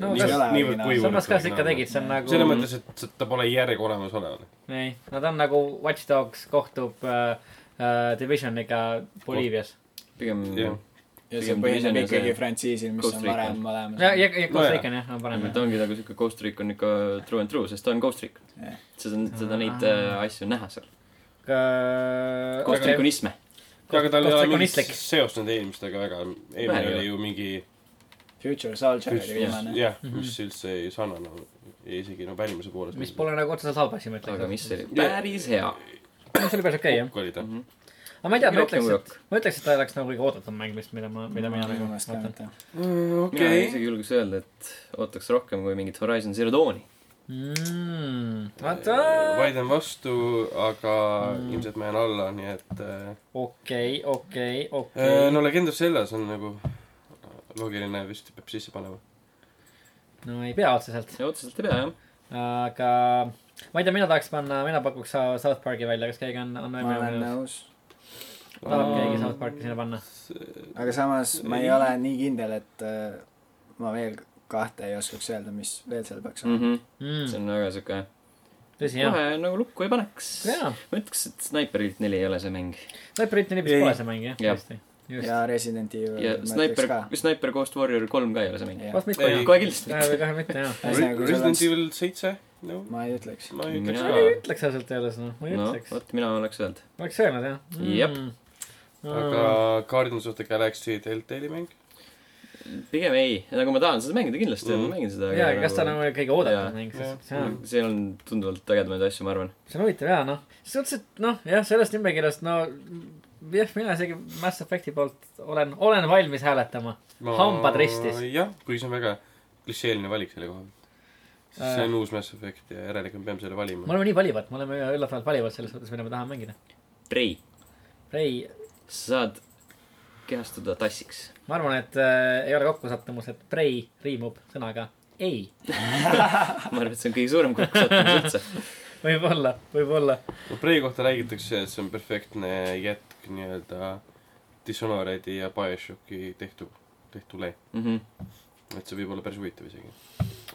Speaker 2: no
Speaker 3: Nii
Speaker 2: kas
Speaker 3: ei ole.
Speaker 2: samas ka sa ikka tegid , see on nagu
Speaker 4: selles mõttes , et see- ta pole järg olemasolevale .
Speaker 2: ei , no ta on nagu Watch Dogs kohtub äh, äh, Divisioniga Boliivias .
Speaker 1: pigem
Speaker 4: jah.
Speaker 3: ja see
Speaker 1: Pigem
Speaker 3: põhineb
Speaker 1: Division ja see-
Speaker 3: ikkagi frantsiisil , mis
Speaker 1: Ghost
Speaker 3: on
Speaker 1: Recon.
Speaker 3: varem olemas .
Speaker 2: ja , ja , ja Ghost
Speaker 4: Nojah.
Speaker 2: Recon jah , on parem
Speaker 1: ta . ongi nagu siuke Ghost Trick on ikka true and true , sest ta on Ghost Trick .
Speaker 3: Jah.
Speaker 1: seda , seda neid äh, asju on näha seal . Ghost
Speaker 2: Ghost
Speaker 1: Trick on . isme .
Speaker 4: aga tal ei ole mingit
Speaker 2: Kostakonistlik.
Speaker 4: seost nende eelmistega väga ,
Speaker 1: Vähe ei
Speaker 4: eelmine
Speaker 1: ole.
Speaker 4: oli ju mingi
Speaker 3: Future Soldier oli viimane .
Speaker 4: jah , mis üldse ei sarnane , isegi no välimuse poolest .
Speaker 2: Mhm. mis pole nagu otseselt halb asi , ma
Speaker 1: aga
Speaker 2: ütleks .
Speaker 1: mis oli
Speaker 4: Jah.
Speaker 1: päris hea .
Speaker 2: mis oli päris okei jah .
Speaker 4: oli ta .
Speaker 2: aga ma ei tea ,
Speaker 1: Rohkem
Speaker 2: ma ütleks ,
Speaker 1: kui
Speaker 2: et , ma ütleks , et ta oleks nagu kõige oodatum mäng vist , mida ma , mida mina nagu ootan .
Speaker 1: mina
Speaker 4: okei .
Speaker 1: isegi julgeks öelda , et ootaks rohkem kui mingit Horizon Zero Dawni .
Speaker 2: Mm, vaata ,
Speaker 1: Äh,
Speaker 4: vaidlen vastu , aga mm. ilmselt ma jään alla , nii et äh,
Speaker 2: okei , okei ,
Speaker 4: äh,
Speaker 2: okei .
Speaker 4: no Legend of Zellas on nagu loogiline , vist peab sisse panema .
Speaker 2: no ei pea otseselt ,
Speaker 1: otseselt ei pea jah .
Speaker 2: aga ma ei tea , mina tahaks panna , mina pakuks Sa- South Park'i välja , kas keegi on , on
Speaker 3: ma olen
Speaker 2: veel mõelnud ?
Speaker 3: nõus .
Speaker 2: tahab keegi South Park'i sinna panna ?
Speaker 3: aga samas ma ei ole nii kindel , et äh, ma veel kahte ei oskaks öelda , mis veel seal peaks olema .
Speaker 2: Mhm.
Speaker 1: Mhm. see
Speaker 2: tõsi
Speaker 1: on väga siuke ,
Speaker 2: Mm, jah .
Speaker 1: kohe nagu lukku ei paneks .
Speaker 2: jaa ,
Speaker 1: ma ütleks , et Sniper Elite neli ei ole see mäng .
Speaker 2: Sniper Elite Nibis
Speaker 3: Ei.
Speaker 2: pole see mäng jah ,
Speaker 1: Jah.
Speaker 2: tõesti . just ,
Speaker 3: ja Resident
Speaker 2: Äh,
Speaker 3: Evil
Speaker 1: ja
Speaker 3: ma ütleks
Speaker 1: Sniper
Speaker 3: ka .,
Speaker 1: Sniper Ghost Warrior kolm ka ei ole see mäng .
Speaker 3: jah ,
Speaker 2: vast mitte
Speaker 4: Ei.
Speaker 2: jah .
Speaker 1: kohe kindlasti mitte .
Speaker 2: kohe mitte jah .
Speaker 3: Ühesõnaga, kui sul on
Speaker 4: Resident
Speaker 3: s-
Speaker 4: Evil seitse , no
Speaker 3: ma ei ütleks .
Speaker 4: ma ei
Speaker 1: Mina-
Speaker 4: ütleks
Speaker 2: ma ei
Speaker 4: ka ,
Speaker 2: ütleks ausalt öeldes noh , ma ei
Speaker 1: no
Speaker 2: ütleks .
Speaker 1: vot , mina oleks öelnud .
Speaker 2: oleks öelnud jah . Mm.
Speaker 1: Jep. .
Speaker 4: aga Guardians of the Galaxy Deltali mäng .
Speaker 1: pigem ei , nagu ma tahan seda mängida kindlasti mm. ,
Speaker 4: Mhm.
Speaker 1: ma mängin seda .
Speaker 2: jaa , aga kas ta on nagu kõige
Speaker 1: Jaa.
Speaker 2: oodatum mäng ,
Speaker 4: Jah.
Speaker 2: sest see on ,
Speaker 1: seal on tunduvalt ägedamaid asju , ma arvan .
Speaker 2: see on huvitav jaa noh . selles mõttes , et noh , jah , sellest nimekirjast no jah , mina isegi Mass Effecti poolt olen , olen valmis hääletama . Hambad ristis.
Speaker 4: jah , kuigi see on väga klišeeline valik selle koha pealt . sest
Speaker 2: Äh.
Speaker 4: see on uus Mass Effect ja järelikult me peame selle
Speaker 2: me
Speaker 4: valima .
Speaker 2: oleme nii valivad , me oleme üllatavalt valivad selles mõttes , mida me tahame mängida .
Speaker 1: Prei ,
Speaker 2: Rei ,
Speaker 1: sa saad kehastuda tassiks .
Speaker 2: ma arvan , et äh, ei ole kokkusattumus , et Prei riimub sõnaga ei .
Speaker 1: ma arvan , et see on kõige suurem kokkusattumus üldse .
Speaker 2: võib-olla , võib-olla .
Speaker 4: no Prey kohta räägitakse , et see on perfektne jätk nii-öelda Dishonored'i ja BioShocki tehtu , tehtule .
Speaker 1: Mhm.
Speaker 4: et see võib olla päris huvitav isegi .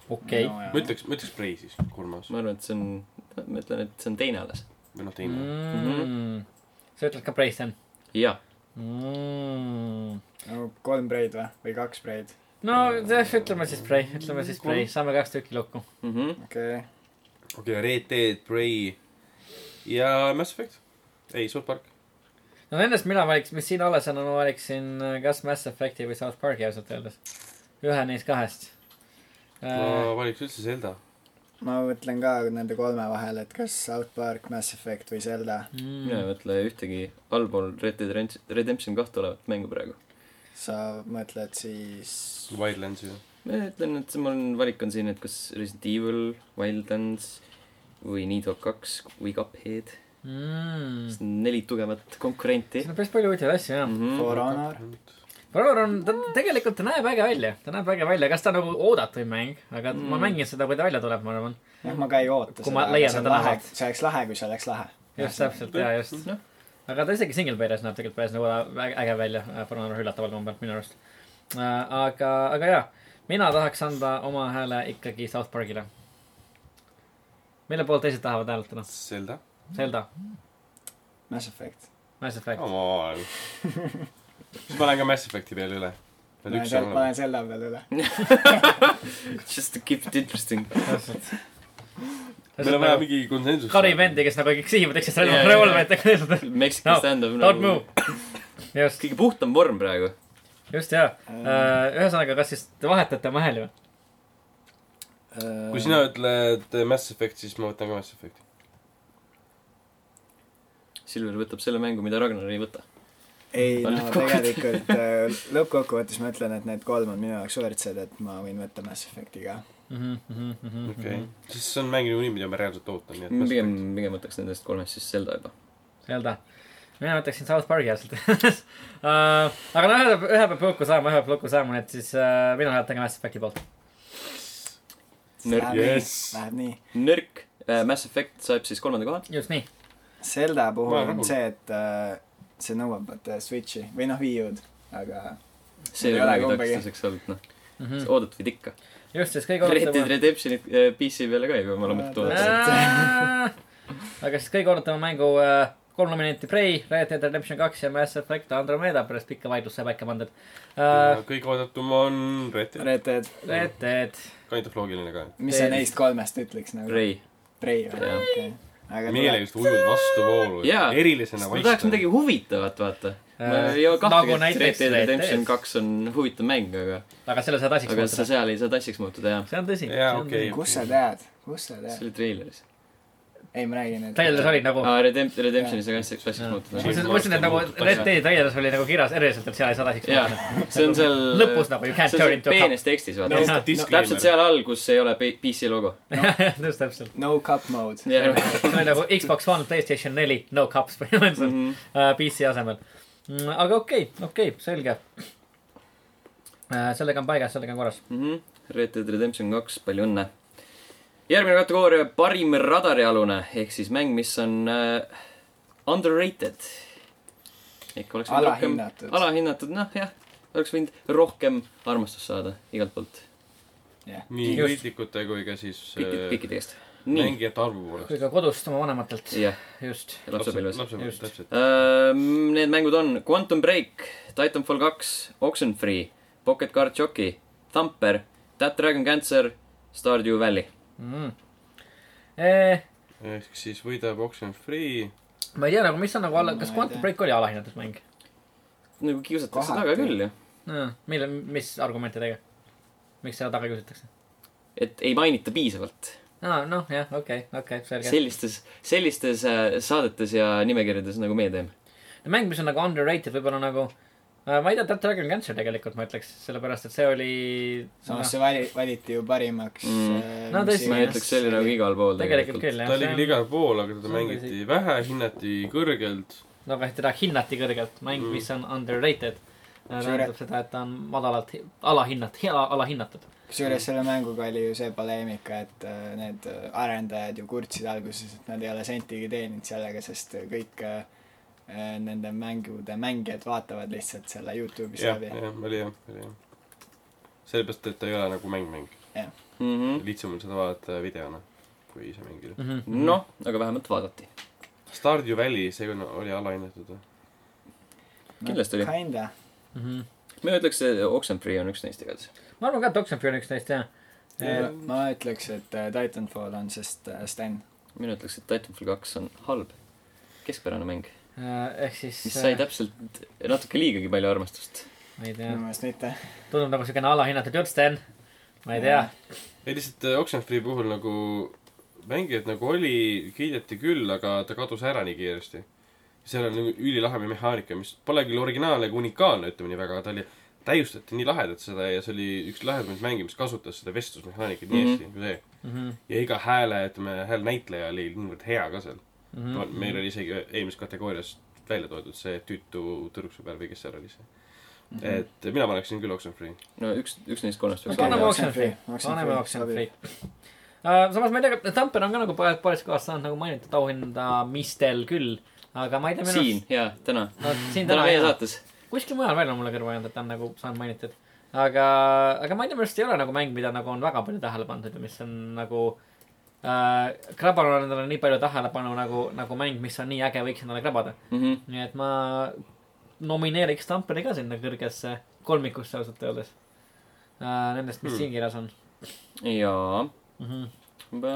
Speaker 2: okei .
Speaker 4: ma ütleks , ma ütleks Prey siis , kolmas
Speaker 1: ma arvan , et see on , ma ütlen , et see on teine alles .
Speaker 4: või noh , teine mm. .
Speaker 2: sa ütled ka Prei , Sten
Speaker 1: jaa ,
Speaker 2: mm. ?
Speaker 3: no kolm preid või , või kaks preid ,
Speaker 2: no jah , ütleme siis Prei , ütleme siis Prei , saame kaks tükki lukku .
Speaker 1: Mhm.
Speaker 3: okei okay. .
Speaker 4: okei okay, , Red Dead , Prey ja Mass Effect . ei , South Park .
Speaker 2: no nendest mina valiks , mis siin alles on , ma valiksin äh, kas Mass Effecti või South Park'i ausalt öeldes . ühe neist kahest äh, .
Speaker 4: ma valiks üldse Zelda .
Speaker 3: ma mõtlen ka nende kolme vahel , et kas South Park , Mass Effect või Zelda .
Speaker 2: mm,
Speaker 1: mina ei mõtle ühtegi allpool Red Dead Red- Redemption kahte olevat mängu praegu .
Speaker 3: sa mõtled siis
Speaker 4: Wildlands ju .
Speaker 1: ma ütlen , et see mul valik on siin , et kas Resident Evil , Wildlands või Need of kaks või Cuphead .
Speaker 2: Mm.
Speaker 1: Sest neli tugevat konkurenti Mhm.
Speaker 2: siin . on päris palju huvitavaid asju jah .
Speaker 3: For Honor ,
Speaker 2: Valor on , ta tegelikult , ta näeb äge välja , ta näeb äge välja , kas ta on nagu oodatuim mäng , aga mm. ma mängin seda , kui ta välja tuleb , ma arvan .
Speaker 3: jah , ma ka ei oota
Speaker 2: Kui ma leian
Speaker 3: aga see on
Speaker 2: seda
Speaker 3: lahe
Speaker 2: rahat. ,
Speaker 3: see oleks lahe , kui see oleks lahe .
Speaker 2: just täpselt ja just .
Speaker 1: Noh.
Speaker 2: aga ta isegi single player'is näeb tegelikult päris nagu äge- äge välja , Fornaro üllataval kombel minu arust . Äh, aga , aga jaa , mina tahaks anda oma hääle ikkagi South Park'ile . mille poolt teised tahavad hääletada ?
Speaker 4: Zelda .
Speaker 2: Zelda ,
Speaker 3: Mass Effect .
Speaker 2: Mass Effect .
Speaker 4: Come on . siis ma lähen ka Mass Effecti peale üle .
Speaker 3: ma
Speaker 4: Need
Speaker 3: olen
Speaker 4: üks
Speaker 3: sel-
Speaker 4: on
Speaker 3: ma olen
Speaker 4: olemas .
Speaker 3: Zelda peal üle .
Speaker 1: Just to keep it
Speaker 2: <laughs>
Speaker 1: interesting .
Speaker 4: meil on vaja mingi konsensus .
Speaker 2: kari vendi , kes nagu kõik sihivad üksteist relva
Speaker 1: Jaa, , jaa,
Speaker 2: revolve
Speaker 1: jaa.
Speaker 2: ette lihtsalt .
Speaker 1: Mexican
Speaker 2: No,
Speaker 1: stand-up nagu
Speaker 2: Don't move . just ,
Speaker 1: kõige puhtam vorm praegu .
Speaker 2: just jaa . Äh, ühesõnaga , kas siis te vahetate vahel ju ?
Speaker 3: Äh,
Speaker 4: kui sina ütled Mass Effect , siis ma võtan ka Mass Effecti .
Speaker 1: Silver võtab selle mängu , mida Ragnar ei võta .
Speaker 3: ei
Speaker 1: on
Speaker 3: no tegelikult äh, lõppkokkuvõttes ma ütlen , et need kolm on minu jaoks võrdsed , et ma võin võtta Mass Effecti ka .
Speaker 2: Mhm,
Speaker 4: okei . Mhm. siis see on mäng niikuinii , mida ma reaalselt ootan , nii et Mass
Speaker 1: pigem
Speaker 4: Effect .,
Speaker 1: pigem võtaks nendest kolmest siis Zelda juba .
Speaker 2: Zelda . mina võtaksin South Park'i ausalt <laughs> öeldes . aga no ühe peab , ühe peab lukku saama , ühe peab lukku saama , nii et siis äh, mina hääletan ka Mass Effecti poolt .
Speaker 1: nõrk ,
Speaker 4: Yes.
Speaker 3: Läheb nii .
Speaker 1: nõrk . äh, Mass Effect saab siis kolmanda koha .
Speaker 2: just nii .
Speaker 3: Zelda
Speaker 4: Ma
Speaker 3: puhul
Speaker 4: olen
Speaker 3: on
Speaker 4: rahul.
Speaker 3: see , et äh, see nõuab vaata Switchi või noh , Wii U-d , aga
Speaker 1: see ei
Speaker 3: Ei
Speaker 1: ole
Speaker 3: ole
Speaker 1: midagi
Speaker 3: kumbagi.
Speaker 1: takistuseks olnud , noh .
Speaker 2: Hmm.
Speaker 1: oodatud ikka .
Speaker 2: Mhm. just , siis kõige
Speaker 1: Red Dead
Speaker 2: oodatum .
Speaker 1: Redemptionit äh, PC peale ka ei pea , me oleme
Speaker 3: Äh,
Speaker 1: tulnud .
Speaker 2: aga siis kõige oodatum mängu äh, kolm nominenti Prey , Red Dead Redemption kaks ja Mass Effect Andromeda pärast pikka vaidlust sai paika pandud äh, .
Speaker 4: kõige oodatum on Red Dead ,
Speaker 3: Red Dead ,
Speaker 2: Red Dead ,
Speaker 4: kind of loogiline ka .
Speaker 3: mis sa neist kolmest ütleks nagu ?
Speaker 1: Ray .
Speaker 3: Prei või ?
Speaker 1: Jah.
Speaker 3: okei . aga
Speaker 4: meelega
Speaker 3: tuleb ,
Speaker 4: just ujud vastuvoolu
Speaker 1: Jaa. .
Speaker 4: erilisena
Speaker 1: ma tahaks midagi . huvitavat , vaata . ma ei ole
Speaker 2: nagu
Speaker 1: kahtlegi , et Red
Speaker 2: näiteks
Speaker 1: Dead
Speaker 2: Red
Speaker 1: Redemption
Speaker 2: Dead.
Speaker 1: kaks on huvitav mäng , aga ,
Speaker 2: aga selle saad asiks
Speaker 1: aga sa
Speaker 2: muutuda .
Speaker 1: seal ei saa tassiks muutuda , jah .
Speaker 2: see on tõsi .
Speaker 4: jaa , okei .
Speaker 3: kus sa tead , kus sa
Speaker 1: see
Speaker 3: tead ?
Speaker 1: oli treileris .
Speaker 3: ei , ma räägin , et
Speaker 2: täielik olid nagu .
Speaker 1: aa , Redemp- , Redemptioni sa ka ei saa tassiks
Speaker 2: ma
Speaker 1: muutuda .
Speaker 2: mõtlesin , ma mõtlesin , et nagu Red Dead täielik oli nagu kirjas eriliselt , et seal ei saa asiks
Speaker 1: jaa
Speaker 2: muutuda .,
Speaker 1: see on seal .
Speaker 2: lõpus nagu you can't
Speaker 1: see on
Speaker 2: turn
Speaker 1: seal
Speaker 2: into a cup .
Speaker 1: peenes tekstis , vaata
Speaker 4: No, . disclaimer.
Speaker 1: täpselt seal all , kus ei ole P- PC logo .
Speaker 2: <laughs> just täpselt .
Speaker 3: no cup mode .
Speaker 1: jah ,
Speaker 2: see oli nagu Xbox One , Playstation neli , no cups <laughs> põhimõtteliselt
Speaker 1: Mhm.
Speaker 2: mm -hmm. PC asemel . aga okei okay, , okei okay, , selge . sellega on paigas , sellega on korras .
Speaker 1: Mhm. Red Dead Redemption kaks , palju õnne . järgmine kategooria , parim radarialune ehk siis mäng , mis on äh, underrated . ehk oleks võinud rohkem ,
Speaker 3: Alahinnatud.
Speaker 1: alahinnatud , noh jah , oleks võinud rohkem armastust saada igalt poolt ,
Speaker 4: nii
Speaker 2: Just.
Speaker 4: kriitikute kui ka siis
Speaker 1: kõikide ,
Speaker 4: äh,
Speaker 1: kõikide eest . nii ,
Speaker 4: mängijate arvu poolest .
Speaker 2: kui ka kodust oma vanematelt ,
Speaker 1: jah ,
Speaker 2: just .
Speaker 1: lapsepõlves .
Speaker 4: lapsepõlves ,
Speaker 2: Just.
Speaker 4: täpselt .
Speaker 1: Need mängud on Quantum Break , Titanfall kaks , Oxenfree , Pocket Card Jockey , Thumper , That Dragon Cancer , Stardew Valley .
Speaker 2: Mm. ma
Speaker 4: ehk siis võidab Oxenfree .
Speaker 2: Äh, ei tea nagu , mis on nagu alla , kas
Speaker 3: Ma ei
Speaker 2: Quantum
Speaker 3: tea.
Speaker 2: Break oli alahinnatud mäng ?
Speaker 1: nagu kiusatakse
Speaker 3: Kohati.
Speaker 1: taga küll ju ,
Speaker 2: mille , mis argumentidega ? miks seda taga küsitakse ?
Speaker 1: et ei mainita piisavalt .
Speaker 2: aa , noh , jah , okei , okei , selge .
Speaker 1: sellistes , sellistes äh, saadetes ja nimekirjades , nagu meie teeme .
Speaker 2: mäng , mis on nagu underrated , võib-olla nagu äh, ma ei tea , Dead Dragon Cancer tegelikult ma ütleks , sellepärast et see oli . noh,
Speaker 3: samas see vali- , valiti ju parimaks
Speaker 1: Mm.
Speaker 3: äh,
Speaker 2: No
Speaker 3: mis
Speaker 2: tõesti.
Speaker 1: ma ei
Speaker 3: iganes.
Speaker 1: ütleks , see oli nagu igal pool tegelikult .
Speaker 2: tegelikult küll , jah .
Speaker 4: ta oli küll igal pool , aga
Speaker 2: see
Speaker 4: teda
Speaker 2: on
Speaker 4: mängiti vähe , hinnati kõrgelt .
Speaker 2: no aga teda hinnati kõrgelt , mäng , mis on underrated . tähendab seda , et ta on madalalt hi- alahinnat- , alahinnatud .
Speaker 3: kusjuures selle mänguga oli ju see poleemika , et äh, need äh, arendajad ju kurtsid alguses , et nad ei ole sentigi teeninud sellega , sest äh, kõik äh, äh, nende mängude mängijad vaatavad lihtsalt selle Youtube'is
Speaker 4: jah ,
Speaker 3: läbi .
Speaker 4: jah , oli jah , oli jah . sellepärast , et ta ei ole nagu mäng-mäng .
Speaker 1: Mm -hmm.
Speaker 4: lihtsam on seda vaadata videona , kui ise mängida .
Speaker 2: Mhm,
Speaker 1: noh , aga vähemalt vaadati .
Speaker 4: Stardew Valley , see on- oli alahinnatud või ?
Speaker 1: kindlasti oli.
Speaker 3: Kinda .
Speaker 1: mina ütleks , et Oxenfree on üks neist igatahes .
Speaker 2: mhm. ma arvan ka , et Oxenfree on üks neist jah .
Speaker 3: ma ütleks , et äh, Titanfall on , sest äh, Sten .
Speaker 1: mina ütleks , et Titanfall kaks on halb , keskpärane mäng ,
Speaker 2: äh, ehk siis .
Speaker 1: mis sai . täpselt natuke liigagi palju armastust .
Speaker 2: ma ei tea
Speaker 3: minu , meelest mitte .
Speaker 2: tundub nagu siukene alahinnatud jutt , Sten . ma ei tea .
Speaker 4: ei lihtsalt äh, Oxenfree puhul nagu mängijad nagu oli , kiideti küll , aga ta kadus ära nii kiiresti . seal on nagu ülilahe mehaanika , mis pole küll originaalne ega unikaalne , ütleme nii väga , aga ta oli , täiustati nii lahedalt seda ja see oli üks lahedamaid mänge , mis kasutas seda vestlusmehaanikat nii
Speaker 1: Mhm.
Speaker 4: hästi kui see .
Speaker 2: Mhm,
Speaker 4: ja iga hääle , ütleme , häälnäitleja oli niivõrd hea ka seal .
Speaker 2: mhm.
Speaker 4: meil oli isegi eelmises kategoorias välja toodud see tüütu tüdruksõber või kes seal oli see . et mina paneksin küll Oxenfree .
Speaker 1: no üks , üks neist kolmest peaks
Speaker 3: Okei.
Speaker 1: olema
Speaker 2: anname
Speaker 3: Oxenfree.
Speaker 2: Oxenfree ,
Speaker 3: Oxenfree
Speaker 2: anname Oxenfree
Speaker 3: sobib. .
Speaker 2: Äh, samas ma ei tea , Tamper on ka nagu paljud , paljud kohast saanud nagu mainitud auhindamistel küll , aga ma ei tea .
Speaker 1: siin . ja täna ,
Speaker 2: no siin
Speaker 1: täna
Speaker 2: täna
Speaker 1: meie
Speaker 2: jah.
Speaker 1: saates .
Speaker 2: kuskil mujal veel on mulle kõrva jäänud , et ta on nagu saanud mainitud . aga , aga ma ei tea , minu arust ei ole nagu mäng , mida nagu on väga palju tähele pandud ja mis on nagu äh, krabanud on endale nii palju tähelepanu nagu , nagu mäng , mis on nii äge , võiks endale krabada .
Speaker 1: mhmh .
Speaker 2: nii et ma nomineeriks Tamperi ka sinna kõrgesse kolmikusse ausalt öeldes äh, . Nendest , mis
Speaker 4: Hmm.
Speaker 2: hmm. siin kirjas on
Speaker 1: jaa ,
Speaker 2: mm . -hmm.
Speaker 1: ma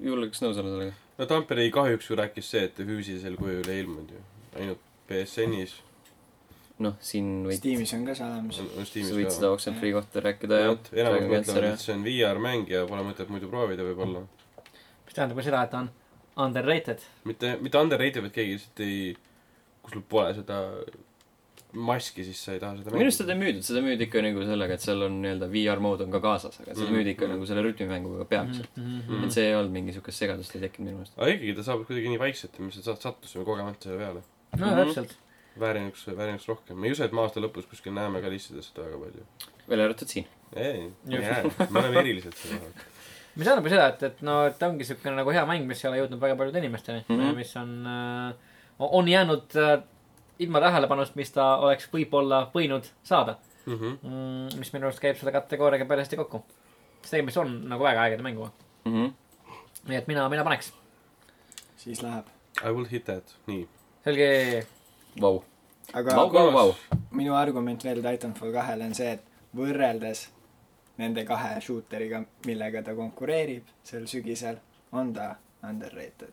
Speaker 1: julgeks nõus olla sellega .
Speaker 4: no Tampere kahjuks ju rääkis see , et füüsilisel kujul ei ilmunud ju . ainult BSN-is
Speaker 1: noh , siin võid ,
Speaker 3: Steamis on ka see olemas .
Speaker 4: on, on
Speaker 1: sa
Speaker 4: Steamis
Speaker 1: võid seda Oxenfree kohta rääkida ja
Speaker 4: vot , enamus mõtlevad , et see on VR-mäng ja pole mõtet muidu proovida võib-olla .
Speaker 2: mis tähendab ka seda , et ta on underrated .
Speaker 4: mitte , mitte underrated , vaid keegi lihtsalt ei , kui sul pole seda maski , siis sa ei taha seda
Speaker 1: minu arust seda ei müüdud , seda müüdi ikka nagu sellega , et seal on nii-öelda VR mood on ka kaasas , aga seda
Speaker 4: Mm.
Speaker 1: müüdi ikka nagu selle rütmimänguga peamiselt .
Speaker 2: -hmm.
Speaker 4: Mm.
Speaker 1: et see ei olnud mingi siukest segadust ei tekkinud minu meelest .
Speaker 4: aga ikkagi ta saab kuidagi nii vaikselt ja me lihtsalt sat- sattusime kogemata selle peale .
Speaker 2: no
Speaker 1: Mhm.
Speaker 2: täpselt ,
Speaker 4: väärinuks , väärinuks rohkem . ma ei usu , et me aasta lõpus kuskil näeme ka listides seda väga palju .
Speaker 1: välja arvatud siin .
Speaker 4: ei ,
Speaker 2: Just.
Speaker 4: me oleme erilised selle koha pealt .
Speaker 2: mis tähendab ka seda , et , et no ta ongi siukene nagu hea mäng , mis ei ole jõudnud väga paljude inimesteni mm ,
Speaker 1: Mhm.
Speaker 2: -hmm. mis on äh, , on jäänud äh, ilma tähelepanust , mis ta oleks võib-olla võinud saada
Speaker 4: mhmh ,
Speaker 2: mm, . mis minu arust käib selle kategooriaga päris hästi kokku . sest tegemist on nagu väga ägeda mänguga ,
Speaker 1: Mhm.
Speaker 2: nii et mina , mina paneks .
Speaker 3: siis läheb .
Speaker 4: I will hit that , nii .
Speaker 2: selge ,
Speaker 1: Vau ,
Speaker 3: aga
Speaker 1: vau , vau , vau .
Speaker 3: minu argument veel Titanfall kahele on see , et võrreldes nende kahe shooteriga , millega ta konkureerib sel sügisel , on ta underrated .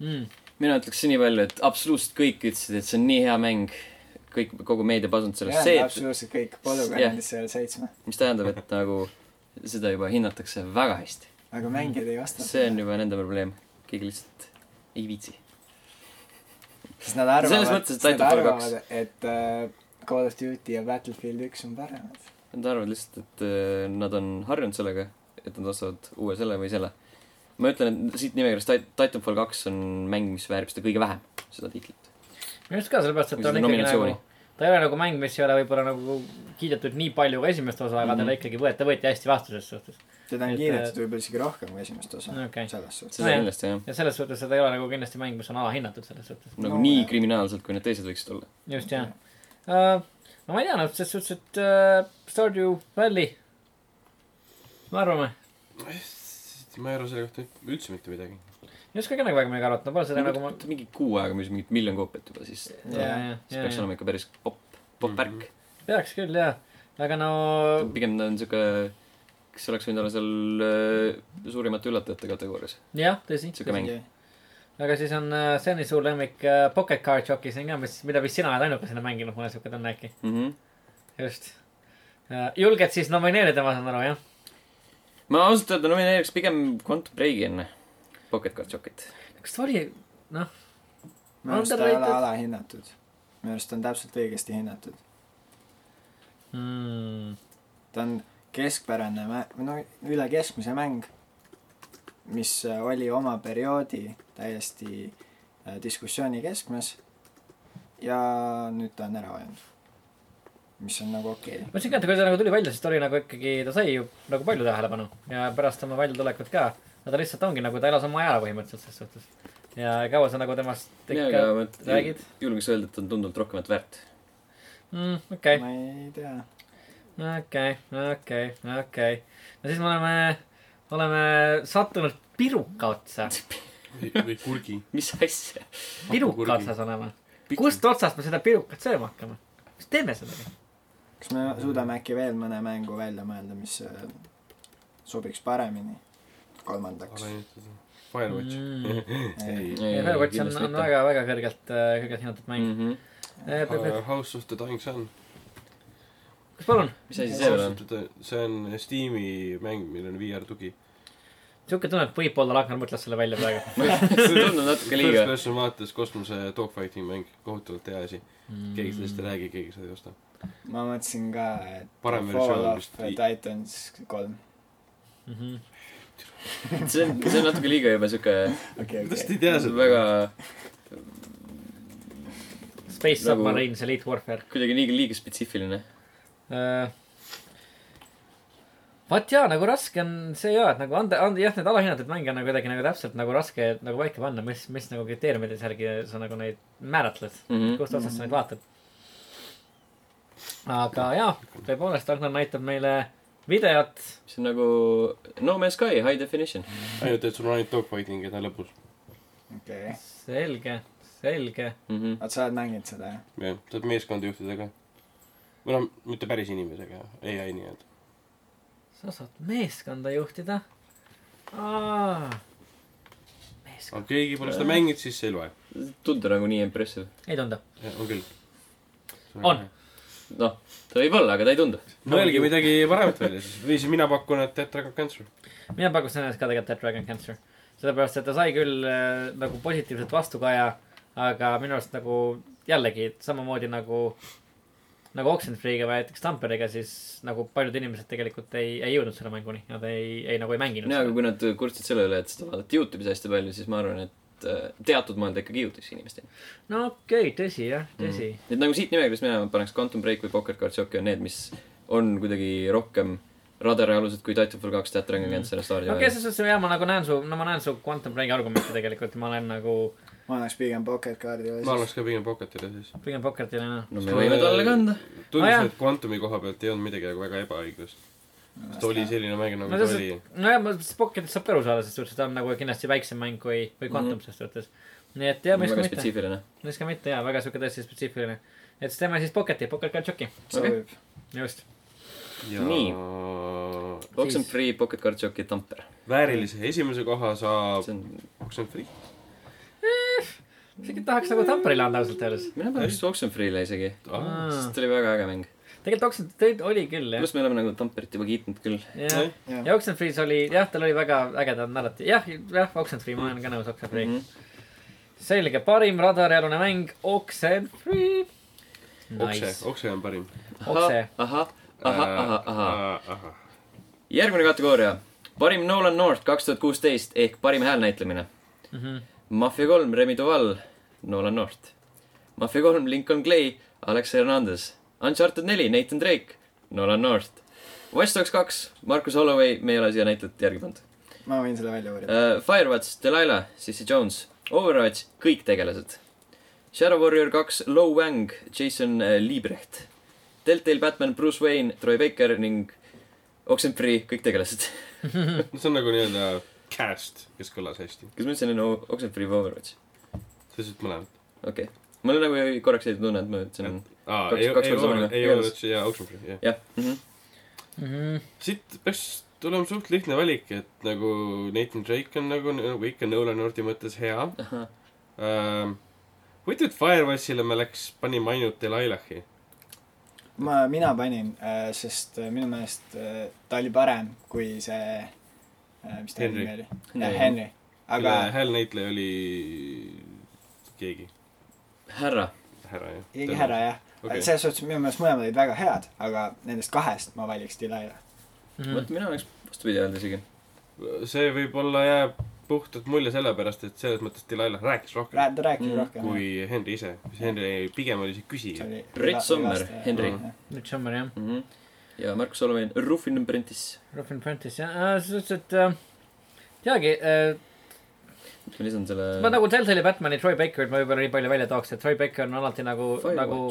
Speaker 2: mm,
Speaker 1: mina ütleks nii palju , et absoluutselt kõik ütlesid , et see on nii hea mäng . kõik , kogu meedia pasund sellest . see ,
Speaker 3: jah ,
Speaker 1: et
Speaker 3: absoluutselt kõik , polügoon andis sellele seitsme ,
Speaker 1: mis tähendab , et nagu seda juba hinnatakse väga hästi .
Speaker 3: aga mängijad ei vastanud .
Speaker 1: see on juba nende probleem , keegi lihtsalt ei viitsi .
Speaker 3: siis nad
Speaker 1: Selles
Speaker 3: arvavad ,
Speaker 1: mõttes, et
Speaker 3: siis nad
Speaker 1: Titanfall
Speaker 3: arvavad , et äh, Call of Duty ja Battlefield üks on paremad .
Speaker 1: Nad arvavad lihtsalt , et äh, nad on harjunud sellega , et nad ostavad uue selle või selle . ma ütlen , et siit nimekirjast Tit- Titanfall kaks on mäng , mis väärib seda kõige vähem , seda tiitlit .
Speaker 2: minu arust ka sellepärast , et
Speaker 1: või
Speaker 2: ta on
Speaker 1: seda
Speaker 2: ikkagi nagu
Speaker 1: nominatsiooni .
Speaker 2: ta ei ole nagu mäng , mis ei ole võib-olla nagu kiidetud nii palju kui esimest osa , aga mm -hmm.
Speaker 1: Mhm.
Speaker 2: teda ikkagi võeti , võeti hästi vastu ses suhtes .
Speaker 3: teda
Speaker 2: Et,
Speaker 3: on
Speaker 2: äh,
Speaker 3: kiidetud võib-olla isegi rohkem kui esimest osa
Speaker 2: Okei.
Speaker 3: selles suhtes .
Speaker 1: seda
Speaker 2: Nojah.
Speaker 1: kindlasti jah ,
Speaker 2: ja selles suhtes , et ta ei ole nagu kindlasti mäng , mis on alahinnatud selles suhtes .
Speaker 1: nagu
Speaker 3: No,
Speaker 1: nii
Speaker 3: jah.
Speaker 1: kriminaalselt , kui need teised võiksid olla .
Speaker 2: just , jah uh, . no ma ei tea , noh , selles suhtes , et uh, Stardew Valley , me arvame ,
Speaker 4: ma ei arva selle kohta üldse mitte midagi .
Speaker 2: ei oska ka nagu väga midagi arvata , ma pole seda nagu ma... .
Speaker 1: mingi kuu aega müüs mingit miljon koopiat juba , siis
Speaker 2: ja ,
Speaker 1: siis
Speaker 2: ja , ja ,
Speaker 1: peaks
Speaker 2: ja
Speaker 1: olema ikka päris popp , popp-värk .
Speaker 2: peaks küll jah , aga no
Speaker 1: pigem ta on siuke , kas oleks võinud olla seal äh, suurimate üllatajate kategoorias ,
Speaker 2: jah , tõsi .
Speaker 1: siuke mäng .
Speaker 2: aga siis on uh, Sveni suur lemmik uh, Pocket Card Jockey , see on ka , mis , mida vist sina oled ainukesena mänginud , mul on siuke tunne äkki ,
Speaker 1: Mhm.
Speaker 2: just uh, . julged siis nomineerida , ma saan aru , jah ?
Speaker 1: ma ausalt öelda nomineeriks pigem Quantum Breaki enne Pocket Card Shockit .
Speaker 2: kas ta oli , noh ,
Speaker 3: minu arust ta ei ole
Speaker 2: Underrated.
Speaker 3: alahinnatud . minu arust ta on täpselt õigesti hinnatud .
Speaker 2: Hmm.
Speaker 3: ta on keskpärane mä- , no üle keskmise mäng , mis äh, oli oma perioodi täiesti äh, diskussiooni keskmes ja nüüd ta on ära vajunud . mis on nagu okei okay. .
Speaker 2: ma ütlesin ka , et kui ta nagu tuli välja , siis ta oli nagu ikkagi , ta sai ju nagu palju tähelepanu ja pärast oma väljatulekut ka . no ta lihtsalt ongi nagu , ta elas oma aja põhimõtteliselt selles suhtes . ja kaua sa nagu temast ikka räägid ?
Speaker 1: julgeks öelda , et on tunduvalt rohkemat väärt . <laughs>
Speaker 2: Mm, okei ,
Speaker 3: ma ei tea .
Speaker 2: okei , okei , okei . no siis me oleme , oleme sattunud piruka otsa .
Speaker 4: või kurgi .
Speaker 1: mis asja ?
Speaker 2: piruka
Speaker 4: Hapukurgi.
Speaker 2: otsas oleme . kust otsast me seda pirukat sööma hakkame ? kas teeme seda ?
Speaker 3: kas me suudame äkki veel mõne mängu välja mõelda , mis äh, sobiks paremini kolmandaks ?
Speaker 4: alahinnatud . Firewatch
Speaker 2: Mm. .
Speaker 4: ei .
Speaker 2: Firewatch on , on väga-väga kõrgelt , kõrgelt hinnatud mäng .
Speaker 1: Mhm.
Speaker 4: House of the Dying Sun .
Speaker 2: kas palun ,
Speaker 1: mis asi see veel on ?
Speaker 4: see on Steam'i mäng , millel on VR tugi .
Speaker 2: siuke tunne , et võib-olla Ragnar mõtles selle välja praegu .
Speaker 1: <laughs> <laughs> see tundub natuke
Speaker 4: First
Speaker 1: liiga .
Speaker 4: person vaates kosmose dogfighting mäng , kohutavalt hea asi .
Speaker 1: Mm.
Speaker 4: keegi sellest ei räägi , keegi seda ei osta .
Speaker 3: ma mõtlesin ka , et
Speaker 4: Parem
Speaker 3: Fall
Speaker 4: versioon
Speaker 3: of
Speaker 4: vist-
Speaker 3: Titans kolm .
Speaker 2: räägi .
Speaker 1: see on , see on natuke liiga juba siuke
Speaker 3: okei ,
Speaker 4: kuidas
Speaker 3: okei .
Speaker 4: te ei tea seda ?
Speaker 1: väga ,
Speaker 2: Space
Speaker 1: Nagu-
Speaker 2: Submarines Elite Warfare
Speaker 1: kuidagi liiga , liiga spetsiifiline .
Speaker 2: uh, . vaat jaa , nagu raske on see jaa , et nagu anda , anda jah , need alahinnatud mänge on nagu kuidagi nagu täpselt nagu raske nagu paika panna , mis , mis nagu kriteeriumide järgi sa nagu neid määratled ,
Speaker 1: Mhm.
Speaker 2: kust otsast sa neid vaatad . aga jaa , tõepoolest Ragnar näitab meile videot ,
Speaker 1: see on nagu No Man's Sky High Definition .
Speaker 4: ainult , et sul on ainult dogfighting ja ta lõpus .
Speaker 3: okei okay. .
Speaker 2: selge , selge .
Speaker 1: Mhm.
Speaker 3: oot , sa oled mänginud seda , jah ?
Speaker 4: jah , saad meeskonda juhtida ka . või noh , mitte päris inimesega , ai nii-öelda .
Speaker 2: sa saad meeskonda juhtida . meeskond ,
Speaker 4: aga keegi pole seda mänginud , siis see ei loe .
Speaker 1: tundub nagu nii impressive .
Speaker 2: ei tundu .
Speaker 4: on küll .
Speaker 2: On. .
Speaker 1: noh , ta võib olla , aga ta ei tundu .
Speaker 4: mõelge midagi paremat välja siis . või siis mina pakun , et Death Dragon Cancer .
Speaker 2: mina pakuksin ennast ka tegelikult Dead Dragon Cancer . sellepärast , et ta sai küll äh, nagu positiivset vastukaja , aga minu arust nagu jällegi et samamoodi nagu , nagu Oxenfree'ga või näiteks Tamperiga , siis nagu paljud inimesed tegelikult ei , ei jõudnud selle mänguni . Nad ei , ei nagu ei mänginud
Speaker 1: no aga
Speaker 2: seda .
Speaker 1: kui nad kurtsid selle üle , et seda vaadati Youtube'is hästi palju , siis ma arvan , et äh, teatud maal ta ikkagi jõudis inimesteni .
Speaker 2: no okei okay, , tõsi jah , tõsi mm. .
Speaker 1: et nagu siit nimekirjast minema paneks Quantum Break või Poker Card Jockey on need , mis on kuidagi rohkem radarialused kui Titanfall kaks , Death Dragon Cancer ja Stardew
Speaker 2: Mm. okei okay, , selles suhtes jah , ma nagu näen su , no ma näen su Quantum Breaki argumente tegelikult , ma olen nagu
Speaker 3: ma annaks pigem Pocket Cardile
Speaker 4: ma . annaks ka pigem Pocketile siis .
Speaker 2: pigem Pocketile noh .
Speaker 1: no me võime talle kanda .
Speaker 2: Nojah.
Speaker 4: tunnistan , et Quantumi koha pealt ei olnud midagi nagu väga ebaõiglast . ta oli selline mäng , nagu
Speaker 2: no
Speaker 4: ta oli .
Speaker 2: selles , nojah , ma mõtlesin , et Pocketist saab ka aru saada , selles suhtes , et ta on nagu kindlasti väiksem mäng kui , kui Quantum mm -hmm. selles suhtes . nii et jaa , miks ka
Speaker 1: väga
Speaker 2: mitte ,
Speaker 1: spetsiifiline .
Speaker 2: miks ka mitte jaa , väga siuke tõesti spetsiifiline . et siis teeme siis Pocketi , Pocket Card Shocki ,
Speaker 3: sobib .
Speaker 2: just .
Speaker 1: Nii. . Oxenfree , Pocket Card Jockey , Tamper .
Speaker 4: väärilise esimese koha saab
Speaker 1: see on ,
Speaker 4: Oxenfree .
Speaker 2: isegi tahaks nagu Tamperile anda ausalt öeldes .
Speaker 1: mina panen vist Oxenfree'le isegi .
Speaker 4: Ah.
Speaker 1: sest see oli väga äge mäng .
Speaker 2: tegelikult Oxen- , oli küll jah .
Speaker 1: pluss me oleme nagu Tamperit juba kiitnud küll .
Speaker 2: jah ,
Speaker 3: jah ,
Speaker 2: ja Oxenfree's oli , jah , tal oli väga ägedad narratiiv , jah , jah , Oxenfree , ma olen ka nõus Oxenfree'iga mm . -hmm. selge , parim radarialune mäng , Oxenfree .
Speaker 4: Okse
Speaker 2: Nice ,,
Speaker 4: Okse on parim . Äh,
Speaker 2: Okse.
Speaker 1: ahah , ahah , ahah , ahah , ahah . järgmine kategooria . parim Nolan North kaks tuhat kuusteist ehk parim häälnäitlemine mm .
Speaker 2: Mhm.
Speaker 1: -hmm. Mafia kolm , Remi Duval , Nolan North . Mafia kolm , Lincoln Clay , Alex Hernandez . Uncharted neli , Nathan Drake , Nolan North . Watch Dogs kaks , Marcus Holloway , me ei ole siia näitlejat järgi pannud
Speaker 3: ma võin selle välja uurida .
Speaker 1: uh, . Firewatch , Delilah , Sissy Jones . Overwatch , kõik tegelased . Shadow Warrior kaks , Lo Wang , Jason uh, Liebrecht . Deltail Batman , Bruce Wayne , Troy Baker ning Oxenfree , kõik tegelased
Speaker 4: see on nagu nii-öelda cast , kes kõlas hästi .
Speaker 1: kas ma ütlesin enne O- Oxenfree või Overwatch ?
Speaker 4: sa ütlesid mõlemad .
Speaker 1: okei okay. . mul nagu jäi korraks jäi tunne , et ma ütlesin
Speaker 4: aa ,
Speaker 1: Kaks-
Speaker 4: ei ,
Speaker 1: kaks
Speaker 4: ei
Speaker 1: korda sama nime.
Speaker 4: ole , ei ole , jaa , Oxenfree , jah .
Speaker 1: jah mm -hmm. .
Speaker 2: Mhm,
Speaker 4: siit peaks tulema suht lihtne valik , et nagu Nathan Drake on nagu , nagu ikka Nolan Nordi mõttes hea Ähm,
Speaker 1: Ahah. .
Speaker 4: huvitav , et Firewatchile me läks , panime ainult Delilahi .
Speaker 3: ma , mina panin , sest minu meelest äh, ta oli parem kui see , mis ta
Speaker 4: Henry.
Speaker 3: nimi oli ?
Speaker 1: Henry.
Speaker 3: jah , Henry .
Speaker 4: aga
Speaker 3: aga
Speaker 4: häälnäitleja oli keegi ,
Speaker 1: härra .
Speaker 4: härra jah .
Speaker 3: keegi härra jah .
Speaker 4: Okei.
Speaker 3: selles suhtes minu meelest mõlemad olid väga head , aga nendest kahest ma valiks Delilah .
Speaker 2: mhm.
Speaker 1: vot mina oleks vastupidi öelda isegi .
Speaker 4: see võib-olla jääb puhtalt mulje sellepärast , et selles mõttes Delilah rääkis rohkem
Speaker 3: ta rääkis
Speaker 1: Mm,
Speaker 3: rohkem .
Speaker 4: kui Henry ise . Henry pigem oli see küsija .
Speaker 1: Brett Sommer , Henry
Speaker 3: äh,
Speaker 4: Mhm.
Speaker 2: nüüd Summer jah .
Speaker 1: mm . -hmm. ja Markus Olomen , Rufin and Prentice .
Speaker 2: Rough and Prentice jah , selles suhtes , et äh, teagi äh, ,
Speaker 1: ma lisan selle .
Speaker 2: ma nagu Telltale'i Batman'i Troy Bakerit ma võib-olla nii palju välja tooks , et Troy Baker on alati nagu , nagu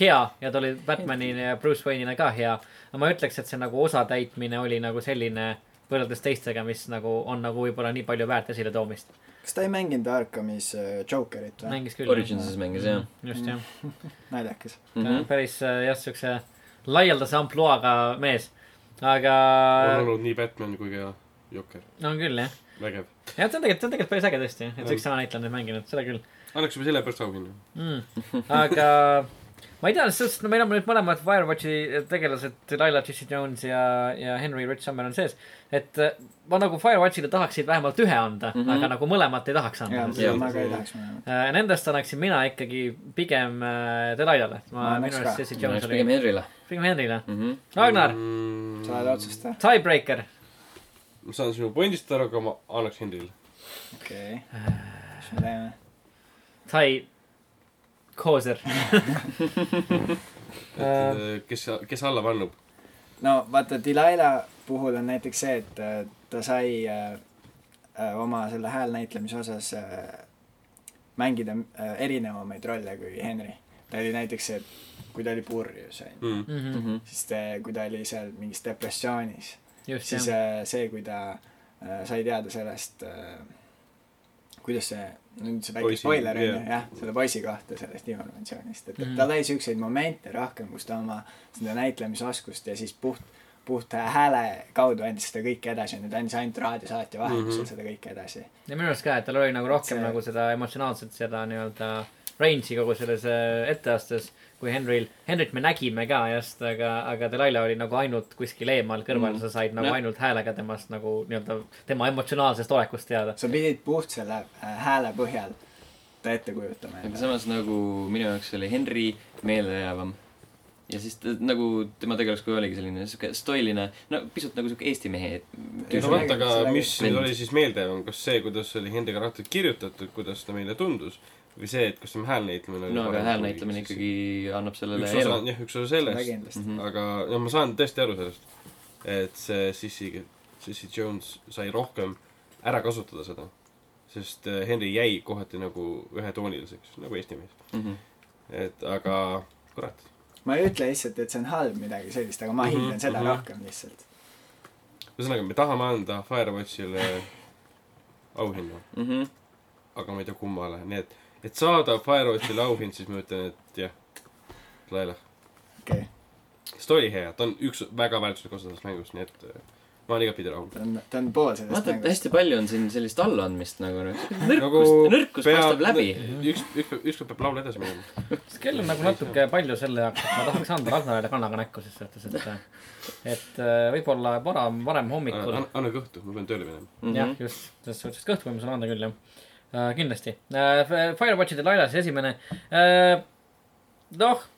Speaker 2: hea ja ta oli Batman'ina ja Bruce Wayne'ina ka hea . aga ma ütleks , et see nagu osatäitmine oli nagu selline võrreldes teistega , mis nagu on nagu võib-olla nii palju väärt esiletoomist .
Speaker 3: kas ta ei mänginud Arkamis äh, Jokerit või ?
Speaker 2: mängis küll .
Speaker 1: Originsis mängis jah
Speaker 2: just jah ,
Speaker 3: naljakas .
Speaker 2: ta
Speaker 1: mm .
Speaker 2: on
Speaker 1: -hmm.
Speaker 2: päris äh, jah , siukse laialdase ampluaaga mees . aga
Speaker 4: on olnud nii Batman kui ka Jokker .
Speaker 2: on küll jah ,
Speaker 4: vägev .
Speaker 2: jah , see on tegelikult , see on tegelikult päris äge tõesti , et
Speaker 4: Mm.
Speaker 2: üks sama näitleja on neid mänginud , seda küll .
Speaker 4: annaksime selle pärast auhinna .
Speaker 2: mm. . aga ma ei tea , selles suhtes , no meil on nüüd mõlemad Firewatchi tegelased , Laila Jesse Jones ja , ja Henry Rich Summer on sees . et eh, ma nagu Firewatchile tahaksin vähemalt ühe anda mm ,
Speaker 1: Mhm.
Speaker 2: -hmm. aga nagu mõlemat ei tahaks anda
Speaker 3: jaa ,
Speaker 2: yeah. .
Speaker 1: Jah.
Speaker 3: ma ka ei tahaks mõlemat .
Speaker 2: Nendest annaksin mina ikkagi pigem äh, Delilah , ma
Speaker 3: Ma
Speaker 2: minu
Speaker 3: annaks
Speaker 2: arust
Speaker 3: ka.
Speaker 2: Jesse
Speaker 1: ma
Speaker 2: Jones
Speaker 1: oleks
Speaker 2: oli
Speaker 1: pigem , Henrile
Speaker 2: pigem Henryle .
Speaker 1: mm . -hmm.
Speaker 2: Ragnar ,
Speaker 4: mm, .
Speaker 3: sa oled otsustaja ?
Speaker 2: Tiebreaker ,
Speaker 4: ma saan sinu pointist aru , aga ma annaks Henrile .
Speaker 3: okei okay. . mis me teeme ?
Speaker 2: Tai Kooser .
Speaker 4: et äh, kes , kes alla pannub .
Speaker 3: no vaata , Delilah puhul on näiteks see , et äh, ta sai äh, äh, oma selle hääl näitlemise osas äh, mängida äh, erinevamaid rolle kui Henry . ta oli näiteks see , kui ta oli purjus onju ,
Speaker 4: mm. .
Speaker 2: mm .
Speaker 1: mhm.
Speaker 2: -hmm.
Speaker 3: siis ta , kui ta oli seal mingis depressioonis ,
Speaker 2: just ,
Speaker 3: siis
Speaker 2: jah .
Speaker 3: äh, see , kui ta äh, sai teada sellest , kuidas see , nüüd see väike
Speaker 4: Poisi-
Speaker 3: spoiler onju
Speaker 4: jah. ,
Speaker 3: jah , selle poisi kohta sellest informatsioonist , et
Speaker 2: Mhm.
Speaker 3: et tal oli siukseid momente rohkem , kus ta oma seda näitlemisoskust ja siis puht , puht hääle kaudu andis seda kõike edasi , nüüd andis ainult raadiosaatja vahendusel
Speaker 4: Mhm.
Speaker 3: mm -hmm. seda kõike edasi .
Speaker 2: ja minu arust ka , et tal oli nagu rohkem
Speaker 3: See-
Speaker 2: see... nagu seda emotsionaalset , seda nii-öelda range'i kogu selles äh, etteastes kui Henryl . Henryt me nägime ka just , aga , aga Delilah oli nagu ainult kuskil eemal kõrval
Speaker 1: Mm.
Speaker 2: mm. , sa said nagu
Speaker 1: Jah.
Speaker 2: ja. ainult häälega temast nagu nii-öelda tema emotsionaalsest olekust teada .
Speaker 3: sa pidid puht selle äh, hääle põhjal ta ette kujutama
Speaker 1: aga
Speaker 3: endale .
Speaker 1: samas nagu minu jaoks oli Henry meeldejäävam . ja siis ta, nagu tema tegelaskuju oligi selline sihuke stoiline , no pisut nagu sihuke Eesti mehe
Speaker 3: Ei,
Speaker 4: no
Speaker 1: tüüp.
Speaker 4: vot , aga
Speaker 3: sellega-
Speaker 4: mis
Speaker 1: Vend.
Speaker 4: nüüd oli siis meeldejäävam , kas see , kuidas oli Hendrik Rahvalt kirjutatud , kuidas ta meile tundus või see , et kas tema häälnäitlemine
Speaker 1: no aga hääl näitamine ikkagi annab sellele
Speaker 4: üks osa
Speaker 1: elu
Speaker 4: on . jah , üks osa
Speaker 3: seda
Speaker 4: sellest ,
Speaker 3: kindlasti .
Speaker 1: Mhm.
Speaker 4: aga no ma saan tõesti aru sellest , et see Sissi , Sissi Jones sai rohkem ära kasutada seda . sest äh, Henry jäi kohati nagu ühetooniliseks , nagu eesti mees .
Speaker 1: Mhm.
Speaker 4: et aga kurat ,
Speaker 3: ma ei ütle lihtsalt , et see on halb midagi sellist , aga ma
Speaker 4: Mhm,
Speaker 3: hindan seda
Speaker 4: mhm.
Speaker 3: rohkem lihtsalt .
Speaker 4: ühesõnaga me tahame anda Firewatchile auhinna ,
Speaker 1: Mhm.
Speaker 4: aga ma ei tea kummale , nii et , et saada Firewatchile auhind , siis ma ütlen , et jah , Laila .
Speaker 3: okei okay. ,
Speaker 4: sest oli hea , ta on üks väga väärtuslik osa sellest mängust , nii et äh, ma olen igapidi rahul .
Speaker 3: ta on , ta on pool sellest
Speaker 1: vaata , et
Speaker 3: mängust .
Speaker 1: hästi palju on siin sellist allaandmist nagu noh , nõrkust
Speaker 4: Nagu ,
Speaker 1: nõrkus paistab läbi .
Speaker 4: üks , üks , ükskord peab laul edasi minema .
Speaker 2: see kell on nagu natuke palju selle jaoks , et ma tahaks anda Ragnarile kannaga näkku ses suhtes , et , et äh, võib-olla varem , varem hommikul
Speaker 4: anna kõhtu , ma pean tööle minema .
Speaker 1: Mhm.
Speaker 2: jah ,
Speaker 1: Nagu
Speaker 2: just , selles suhtes kõhtuvõimus on anda küll , jah uh, . kindlasti uh, . Firewatchi Delilah , see esimene uh, . noh ,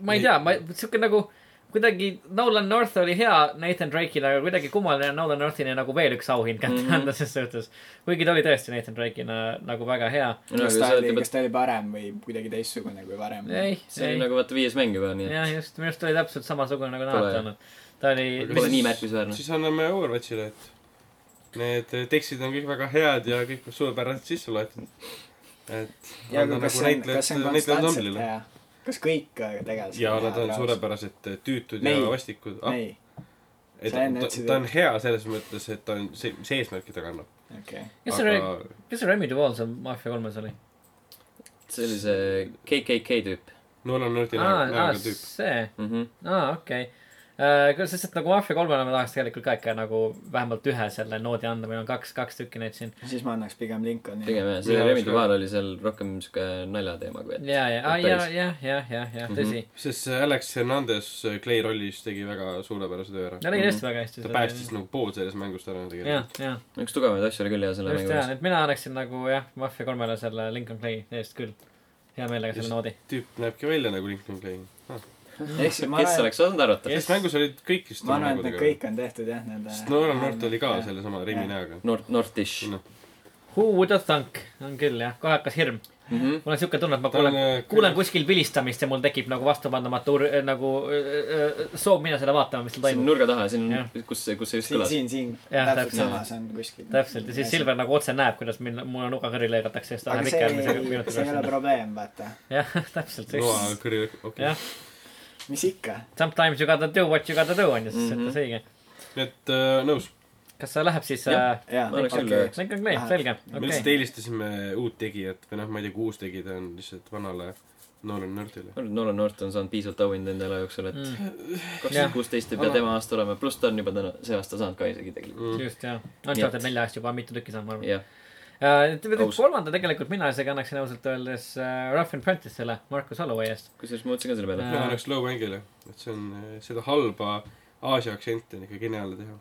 Speaker 2: ma ei tea , ma , sihuke nagu kuidagi Nolan North oli hea Nathan Drake'ina , aga kuidagi kummaline on Nolan North'ini nagu veel üks auhind kätte
Speaker 1: Mhm.
Speaker 2: anda ses suhtes . kuigi ta oli tõesti Nathan Drake'ina nagu väga hea .
Speaker 3: kas ta oli , kas ta oli parem või kuidagi teistsugune kui varem ?
Speaker 2: ei ,
Speaker 1: see oli
Speaker 2: ei ,
Speaker 1: nagu vaata viies mäng juba , nii et
Speaker 2: jah , just , minu arust ta oli täpselt samasugune nagu
Speaker 1: Pole,
Speaker 2: Nathan . ta oli
Speaker 4: Aga
Speaker 1: pole
Speaker 4: mis-
Speaker 1: nii märkimisväärne .
Speaker 4: siis anname Overwatchile , et need eh, tekstid on kõik väga head ja kõik suurepäraselt sisse loetud . et
Speaker 3: ja
Speaker 4: anda
Speaker 3: aga kas
Speaker 4: nagu
Speaker 3: see on ,
Speaker 4: näitlejad-
Speaker 3: kas see on
Speaker 4: näitlejad
Speaker 3: konstantselt
Speaker 4: ansamble'ile.
Speaker 3: hea ? kas kõik äh, tegelased
Speaker 4: ja nad on ? suurepärased eh, tüütud
Speaker 3: Nei.
Speaker 4: ja vastikud .
Speaker 3: ei ,
Speaker 4: et
Speaker 3: sa enne
Speaker 4: ta,
Speaker 3: ütlesid,
Speaker 4: ta on hea selles mõttes , et ta on see , mis eesmärki ta kannab .
Speaker 3: okei okay. .
Speaker 2: kes see oli , kes see Remi Duval seal Mafia kolmes oli ?
Speaker 1: see oli see KKK tüüp
Speaker 4: Nolan Nordi
Speaker 2: aa , aa ,
Speaker 4: näoga tüüp .
Speaker 2: see
Speaker 1: mhm. .
Speaker 2: aa , okei okay. . sest , et nagu Mafia kolmele ma tahaks tegelikult ka ikka nagu vähemalt ühe selle noodi anda , meil on kaks , kaks tükki neid siin .
Speaker 3: siis ma annaks pigem Lincolni .
Speaker 1: pigem jah ,
Speaker 4: Mina
Speaker 1: see Remi
Speaker 4: oleks ka-
Speaker 1: Duval oli seal rohkem siuke naljateema kui et
Speaker 2: ja , ja , ja ,
Speaker 1: Päris.
Speaker 2: ja , ja , ja , ja
Speaker 1: Mhm.
Speaker 2: tõsi .
Speaker 4: sest see Alex Hernandez eh, Clay rollis tegi väga suurepärase töö ära .
Speaker 2: ta tegi tõesti väga hästi
Speaker 4: Mhm. ta päästis . nagu pool sellest mängust ära
Speaker 2: jah
Speaker 4: tegelikult .,
Speaker 2: jah ,
Speaker 1: üks tugevaid asju oli küll ja selle
Speaker 2: just
Speaker 1: mängu
Speaker 2: jaa ,
Speaker 1: juures .
Speaker 2: et mina annaksin nagu jah , Mafia kolmele selle Lincoln Clay eest küll . hea meelega selle
Speaker 4: Just.
Speaker 2: noodi .
Speaker 4: tüüp näebki välja nagu Lincoln Clay ah. .
Speaker 3: ehk siis ma
Speaker 1: kes
Speaker 3: arvan ,
Speaker 1: oleks osanud arvata ?
Speaker 4: selles mängus olid kõik vist
Speaker 3: ma arvan , et need . kõik on tehtud jah , nende .
Speaker 4: sest Nolan North oli ka . sellesama Remi
Speaker 3: Jah.
Speaker 4: näoga .
Speaker 1: North , North-ish
Speaker 4: noh ,
Speaker 2: Who would have thunk on küll jah , kohe hakkas hirm .
Speaker 1: mm . -hmm.
Speaker 2: mul on siuke tunne , et ma
Speaker 4: ta on eh,
Speaker 2: kuulen , kuulen kuskil vilistamist ja mul tekib nagu vastupandamatu ur- nagu äh, äh, soov minna selle vaatama , mis seal
Speaker 1: siin
Speaker 2: toimub .
Speaker 1: nurga taha , siin on
Speaker 2: Jah. ,
Speaker 1: kus see , kus see just
Speaker 3: siin ,
Speaker 1: kõlas .
Speaker 3: siin , siin
Speaker 2: Jah,
Speaker 3: täpselt
Speaker 2: täpselt.
Speaker 3: samas on kuskil .
Speaker 2: täpselt ja siis Silver nagu otse näeb , kuidas minna , mulle nuga kõrvi lõigatakse ja siis ta
Speaker 3: aga
Speaker 2: läheb
Speaker 3: see
Speaker 2: ikka
Speaker 3: ei
Speaker 2: järgmise , minuti
Speaker 3: see ei ole
Speaker 2: pärast .
Speaker 3: probleem , vaata .
Speaker 2: jah , <laughs> täpselt .
Speaker 4: noa kõri , okei
Speaker 2: jah ,
Speaker 3: mis ikka
Speaker 2: sometimes you gotta do what you gotta do on ju , siis
Speaker 1: Mhm.
Speaker 2: ütled õige .
Speaker 4: nii et äh, nõus .
Speaker 2: kas see läheb siis
Speaker 1: Jah.
Speaker 2: äh,
Speaker 3: jaa ,
Speaker 1: Ma oleks küll
Speaker 3: okei
Speaker 1: üheks.
Speaker 2: Lincoln Clay , selge ,
Speaker 4: me lihtsalt
Speaker 2: okei .
Speaker 4: eelistasime uut tegijat või noh , ma ei tea , kui uus tegi , ta on lihtsalt vanale Nolan Northile .
Speaker 1: Nolan North on saanud piisavalt auhindu enda elu jooksul , et kaks
Speaker 2: Mm.
Speaker 1: tuhat
Speaker 2: Jah.
Speaker 1: kuusteist ei pea tema aasta olema , pluss ta on juba täna , see aasta saanud ka isegi tegelikult .
Speaker 4: Mm.
Speaker 2: just , jah . on
Speaker 1: Nii et-
Speaker 2: Jordan nelja eest juba mitu tükki saanud , ma arvan .
Speaker 1: jah , Aus.
Speaker 2: kolmanda tegelikult mina isegi annaksin ausalt öeldes äh, Rough and Prentice'ile , Markus Holloway eest .
Speaker 1: kusjuures ma mõtlesin ka selle peale .
Speaker 4: mina annaks Low Angle'ile , et see on äh, seda halba Aasia aktsenti on ikka geniaalne teha .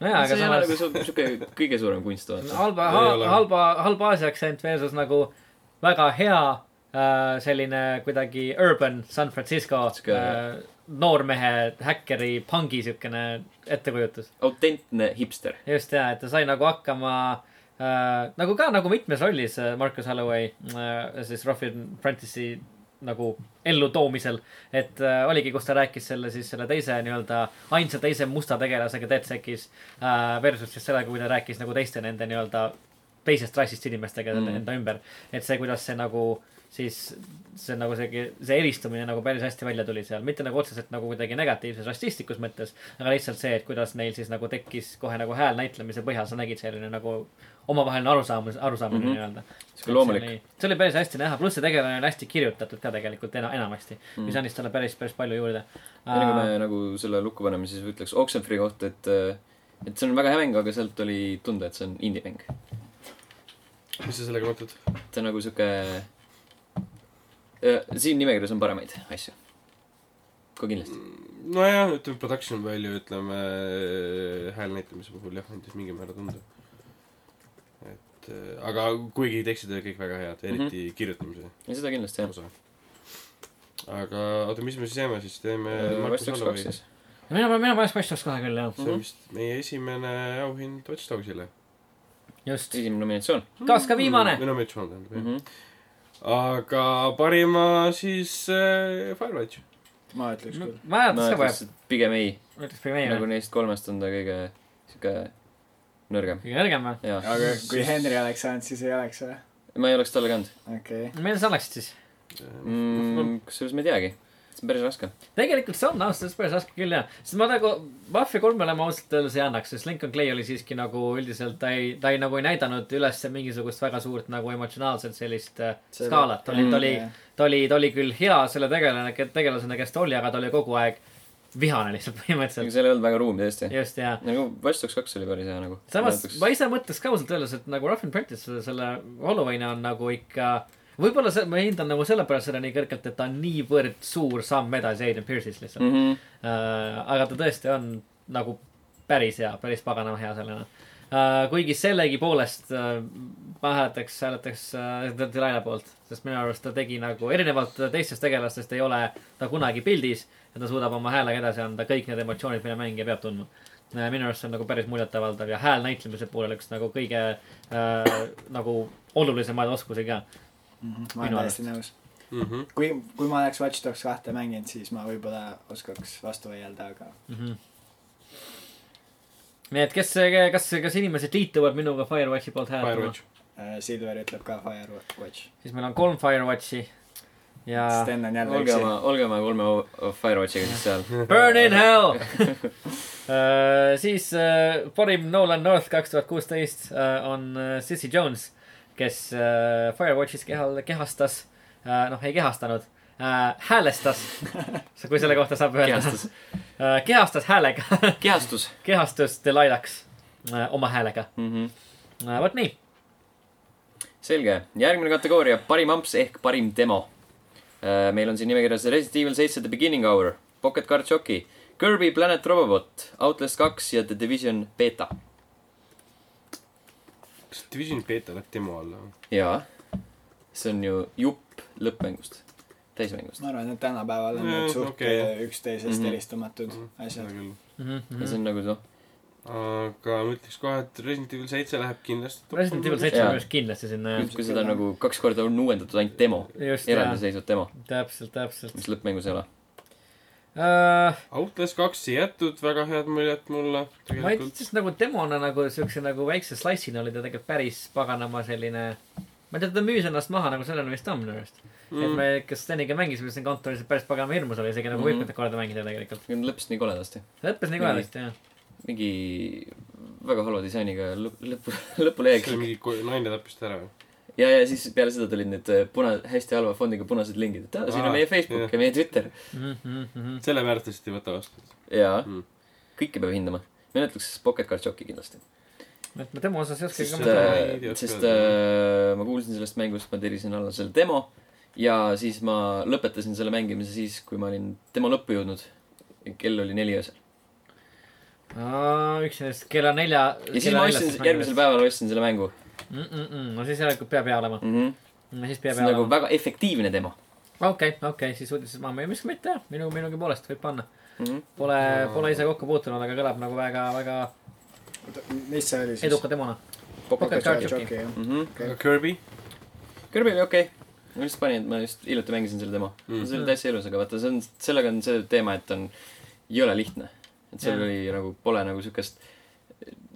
Speaker 2: nojaa , aga
Speaker 1: see ei ole
Speaker 2: samas
Speaker 1: nagu su- sihuke kõige suurem kunst vaata .
Speaker 2: halba
Speaker 4: Ei ole. ,
Speaker 2: halba , halba Aasia aktsent versus nagu väga hea äh, selline kuidagi urban San Francisco
Speaker 1: Sihuke-
Speaker 2: äh, noormehe häkkeri pangi siukene ettekujutus .
Speaker 1: autentne hipster .
Speaker 2: just ja , et ta sai nagu hakkama äh, nagu ka nagu mitmes rollis äh, Marcus Holloway äh, siis Rough and Prentice'i nagu ellutoomisel , et äh, oligi , kus ta rääkis selle siis selle teise nii-öelda ainsa teise musta tegelasega Deadsec'is äh, versus siis sellega , kui ta rääkis nagu teiste nende nii-öelda teisest rassist inimestega mm.
Speaker 1: Mm.
Speaker 2: enda ümber . et see , kuidas see nagu siis see nagu seegi , see eristumine nagu päris hästi välja tuli seal , mitte nagu otseselt nagu kuidagi negatiivses rassistlikus mõttes , aga lihtsalt see , et kuidas neil siis nagu tekkis kohe nagu hääl näitlemise põhjal , sa nägid selline nagu omavaheline arusaamus , arusaamine
Speaker 1: Mhm.
Speaker 2: mm -hmm. nii-öelda .
Speaker 1: Sihuke loomulik. .
Speaker 2: see oli päris hästi näha , pluss see tegelane on hästi kirjutatud ka tegelikult ena- , enamasti mm , -hmm. mis andis talle päris , päris palju juurde .
Speaker 1: enne kui me Mhm. nagu selle lukku paneme , siis ütleks Oxenfree kohta , et äh, et see on väga hea mäng , aga sealt oli tunda , et see on indie-mäng .
Speaker 4: mis sa sellega mõtled ?
Speaker 1: ta on nagu sihuke äh, siin nimekirjas on paremaid asju . ka kindlasti .
Speaker 4: nojah , ütleme production value , ütleme hääl näitamise puhul jah , andis mingi määra tunda . et äh, aga kuigi tekstid olid kõik väga head , eriti mm -hmm. kirjutamise
Speaker 1: ja seda kindlasti Mhm. jah .
Speaker 4: osa . aga oota , mis me siis jääme siis , teeme
Speaker 1: Watch
Speaker 4: Markus
Speaker 1: Dogs Äh, kaks
Speaker 4: Allovi .
Speaker 1: siis Mhm.
Speaker 4: see .
Speaker 2: mina , mina paneks Watch Dogs kahe küll jah ,
Speaker 4: on vist meie esimene auhind Watch Dogsile .
Speaker 2: just .
Speaker 1: esimene nominatsioon .
Speaker 2: kas
Speaker 4: Mm-hmm.
Speaker 2: ka viimane ?
Speaker 4: või no Mitch Holland tähendab jah mm .
Speaker 1: Mhm.
Speaker 4: -hmm. aga parima siis äh, Firewatch .
Speaker 3: ma ütleks küll .
Speaker 2: ma
Speaker 1: ma
Speaker 2: ei mäleta , see
Speaker 1: ütleks
Speaker 2: vajab ,,
Speaker 1: et pigem ei .
Speaker 2: ütleks Premiere
Speaker 1: nagu neist kolmest on ta kõige sihuke nõrgem .
Speaker 2: kõige nõrgem või ?
Speaker 1: jaa .
Speaker 3: aga kui Henri oleks saanud , siis ei oleks või ?
Speaker 1: ma ei oleks talle kandnud
Speaker 3: okei okay. .
Speaker 2: milles sa oleksid siis ?
Speaker 1: mm, . kusjuures ma ei teagi . see on päris raske .
Speaker 2: tegelikult see on ausalt öeldes päris raske küll jah , sest ma nagu Mafia kolmele ma ausalt öeldes ei annaks , sest Lincoln Clay oli siiski nagu üldiselt ta ei , ta ei nagu ei näidanud üles mingisugust väga suurt nagu emotsionaalset sellist äh,
Speaker 3: Seda-
Speaker 2: skaalat , ta oli , ta oli ,
Speaker 3: jah.
Speaker 2: ta oli , ta oli küll hea selle tegelane , tegelasena , kes ta oli , aga ta oli kogu aeg vihane lihtsalt <laughs>
Speaker 1: ega
Speaker 2: põhimõtteliselt ,
Speaker 1: seal ei olnud väga ruumi tõesti .
Speaker 2: just ja
Speaker 1: nagu Watch Dogs kaks oli päris hea nagu .
Speaker 2: samas ma ise mõtleks ka ausalt öeldes , et nagu Rough and Practice selle, selle Halloweeni on nagu ikka võib-olla see , ma hindan nagu sellepärast seda nii kõrgelt , et ta on niivõrd suur samm edasi Aiden Pierce'ist lihtsalt mm. .
Speaker 1: -hmm.
Speaker 2: Uh, aga ta tõesti on nagu päris hea , päris paganama hea sellena uh, . kuigi sellegipoolest uh, ma hääletaks , hääletaks uh, Delilah poolt , sest minu arust ta tegi nagu erinevalt teistest tegelastest ei ole ta kunagi pildis ja ta suudab oma häälega edasi anda kõik need emotsioonid , mida mängija peab tundma . minu arust see on nagu päris muljetavaldav ja hääl näitlemise poolel üks nagu kõige äh, nagu olulisemaid oskusi ka .
Speaker 3: Mhm. ma olen
Speaker 2: Minu
Speaker 3: täiesti nõus .
Speaker 4: Mhm,
Speaker 3: kui , kui ma oleks Watch Dogs kahte mänginud , siis ma võib-olla oskaks vastu vaielda , aga
Speaker 2: Mhm. nii et kes , kas , kas inimesed liituvad minuga Firewatchi poolt hääletama ?
Speaker 4: Firewatch .
Speaker 3: äh, Silver ütleb ka Firewatch .
Speaker 2: siis meil on kolm Firewatchi ja
Speaker 3: Sten on jälle
Speaker 1: olge
Speaker 3: üksi .
Speaker 1: oma , olge oma kolme o- o- Firewatchiga siis seal .
Speaker 2: Burn in hell <laughs> siis äh, parim Nolan North kaks tuhat kuusteist on äh, Sissy Jones , kes äh, Firewatchis kehal , kehastas äh, , noh , ei kehastanud äh, ,
Speaker 1: <laughs>
Speaker 2: häälestas , kui selle kohta saab öelda ,
Speaker 1: kehastus ,
Speaker 2: äh, kehastas häälega , <laughs>
Speaker 1: kehastus
Speaker 2: kehastus Delilaks äh, oma häälega
Speaker 1: mm . -hmm.
Speaker 2: äh, . vot nii ,
Speaker 1: selge , järgmine kategooria , parim amps ehk parim demo . meil on siin nimekirjas Resident Evil seitse The Beginning Hour , Pocket Card Shocki , Kirby Planet Robobot , Outlast kaks ja The Division beeta .
Speaker 4: kas Division beeta läheb demo alla ?
Speaker 1: jaa , see on ju jupp lõppmängust , täismängust .
Speaker 3: ma arvan , et tänapäeval on
Speaker 4: Mm,
Speaker 3: need suht
Speaker 4: okei, jah.
Speaker 3: okay. üksteisest
Speaker 1: Mhm.
Speaker 3: mm. eristumatud mm.
Speaker 4: seda
Speaker 3: asjad .
Speaker 4: küll .
Speaker 2: mm .
Speaker 1: ja see
Speaker 2: -hmm.
Speaker 1: on nagu noh ,
Speaker 4: aga ma ütleks kohe , et Resident Evil seitse läheb kindlasti .
Speaker 2: Resident Evil seitse
Speaker 1: Jaa.
Speaker 2: on minu arust kindlasti sinna ,
Speaker 1: kui seda nagu kaks korda on uuendatud ainult demo ,
Speaker 2: just ,
Speaker 1: eraldiseisvat demo ,
Speaker 2: täpselt , täpselt
Speaker 1: mis lõppmängus ei ole .
Speaker 2: äh, .
Speaker 4: Outlast kaks ei jätnud väga head muljet mulle .
Speaker 2: ma ei tea , siis nagu demona nagu siukse nagu väikse slice'ina oli ta tegelikult päris paganama selline . ma ei tea , ta müüs ennast maha nagu sellena vist on minu arust mm. .
Speaker 4: Mhm.
Speaker 2: et me , kes Steniga mängisime siin kontoris , päris paganama hirmus oli isegi nagu
Speaker 1: Mhm.
Speaker 2: mm. mitmendat korda mängida tegelikult .
Speaker 1: lõppes nii koledasti .
Speaker 2: see lõppes nii
Speaker 1: Mingi-
Speaker 2: koledasti jah .
Speaker 1: mingi väga halva disainiga lõpp , lõpp , <laughs> lõpuleeg
Speaker 4: see . mingi ko- naine tappis ta ära või ?
Speaker 1: ja , ja siis peale seda tulid need äh, puna , hästi halva fondiga punased lingid , et aa , siin on
Speaker 4: Aa,
Speaker 1: meie Facebook
Speaker 4: jah.
Speaker 1: ja meie Twitter .
Speaker 2: Mm-hmm,
Speaker 4: selle väärtust ei võta vastu .
Speaker 1: jaa
Speaker 4: Mm. ,
Speaker 1: kõike peab hindama . mina ütleks Pocket Card Shocki kindlasti .
Speaker 2: et ma demo osas ei oskagi
Speaker 4: Siis,
Speaker 1: sest
Speaker 4: ma seda
Speaker 2: kommenteerida .
Speaker 4: äh, ei tea, , oska
Speaker 1: sest
Speaker 4: öelda. noh.
Speaker 1: äh, ma kuulsin sellest mängust , ma tirisin alla selle demo ja siis ma lõpetasin selle mängimise siis , kui ma olin demo lõppu jõudnud . kell oli neli öösel .
Speaker 2: üks nendest kella nelja .
Speaker 1: ja siis ma ostsin , järgmisel . päeval ostsin selle mängu
Speaker 2: no siis järelikult peab hea olema .
Speaker 1: mm . -hmm.
Speaker 2: siis
Speaker 1: see
Speaker 2: peab
Speaker 1: on
Speaker 2: hea
Speaker 1: nagu
Speaker 2: olema .
Speaker 1: väga efektiivne demo
Speaker 2: okei , okei , siis uudised maha müüa , miks mitte jah , minu , minugi poolest võib panna .
Speaker 1: mm . -hmm.
Speaker 2: Pole , pole ise kokku puutunud , aga kõlab nagu väga , väga
Speaker 3: mis see oli siis ?
Speaker 2: eduka demona .
Speaker 3: Pocket Card
Speaker 2: Jockey.
Speaker 3: Jockey , jah .
Speaker 1: Mm -hmm.
Speaker 4: aga Kirby ?
Speaker 1: Kirby oli okei okay. . ma lihtsalt panin , et ma just hiljuti mängisin selle demo
Speaker 2: Mhm.
Speaker 1: mm. . see oli täitsa ilus , aga vaata , see on , sellega on see teema , et on , ei ole lihtne . et seal
Speaker 2: Jah.
Speaker 1: oli nagu , pole nagu siukest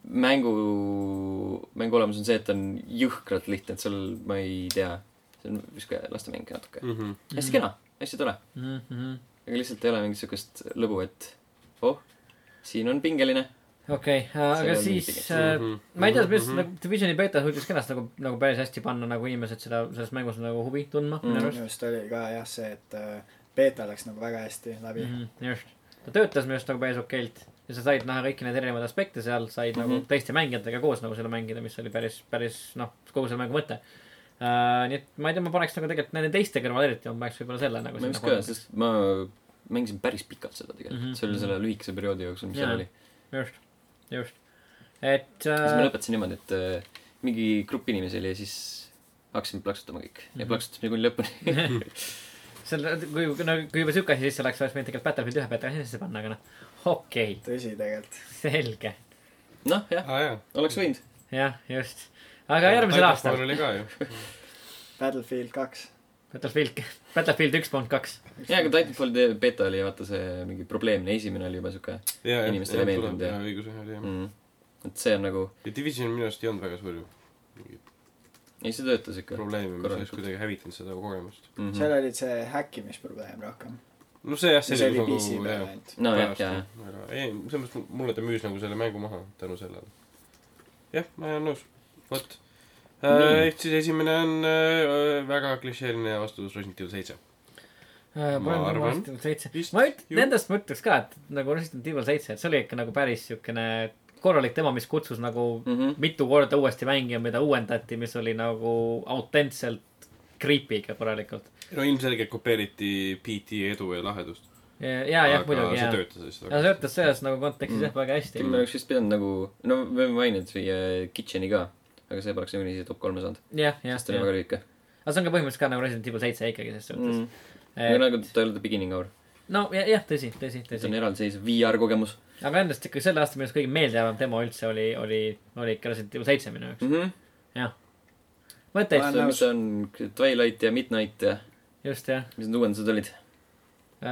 Speaker 1: mängu , mängu olemus on see , et on jõhkralt lihtne , et seal ma ei tea . see on siuke lastemäng natuke
Speaker 2: Mhm.
Speaker 1: mm. .
Speaker 4: -hmm.
Speaker 1: hästi kena , hästi tore .
Speaker 2: mhmh .
Speaker 1: aga lihtsalt ei ole mingit siukest lõbu , et oh , siin on pingeline .
Speaker 2: okei , aga
Speaker 1: on
Speaker 2: siis
Speaker 1: mingi-
Speaker 2: äh,
Speaker 4: Mhm.
Speaker 2: ma ei tea , mis
Speaker 4: Mhm.
Speaker 2: nagu Divisioni beeta suutis kenasti nagu , nagu päris hästi panna nagu inimesed seda , selles mängus nagu huvi tundma minu
Speaker 1: Mhm.
Speaker 2: arust .
Speaker 3: Mm, minu arust oli ka jah see , et äh, beeta läks nagu väga hästi läbi mm .
Speaker 2: Mhm, just , ta töötas minu arust nagu päris okeilt ja sa said näha kõiki neid erinevaid aspekte seal , said mm -hmm.
Speaker 1: Mhm.
Speaker 2: nagu teiste mängijatega koos nagu selle mängida , mis oli päris , päris noh , kogu selle mängu mõte uh, . nii et ma ei tea , ma paneks nagu tegelikult nende teiste kõrval eriti , ma paneks võib-olla selle nagu
Speaker 1: ma ei oska öelda , sest ma mängisin päris pikalt seda tegelikult mm , -hmm.
Speaker 2: Mhm.
Speaker 1: see oli selle lühikese perioodi jooksul , mis seal
Speaker 2: Jaa.
Speaker 1: oli .
Speaker 2: just , just , et
Speaker 1: siis ma
Speaker 2: uh,
Speaker 1: lõpetasin niimoodi , et äh, mingi grupp inimesi oli ja siis hakkasime plaksutama kõik ja
Speaker 2: Mhm.
Speaker 1: plaksutasime kuni lõpuni . <laughs>
Speaker 2: <laughs> selle , kui , no kui juba siuke asi sisse läks , oleks võinud tegelikult Battlefield ühe pealt asja sisse panna , aga noh , okei okay, ,
Speaker 3: tõsi tegelikult .
Speaker 2: selge ,
Speaker 1: noh , jah ,
Speaker 4: aa Ah, jaa .
Speaker 1: oleks võinud .
Speaker 2: jah , just , aga järgmisel aastal
Speaker 4: oli ka ju .
Speaker 3: Battlefield kaks .
Speaker 2: Battlefield , Battlefield üks punkt kaks .
Speaker 1: jaa , aga Titanfalli beeta oli vaata see mingi probleemne , esimene oli juba siuke Inimestele ei meeldinud, jah.
Speaker 4: jah . õigus jah , oli jah .
Speaker 1: mm, , et see on nagu ,
Speaker 4: ja Division minu arust ei olnud väga suur ju
Speaker 1: ei see töötas ikka mm .
Speaker 4: probleem , mis oleks
Speaker 1: korralikult.
Speaker 4: kuidagi hävitanud seda kogemust .
Speaker 3: seal
Speaker 1: -hmm.
Speaker 3: oli see häkkimisprobleem rohkem .
Speaker 4: no see jah ,
Speaker 3: see oli
Speaker 4: nagu
Speaker 3: PC peal
Speaker 4: jah .
Speaker 3: ainult .
Speaker 1: nojah , jaa , jaa .
Speaker 4: aga ei , selles mõttes mulle ta müüs nagu selle mängu maha tänu sellele . jah , ma olen nõus . vot .
Speaker 1: Nii.
Speaker 4: ehk siis esimene on äh, väga klišeeline vastus Resident Evil seitse .
Speaker 2: Äh, ma
Speaker 4: arvan.
Speaker 2: arvan . seitse ,
Speaker 4: Vist
Speaker 2: ma üt- ,
Speaker 4: ju-
Speaker 2: nendest ma ütleks ka , et nagu Resident Evil seitse , et see oli ikka nagu päris siukene korralik tema , mis kutsus nagu mm
Speaker 1: Mhm.
Speaker 2: -hmm. mitu korda uuesti mängima , mida uuendati , mis oli nagu autentselt creepy ikka korralikult .
Speaker 4: no ilmselgelt kopeeriti PT edu ja lahedust .
Speaker 2: ja , ja , jah , muidugi ,
Speaker 4: see
Speaker 2: jah .
Speaker 4: töötas lihtsalt
Speaker 2: ja see . töötas selles nagu kontekstis jah , väga hästi
Speaker 1: küll . me oleks vist pidanud nagu , no me võime mainida siia äh, Kitcheni ka , aga see poleks niikuinii siia top kolme saanud ,
Speaker 2: jah , jah ,
Speaker 1: sest ta oli väga
Speaker 2: jah .
Speaker 1: lühike
Speaker 2: aga see on ka põhimõtteliselt ka nagu Resident Evil seitse ikkagi selles suhtes
Speaker 1: mm. . aga
Speaker 2: mm. .
Speaker 1: nagu ta ei ole ta beginning hour ,
Speaker 2: no ja- jah , tõsi , tõsi ,
Speaker 1: see
Speaker 2: tõsi
Speaker 1: on . eraldiseisev VR kogemus
Speaker 2: aga endast ikka selle aasta minu arust kõige meeldejäävam demo üldse oli , oli , oli ikka Resident Evil seitse minu jaoks .
Speaker 1: mm . -hmm.
Speaker 2: jah . mõtteid
Speaker 3: Ma Mhm. olen
Speaker 1: see ,
Speaker 3: nõus.
Speaker 1: mis on Twilight ja Midnight ja
Speaker 2: just jah
Speaker 1: mis need uuendused olid
Speaker 2: uh, .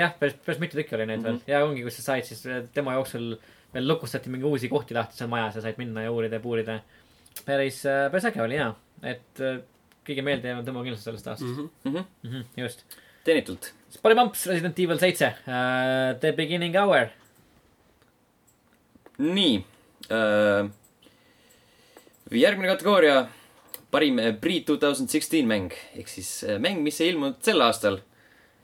Speaker 2: jah , päris , päris mitu tükki oli neid mm
Speaker 1: Mhm.
Speaker 2: -hmm. veel ja ongi , kus sa said siis äh, tema jooksul veel lukustati mingi uusi kohti lahti seal majas ja said minna ja uurida ja puurida . päris , päris äge oli jaa , et uh, kõige meeldejäävam tema kindlasti sellest aastast mm .
Speaker 1: mm .
Speaker 3: Mhm.
Speaker 1: -hmm.
Speaker 2: -hmm. Mm -hmm, just .
Speaker 1: teenitult .
Speaker 2: siis parim amps Resident Evil seitse uh, , The Beginning Hour .
Speaker 1: nii äh, . järgmine kategooria , parim äh, pre-2016 mäng ehk siis äh, mäng , mis ei ilmunud sel aastal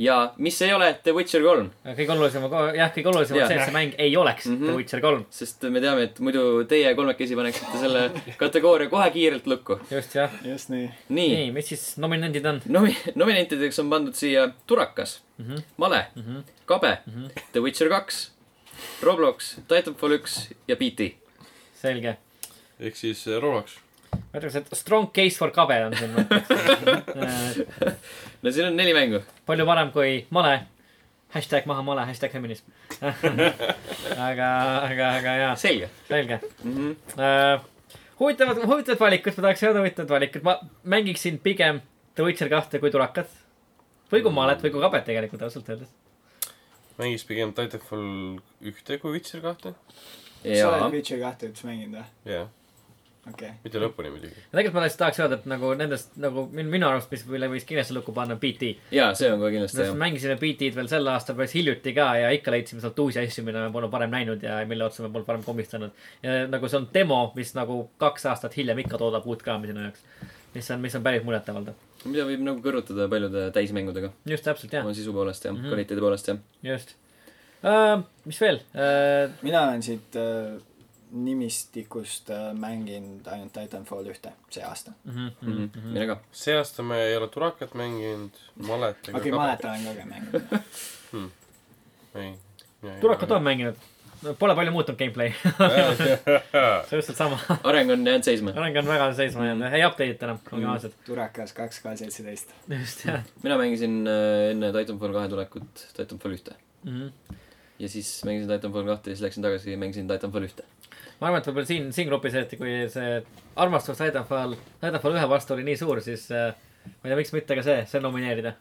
Speaker 1: ja mis ei ole The Witcher kolm ,
Speaker 2: Äh, kõige olulisem , jah , kõige olulisem on
Speaker 1: Jah.
Speaker 2: see , et see mäng ei oleks mm
Speaker 1: Mhm.
Speaker 2: -hmm. The Witcher kolm .
Speaker 1: sest me teame , et muidu teie kolmekesi paneksite
Speaker 3: <laughs>
Speaker 1: selle kategooria kohe kiirelt lukku .
Speaker 2: just jah .
Speaker 3: just nii .
Speaker 1: nii ,
Speaker 2: nii , mis siis nominendid on
Speaker 1: nomi- , nominentideks on pandud siia Turakas ,
Speaker 2: mm ? -hmm.
Speaker 1: Male
Speaker 2: Mm -hmm.
Speaker 1: Kabe mm ,
Speaker 2: Mhm.
Speaker 1: -hmm. The Witcher kaks , Roblox , Titanfall üks ja PT .
Speaker 2: selge .
Speaker 4: ehk siis äh, Roblox .
Speaker 2: ma ütleks , et strong case for kabe on siin .
Speaker 1: <laughs>
Speaker 2: Äh,
Speaker 1: no siin on neli mängu .
Speaker 2: palju parem kui male . hashtag maha male , hashtag feminism . aga , aga , aga jaa ,
Speaker 1: selge
Speaker 2: Ah, selge
Speaker 1: mm . -hmm.
Speaker 2: uh, . huvitavad , huvitavad valikud , ma tahaks öelda huvitavad valikud , ma mängiksin pigem The Witcher kahte kui tulakat . või kui malet või kui kabet tegelikult ausalt öeldes .
Speaker 4: mängis pigem Titanfall ühte kui Witcher kahte .
Speaker 3: sa
Speaker 1: jaa
Speaker 3: oled , Witcher kahte üldse mänginud või ?
Speaker 4: jah ,
Speaker 3: okei .
Speaker 4: mitte lõpuni muidugi .
Speaker 2: ja tegelikult ma lihtsalt tahaks öelda , et nagu nendest nagu min- minu arust , mis , mille võis kindlasti lukku panna , BT .
Speaker 1: jaa , see on kohe kindlasti
Speaker 2: me
Speaker 1: jah .
Speaker 2: mängisime BT-d veel sel aastal päris hiljuti ka ja ikka leidsime sealt uusi asju , mida me pole varem näinud ja mille otsa me pole varem komistanud . ja nagu see on demo , mis nagu kaks aastat hiljem ikka toodab uut kraami sinu jaoks . mis on , mis on päris muljetavaldav .
Speaker 1: mida võib nagu kõrvutada paljude täismängudega .
Speaker 2: just täpselt jah ,
Speaker 1: oma sisu poolest ja mm
Speaker 2: Mhm.
Speaker 1: -hmm. kvaliteedi poolest ja .
Speaker 2: just uh, . mis veel uh, ?
Speaker 3: mina olen siit äh, nimistikust äh, mänginud ainult Titanfall ühte see aasta .
Speaker 2: mhm,
Speaker 1: Mhm, mina
Speaker 2: <laughs>
Speaker 1: ka .
Speaker 4: see aasta me ei ole Turakat mänginud , Malet
Speaker 3: okei , Malet . olen ka ka
Speaker 4: <laughs>
Speaker 3: mänginud .
Speaker 4: ei .
Speaker 2: turakat on mänginud . Pole palju muutunud gameplay ,
Speaker 1: <laughs>
Speaker 2: <laughs> see on just sama .
Speaker 1: areng on jäänud seisma .
Speaker 2: areng on väga seisma jäänud , ei update'ita enam , olgem
Speaker 1: Mhm.
Speaker 2: ausad .
Speaker 3: Turakas kaks K seitseteist .
Speaker 2: just jah
Speaker 1: mina mängisin äh, enne Titanfall kahe tulekut Titanfall ühte
Speaker 2: mm . -hmm.
Speaker 1: ja siis mängisin Titanfall kahte ja siis läksin tagasi ja mängisin Titanfall ühte .
Speaker 2: ma arvan , et võib-olla siin , siin grupis eriti , kui see armastus Titanfall , Titanfall ühe vastu oli nii suur , siis äh, ma ei tea , miks mitte ka see , see nomineerida .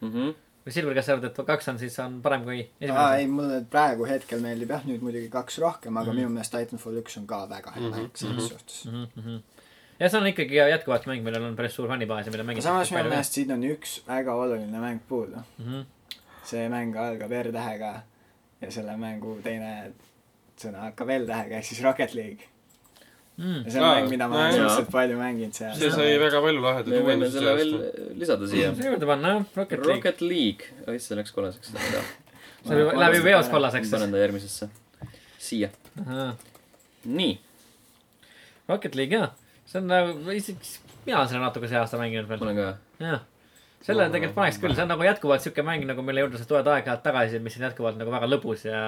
Speaker 1: Mhm.
Speaker 2: või Silver , kas sa arvad , et kaks on siis , on parem kui
Speaker 3: aa ,
Speaker 2: esimene
Speaker 3: ei ,? mulle praegu hetkel meeldib
Speaker 4: Mhm.
Speaker 2: Mhm.
Speaker 3: jah , nüüd muidugi kaks rohkem , aga minu meelest Titanfall üks on ka väga hea mäng selles suhtes .
Speaker 2: ja see on ikkagi jätkuvalt mäng , millel on päris suur fännibaas ja mida
Speaker 3: aga
Speaker 2: mängib
Speaker 3: samas minu meelest siin on üks väga oluline mäng puudu .
Speaker 2: Mhm,
Speaker 3: see mäng algab R-tähega ja selle mängu teine sõna hakkab L-tähega ehk siis Rocket League .
Speaker 2: mhm.
Speaker 3: ja see on
Speaker 4: Aa,
Speaker 3: mäng , mida ma
Speaker 4: nojah.
Speaker 3: olen suhteliselt palju mänginud seal .
Speaker 4: see sai väga palju lahedaid
Speaker 1: me võime
Speaker 4: uuendusi
Speaker 1: selle
Speaker 4: see
Speaker 1: veel
Speaker 4: aasta .
Speaker 1: lisada siia .
Speaker 3: <laughs>
Speaker 2: juurde panna jah , Rocket League .
Speaker 1: Rocket League , oi see läks kollaseks ,
Speaker 2: <laughs>
Speaker 1: läheb
Speaker 2: see läheb- läheb juba eos kollaseks siis
Speaker 1: panen . ta järgmisesse , siia ,
Speaker 2: Ahaa.
Speaker 1: nii .
Speaker 2: Rocket League jah , see on nagu , isegi mina olen seda natuke see aasta mänginud
Speaker 1: ma
Speaker 2: veel ,
Speaker 1: olen ka ,
Speaker 2: jah . selle tegelikult paneks küll , see on nagu jätkuvalt siuke mäng nagu mille juurde sa tuled aeg-ajalt tagasi , mis on jätkuvalt nagu väga lõbus ja .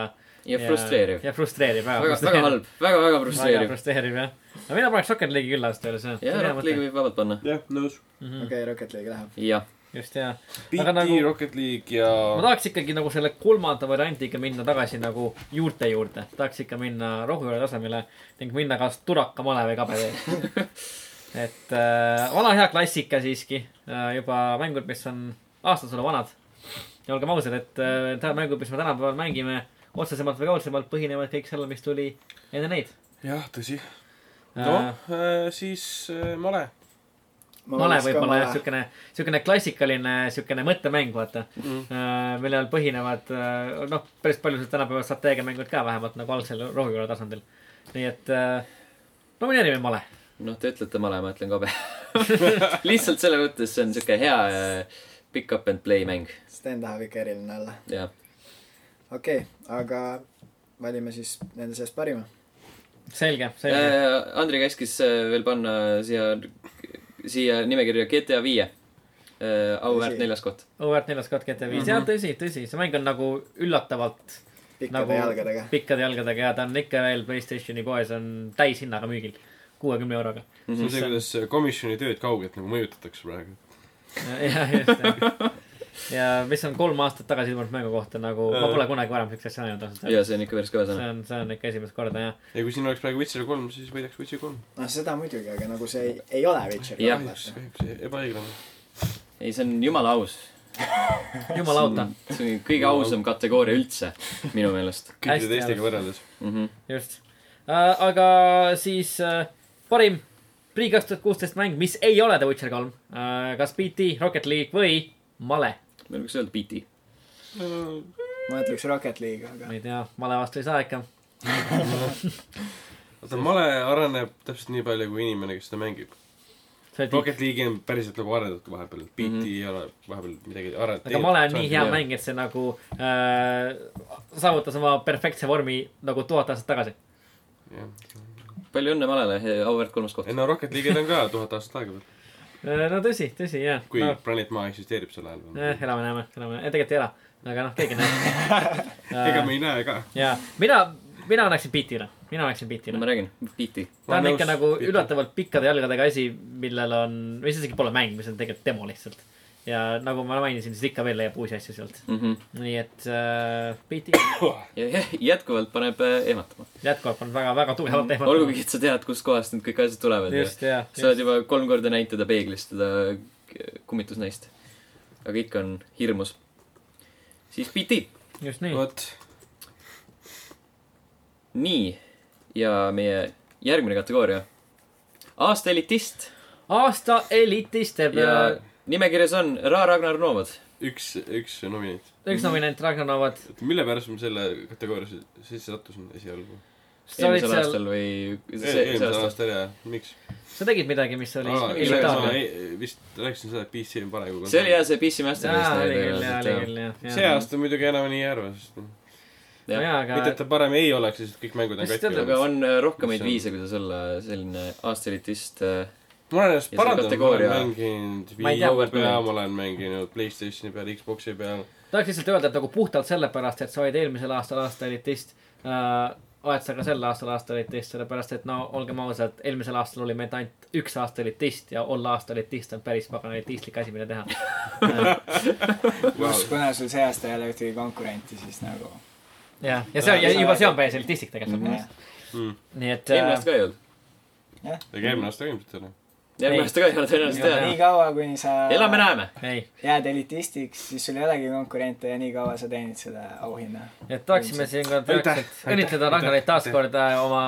Speaker 1: ja frustreeriv ,
Speaker 2: ja frustreeriv , väga
Speaker 1: väga , väga . halb , väga-väga
Speaker 2: väga
Speaker 1: frustreeriv .
Speaker 2: frustreeriv jah . aga mina paneks Rocket League'i küll aasta üle , see on .
Speaker 1: ja Rocket League'i võib vabalt panna ,
Speaker 4: jah , nõus .
Speaker 3: okei , Rocket League läheb .
Speaker 1: jah .
Speaker 2: just ja ,
Speaker 4: BT
Speaker 2: Aga nagu-
Speaker 4: Rocket League ja
Speaker 2: ma tahaks ikkagi nagu selle kolmanda variandiga minna tagasi nagu juurte juurde , tahaks ikka minna rohujuure tasemele ning minna kas turaka malevi kabeli .
Speaker 1: <laughs>
Speaker 2: et äh, vana hea klassika siiski äh, , juba mängud , mis on aastasada vanad . ja olgem ausad , et äh, täna mängud , mis me tänapäeval mängime , otsesemalt või kaudsemalt põhinevad kõik sellel , mis tuli enne neid .
Speaker 4: jah , tõsi .
Speaker 2: Äh.
Speaker 4: noh , siis äh, male .
Speaker 2: male võib-olla jah ,. siukene , siukene klassikaline siukene mõttemäng , vaata mm. . millel põhinevad äh, noh , päris paljud tänapäeval strateegiamängud ka vähemalt nagu algsel rohujuure tasandil . nii et äh, nomineerime male .
Speaker 1: noh , te ütlete male , ma ütlen
Speaker 2: <laughs>
Speaker 1: kabe . <laughs> lihtsalt selle mõttes see on siuke hea äh, pick up and play mäng ,
Speaker 3: Sten tahab ikka eriline olla .
Speaker 1: jah .
Speaker 3: okei , aga valime siis nende seast parima .
Speaker 2: selge ,
Speaker 1: Äh.
Speaker 2: selge .
Speaker 1: Andri käskis äh, veel panna siia , siia nimekirja GTA viie , auväärt
Speaker 3: Tõsi.
Speaker 1: neljas koht .
Speaker 2: auväärt neljas kord GTA viis , jah tõsi , tõsi , see mäng on nagu üllatavalt
Speaker 3: pikkade
Speaker 2: nagu
Speaker 3: nagu... jalgadega .
Speaker 2: pikkade jalgadega ja ta on ikka veel Playstationi poes on täishinnaga müügil , kuuekümne euroga .
Speaker 4: see on see , kuidas äh, komisjoni tööd kaugelt nagu mõjutatakse praegu .
Speaker 2: jah , just , jah . ja mis on kolm aastat tagasi ilmunud mängu kohta nagu , ma pole kunagi varem siukest asja näinud ausalt
Speaker 1: ja see on ikka päris kõva
Speaker 2: see
Speaker 1: sõna .
Speaker 2: on , see on ikka esimest korda jah .
Speaker 4: ja kui siin oleks praegu Witcher kolm , siis võidaks Witcher kolm .
Speaker 3: noh , seda muidugi , aga nagu see ei, ei ole Witcher
Speaker 1: Jah.
Speaker 3: kolmas .
Speaker 4: ebaõiglane .
Speaker 1: ei , see on jumala aus .
Speaker 2: jumala auto ,
Speaker 1: Mm. see on kõige ausam kategooria üldse , minu meelest
Speaker 4: kõikide
Speaker 2: Hästi
Speaker 4: teistega
Speaker 2: arvestatud.
Speaker 4: võrreldes .
Speaker 1: mm . -hmm.
Speaker 2: just äh, . aga siis äh, parim prii kaks tuhat kuusteist mäng , mis ei ole The Witcher kolm äh, . kas BT , Rocket League või Male ?
Speaker 1: meil võiks öelda BT .
Speaker 4: Äh,
Speaker 3: ma ütleks Rocket League , aga
Speaker 2: ma ei tea , Male vastu ei saa ikka .
Speaker 4: vaata , male areneb täpselt nii palju , kui inimene , kes seda mängib .
Speaker 2: see oli
Speaker 4: Rocket League'i on päriselt nagu arendatud vahepeal , BT mm -hmm. ei ole vahepeal midagi arendatud .
Speaker 2: Mhm. aga Male on nii hea
Speaker 1: jah.
Speaker 2: mäng , et see nagu äh, saavutas oma perfektse vormi nagu tuhat aastat tagasi .
Speaker 1: palju õnne malele , auväärt kolmas koht
Speaker 4: ei . no Rocket League'id on
Speaker 2: <laughs>
Speaker 4: ka tuhat aastat aega veel ,
Speaker 2: Äh, no tõsi , tõsi jah .
Speaker 4: kui
Speaker 2: no,
Speaker 4: no. planeet Maa eksisteerib sel ajal
Speaker 2: eh,
Speaker 4: veel .
Speaker 2: elame-näeme , elame , tegelikult ei ela , aga noh , keegi ei
Speaker 4: <laughs> ega
Speaker 2: näe .
Speaker 4: me ei näe ka .
Speaker 2: ja mina , mina annaksin BT-le , mina annaksin BT-le
Speaker 1: no . ma räägin , BT .
Speaker 2: ta on
Speaker 4: Ma olen
Speaker 2: ikka
Speaker 4: nõus,
Speaker 2: nagu
Speaker 4: Peeter.
Speaker 2: üllatavalt pikkade jalgadega asi , millel on , või see isegi pole mäng , mis on tegelikult demo lihtsalt . ja nagu ma mainisin , siis ikka veel leiab uusi asju sealt . nii et äh, BT
Speaker 1: Mhm. ja jä- jätkuvalt paneb äh, ehmatama .
Speaker 2: jätkuvalt on väga , väga tugevalt teema .
Speaker 1: olgugi , et sa tead , kustkohast need kõik asjad tulevad .
Speaker 2: just , ja ,
Speaker 1: sa oled juba kolm korda näinud teda peeglis , teda kummitusnaist . äh, aga ikka on hirmus . siis BT .
Speaker 2: just nii .
Speaker 4: vot ,
Speaker 1: nii , ja meie järgmine kategooria . aasta elitist
Speaker 2: aasta elitist teeb
Speaker 1: ja
Speaker 2: ja...
Speaker 1: nimekirjas on Ra Ragnar Novad .
Speaker 4: üks , üks nominent .
Speaker 2: üks nominent Ragnar Novad .
Speaker 4: et mille pärast ma selle kategooriasse sisse sattusin esialgu ?
Speaker 2: sa olid
Speaker 1: eelmisel
Speaker 2: seal ,
Speaker 1: aastal või see , see
Speaker 4: eelmisel
Speaker 1: aasta .
Speaker 4: aastal ja miks ?
Speaker 2: sa tegid midagi , mis oli elitaarne .
Speaker 4: vist rääkisin seda , et BC on parem kui
Speaker 1: see oli jah , see PC Master .
Speaker 2: jaa , oli küll , jaa , oli küll , jah .
Speaker 4: see . aasta muidugi enam nii ei arva , sest noh ,
Speaker 2: no jaa , aga
Speaker 4: mitte et ta parem ei oleks , lihtsalt kõik mängud on
Speaker 2: Mis
Speaker 4: katki
Speaker 2: tähendab,
Speaker 4: olnud .
Speaker 1: aga on äh, rohkemaid
Speaker 4: See on-
Speaker 1: viise , kuidas olla selline äh, aastaelitist .
Speaker 4: ma olen ennast
Speaker 1: Ja see
Speaker 4: parandanud , ma olen
Speaker 1: kategooria-
Speaker 4: mänginud
Speaker 2: Ma ei tea,
Speaker 4: Viio
Speaker 1: ma
Speaker 4: peal ,
Speaker 1: mängin.
Speaker 4: ma olen mänginud Playstationi peal , Xbox'i peal .
Speaker 2: tahaks lihtsalt öelda , et nagu puhtalt sellepärast , et sa olid eelmisel aastal aasta elitist äh, , oled sa ka sel aastal aasta elitist , sellepärast et no olgem ausad , eelmisel aastal oli meid ainult üks aasta elitist ja olla aasta elitist on päris pagana elitistlik asi , mida teha .
Speaker 3: pluss kuna sul see aasta ei ole ühtegi konkurenti , siis nagu
Speaker 2: jah , ja see , ja juba see on päris elitistlik
Speaker 4: Mhm.
Speaker 3: jah.
Speaker 2: tegelikult . nii et
Speaker 1: eelmine aasta
Speaker 2: äh,
Speaker 1: ka ei olnud .
Speaker 4: ja Mm. eelmine aasta ka ilmselt ei ole .
Speaker 2: Ei.
Speaker 1: järgmine aasta ka ei ole tõenäoliselt
Speaker 2: Ei
Speaker 1: jah .
Speaker 3: nii kaua , kuni sa
Speaker 1: elame-näeme .
Speaker 2: äh, ei ,
Speaker 3: jääd elitistiks , siis sul ei olegi konkurente ja nii kaua sa teenid seda auhinna .
Speaker 2: et tahaksime siinkohal
Speaker 4: Aitäh,
Speaker 2: tõeliselt
Speaker 4: aitäh,
Speaker 2: õnnitleda
Speaker 4: aitäh,
Speaker 2: Ragnarit taas
Speaker 4: aitäh.
Speaker 2: kord äh, oma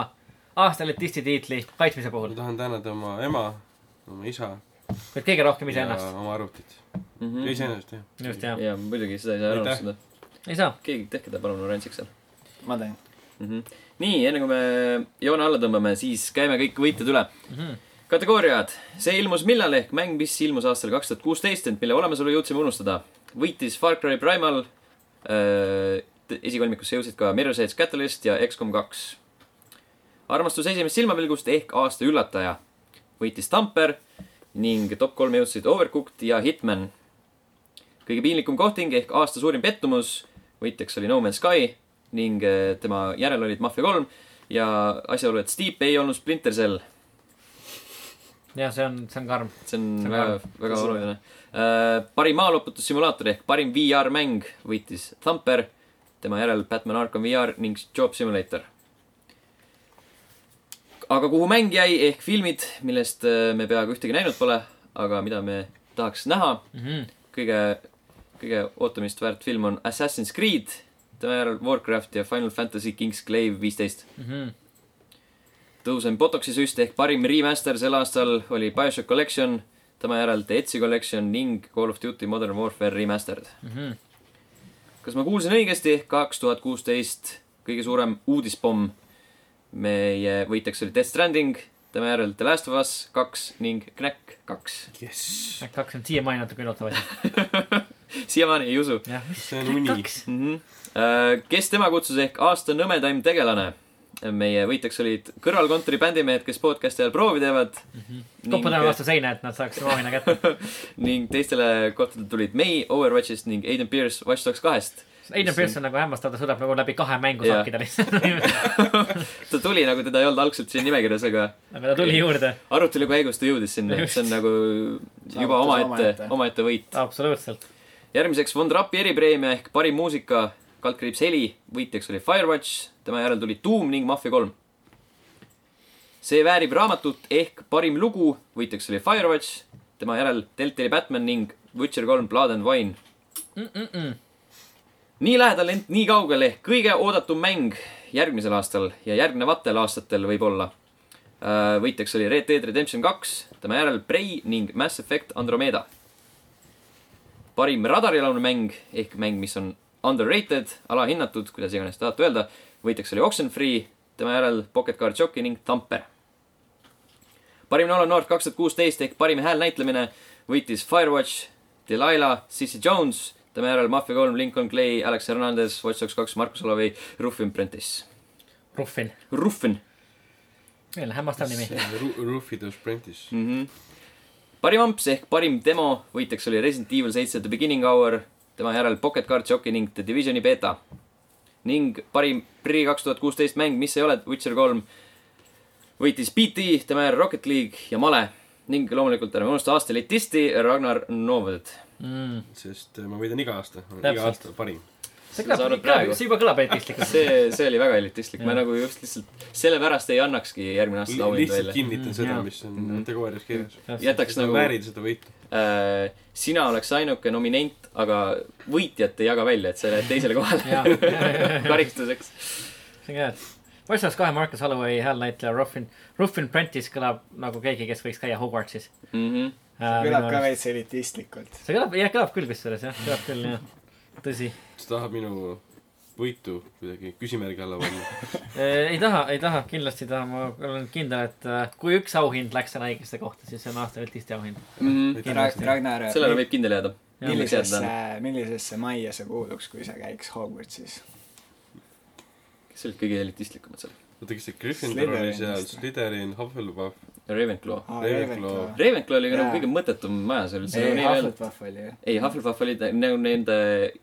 Speaker 2: aasta elitisti tiitli kaitsmise puhul
Speaker 4: ma ? tahan tänada oma ema , oma isa
Speaker 2: et kõige rohkem
Speaker 4: ja
Speaker 2: iseennast .
Speaker 4: oma arvutit .
Speaker 2: Mhm.
Speaker 1: mm .
Speaker 4: ja iseennast jah .
Speaker 2: just , jah .
Speaker 1: jaa , muidugi seda ei saa ära
Speaker 4: Aitäh.
Speaker 1: unustada .
Speaker 2: ei saa .
Speaker 1: keegi , tehke ta palun oranžiks seal
Speaker 3: ma teen .
Speaker 1: mm . -hmm. nii , enne kui me joone alla tõmbame , siis käime kõik võitjad üle
Speaker 2: Mhm.
Speaker 1: kategooriad , see ilmus millal ehk mäng , mis ilmus aastal kaks tuhat kuusteist , ent mille olemasolu jõudsime unustada . võitis Far Cry Primal äh, , esikolmikusse jõudsid ka Mirror's Edge Catalyst ja XCOM kaks . armastus esimest silmapilgust ehk aasta üllataja võitis Tamper ning top kolm jõudsid Overcooked ja Hitman . kõige piinlikum kohting ehk aasta suurim pettumus , võitjaks oli No Man's Sky ning äh, tema järel olid Mafia kolm ja asjaolu , et Steep ei olnud Splinter Cell
Speaker 2: jah , see on , see on karm .
Speaker 1: see on
Speaker 2: See on
Speaker 1: väga , väga oluline . parim maaloputussimulaator ehk parim VR-mäng võitis Thumper , tema järel Batman Arkham VR ning Job Simulator . aga kuhu mäng jäi ehk filmid , millest äh, me peaaegu ühtegi näinud pole , aga mida me tahaks näha ,
Speaker 2: Mhm.
Speaker 1: kõige , kõige ootamist väärt film on Assassin's Creed , tema järel Warcraft ja Final Fantasy Kingsclave viisteist .
Speaker 2: Mhm.
Speaker 1: tõusem Botoxi süst ehk parim remaster sel aastal oli BioShock Collection , tema järel The Etsi Collection ning Call of Duty Modern Warfare Remastered .
Speaker 2: Mhm.
Speaker 1: kas ma kuulsin õigesti , kaks tuhat kuusteist kõige suurem uudispomm . meie võitjaks oli Death Stranding , tema järel The Last of Us kaks ning Knack kaks .
Speaker 4: jess .
Speaker 2: äkki hakkasin siiamaani natuke
Speaker 4: <laughs>
Speaker 2: üllatama asja .
Speaker 1: siiamaani ei usu
Speaker 2: jah , mis
Speaker 4: see on uni .
Speaker 2: kaks ?
Speaker 1: mm . -hmm. kes tema kutsus ehk aasta nõmedaim tegelane ? meie võitjaks olid kõrvalkontori bändimehed , kes podcast'i ajal proovi teevad mm . -hmm.
Speaker 2: koputame vastu seina , et nad saaks oma auhinna kätte .
Speaker 1: ning teistele kohtadele tulid May Overwatchist ning Aiden Pierce Watch Dogs kahest .
Speaker 2: Aiden Pearson nagu hämmastav , ta suudab nagu läbi kahe mängu
Speaker 1: Jah.
Speaker 2: sakkida lihtsalt . <laughs>
Speaker 1: ta tuli nagu teda ei olnud algselt siin nimekirjas , aga
Speaker 2: aga ta tuli juurde ,
Speaker 1: arutelu käigus ta jõudis sinna , see on nagu juba
Speaker 3: Saavutas
Speaker 1: omaette
Speaker 3: omaette. ,
Speaker 1: omaette võit .
Speaker 2: absoluutselt .
Speaker 1: järgmiseks Von Trappi eripreemia ehk parim muusika , kaldkriips heli , võitjaks oli Firewatch , tema järel tuli Doom ning Mafia kolm . see väärib raamatut ehk parim lugu , võitjaks oli Firewatch , tema järel Deltali Batman ning Witcher kolm Blood and Wine . nii lähedal , ent nii kaugel ehk kõige oodatum mäng järgmisel aastal ja järgnevatel aastatel võib-olla . võitjaks oli Red Dead Redemption kaks , tema järel Prey ning Mass Effect Andromeda . parim radarialune mäng ehk mäng , mis on underrated , alahinnatud , kuidas iganes tahate öelda , võitjaks oli Oxenfree , tema järel Pocket Card Jockey ning Tamper . parim Nolan North kaks tuhat kuusteist ehk parim häälnäitlemine võitis Firewatch , Delilah , Sissy Jones , tema järel Mafia kolm , Lincoln Clay , Alex Hernandez , Watch Dogs kaks , Markus Olavi , Ruffin Prentice .
Speaker 2: Ruffin ,
Speaker 1: Ruffin
Speaker 2: meil on hämmastav nimi .
Speaker 4: Ruffi the Apprentice .
Speaker 1: mm . -hmm. parim amps ehk parim demo võitjaks oli Resident Evil seitse The Beginning Hour , tema järel Pocket Card Jockey ning The Divisioni beeta . ning parim Prix kaks tuhat kuusteist mäng , mis ei ole Witcher kolm , võitis BT , tema järel Rocket League ja Male ning loomulikult ärme unusta aasta elitisti Ragnar Novod .
Speaker 2: Mm.
Speaker 4: sest äh, ma võidan iga aasta ,
Speaker 2: Täpselt.
Speaker 4: iga aasta parim .
Speaker 2: see
Speaker 1: Sa
Speaker 2: kõlab
Speaker 1: arvad
Speaker 2: ikka
Speaker 1: praegu? ,
Speaker 2: see juba kõlab elitistlikult .
Speaker 1: see , see oli väga elitistlik , ma nagu just lihtsalt sellepärast ei annakski järgmine aasta auhind
Speaker 4: lihtsalt
Speaker 1: välja .
Speaker 4: kinnitan seda
Speaker 2: Mm, jaa. , Mm-hmm.
Speaker 4: mis on kategoorias kirjas .
Speaker 1: jätaks
Speaker 4: sa
Speaker 1: nagu ,
Speaker 4: väärid seda võitu .
Speaker 1: Äh, sina oleks ainuke nominent , aga võitjat ei jaga välja , et sa lähed teisele kohale .
Speaker 2: jah , see
Speaker 1: karistuseks .
Speaker 2: on ka hea . Watch Dogs kahe Marcus Holloway häälnäitleja Ruffin , Ruffin Prentice kõlab nagu keegi , kes võiks käia Hogwartsis .
Speaker 1: Mhm,
Speaker 3: kõlab ka veits elitistlikult .
Speaker 2: see kõlab , jah , kõlab küll kusjuures jah , kõlab küll jah , tõsi .
Speaker 4: sa tahad minu võitu kuidagi küsimärgi alla
Speaker 2: <laughs>
Speaker 4: panna .
Speaker 2: Äh, ei taha , ei taha , kindlasti ei taha , ma olen kindel , et äh, kui üks auhind läks täna õigesse kohta , siis see on aasta elitisti auhind .
Speaker 3: Ragnar ,
Speaker 1: mhm. sellele võib kindel jääda .
Speaker 3: millisesse , millisesse majja sa kuuluks , kui sa käiks Hogwartsis ?
Speaker 1: kes olid kõige elitistlikumad seal ?
Speaker 4: oota , kes see Gryffindor oli
Speaker 3: Slytherin
Speaker 4: seal ,
Speaker 3: vist või?
Speaker 4: Slytherin , Hufflepuff ,
Speaker 1: Ravenclaw .
Speaker 3: aa ,
Speaker 4: Ravenclaw.
Speaker 3: Ravenclaw .
Speaker 1: Ravenclaw oli ka nagu
Speaker 3: Jaa.
Speaker 1: kõige mõttetum maja seal üldse .
Speaker 3: ei , Hufflepuff oli jah .
Speaker 1: ei , Hufflepuff oli ta- nagu nende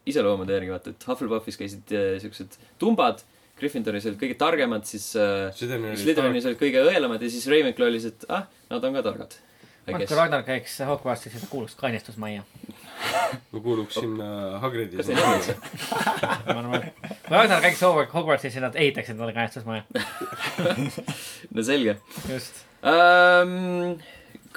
Speaker 1: iseloomude järgi , vaata , et Hufflepuffis käisid äh, siuksed tumbad , Gryffindoris olid kõige targemad , siis äh,
Speaker 4: Slytherin oli Stark ,
Speaker 1: Slytherinis olid kõige õelamad ja siis Ravenclaw oli see , et ah , nad on ka targad .
Speaker 2: kui Ragnar käiks Hogwartsis , siis ta kuuluks kainestusmajja .
Speaker 4: ma kuuluks sinna Hagrid'i .
Speaker 1: kas neil on üldse ?
Speaker 2: kui Ragnar käiks Hogwart- Hogwartsis , siis nad ehitaksid talle kainestusmaja .
Speaker 1: no selge
Speaker 2: just .
Speaker 1: um, .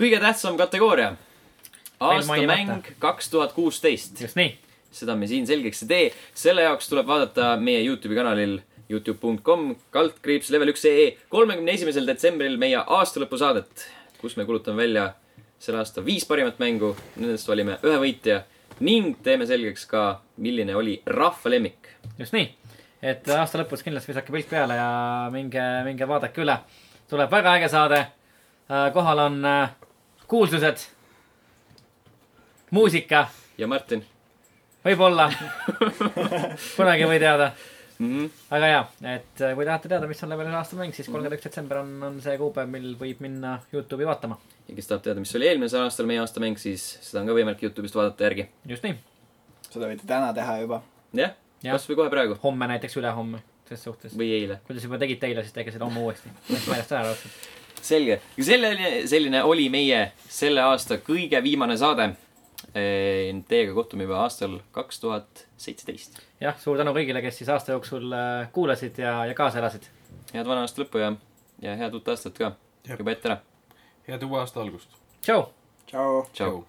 Speaker 1: kõige tähtsam kategooria .
Speaker 2: Veel
Speaker 1: aastamäng
Speaker 2: mainimata.
Speaker 1: kaks tuhat kuusteist
Speaker 2: just nii .
Speaker 1: seda me siin selgeks ei tee , selle jaoks tuleb vaadata meie Youtube'i kanalil Youtube.com , kaldkriips , level üks ee , kolmekümne esimesel detsembril meie aastalõpusaadet , kus me kuulutame välja selle aasta viis parimat mängu , nendest valime ühe võitja ning teeme selgeks ka , milline oli rahva lemmik .
Speaker 2: just nii , et aasta lõpus kindlasti visake pilk peale ja minge , minge vaadake üle . tuleb väga äge saade . kohal on äh, kuulsused , muusika ,
Speaker 1: ja Martin
Speaker 2: võib-olla , kunagi ei või teada ,
Speaker 1: mm ? -hmm.
Speaker 2: aga ja , et äh, kui tahate teada , mis on level ühe aasta mäng , siis kolmkümmend üks detsember on , on see kuupäev , mil võib minna Youtube'i vaatama .
Speaker 1: ja kes tahab teada , mis oli eelmisel aastal meie aastamäng , siis seda on ka võimalik Youtube'ist vaadata järgi .
Speaker 2: just nii ,
Speaker 3: seda võite täna teha juba .
Speaker 1: jah ja. ,
Speaker 2: Jah.
Speaker 1: kasvõi kohe praegu
Speaker 2: homme näiteks , ülehomme , ses suhtes .
Speaker 1: või eile .
Speaker 2: kui te juba tegite eile , siis tehke seda homme uuesti . Läks meelest ära raudselt .
Speaker 1: selge , selline , selline oli meie selle aasta kõige viimane saade . Teiega kohtume juba aastal kaks tuhat seitseteist .
Speaker 2: jah , suur tänu kõigile , kes siis aasta jooksul äh, kuulasid ja , ja kaasa elasid .
Speaker 1: head vana aasta lõppu ja , ja head uut aastat ka
Speaker 4: Jep.
Speaker 1: juba ette ära .
Speaker 4: head uue aasta algust .
Speaker 2: tšau .
Speaker 3: tšau .
Speaker 1: tšau .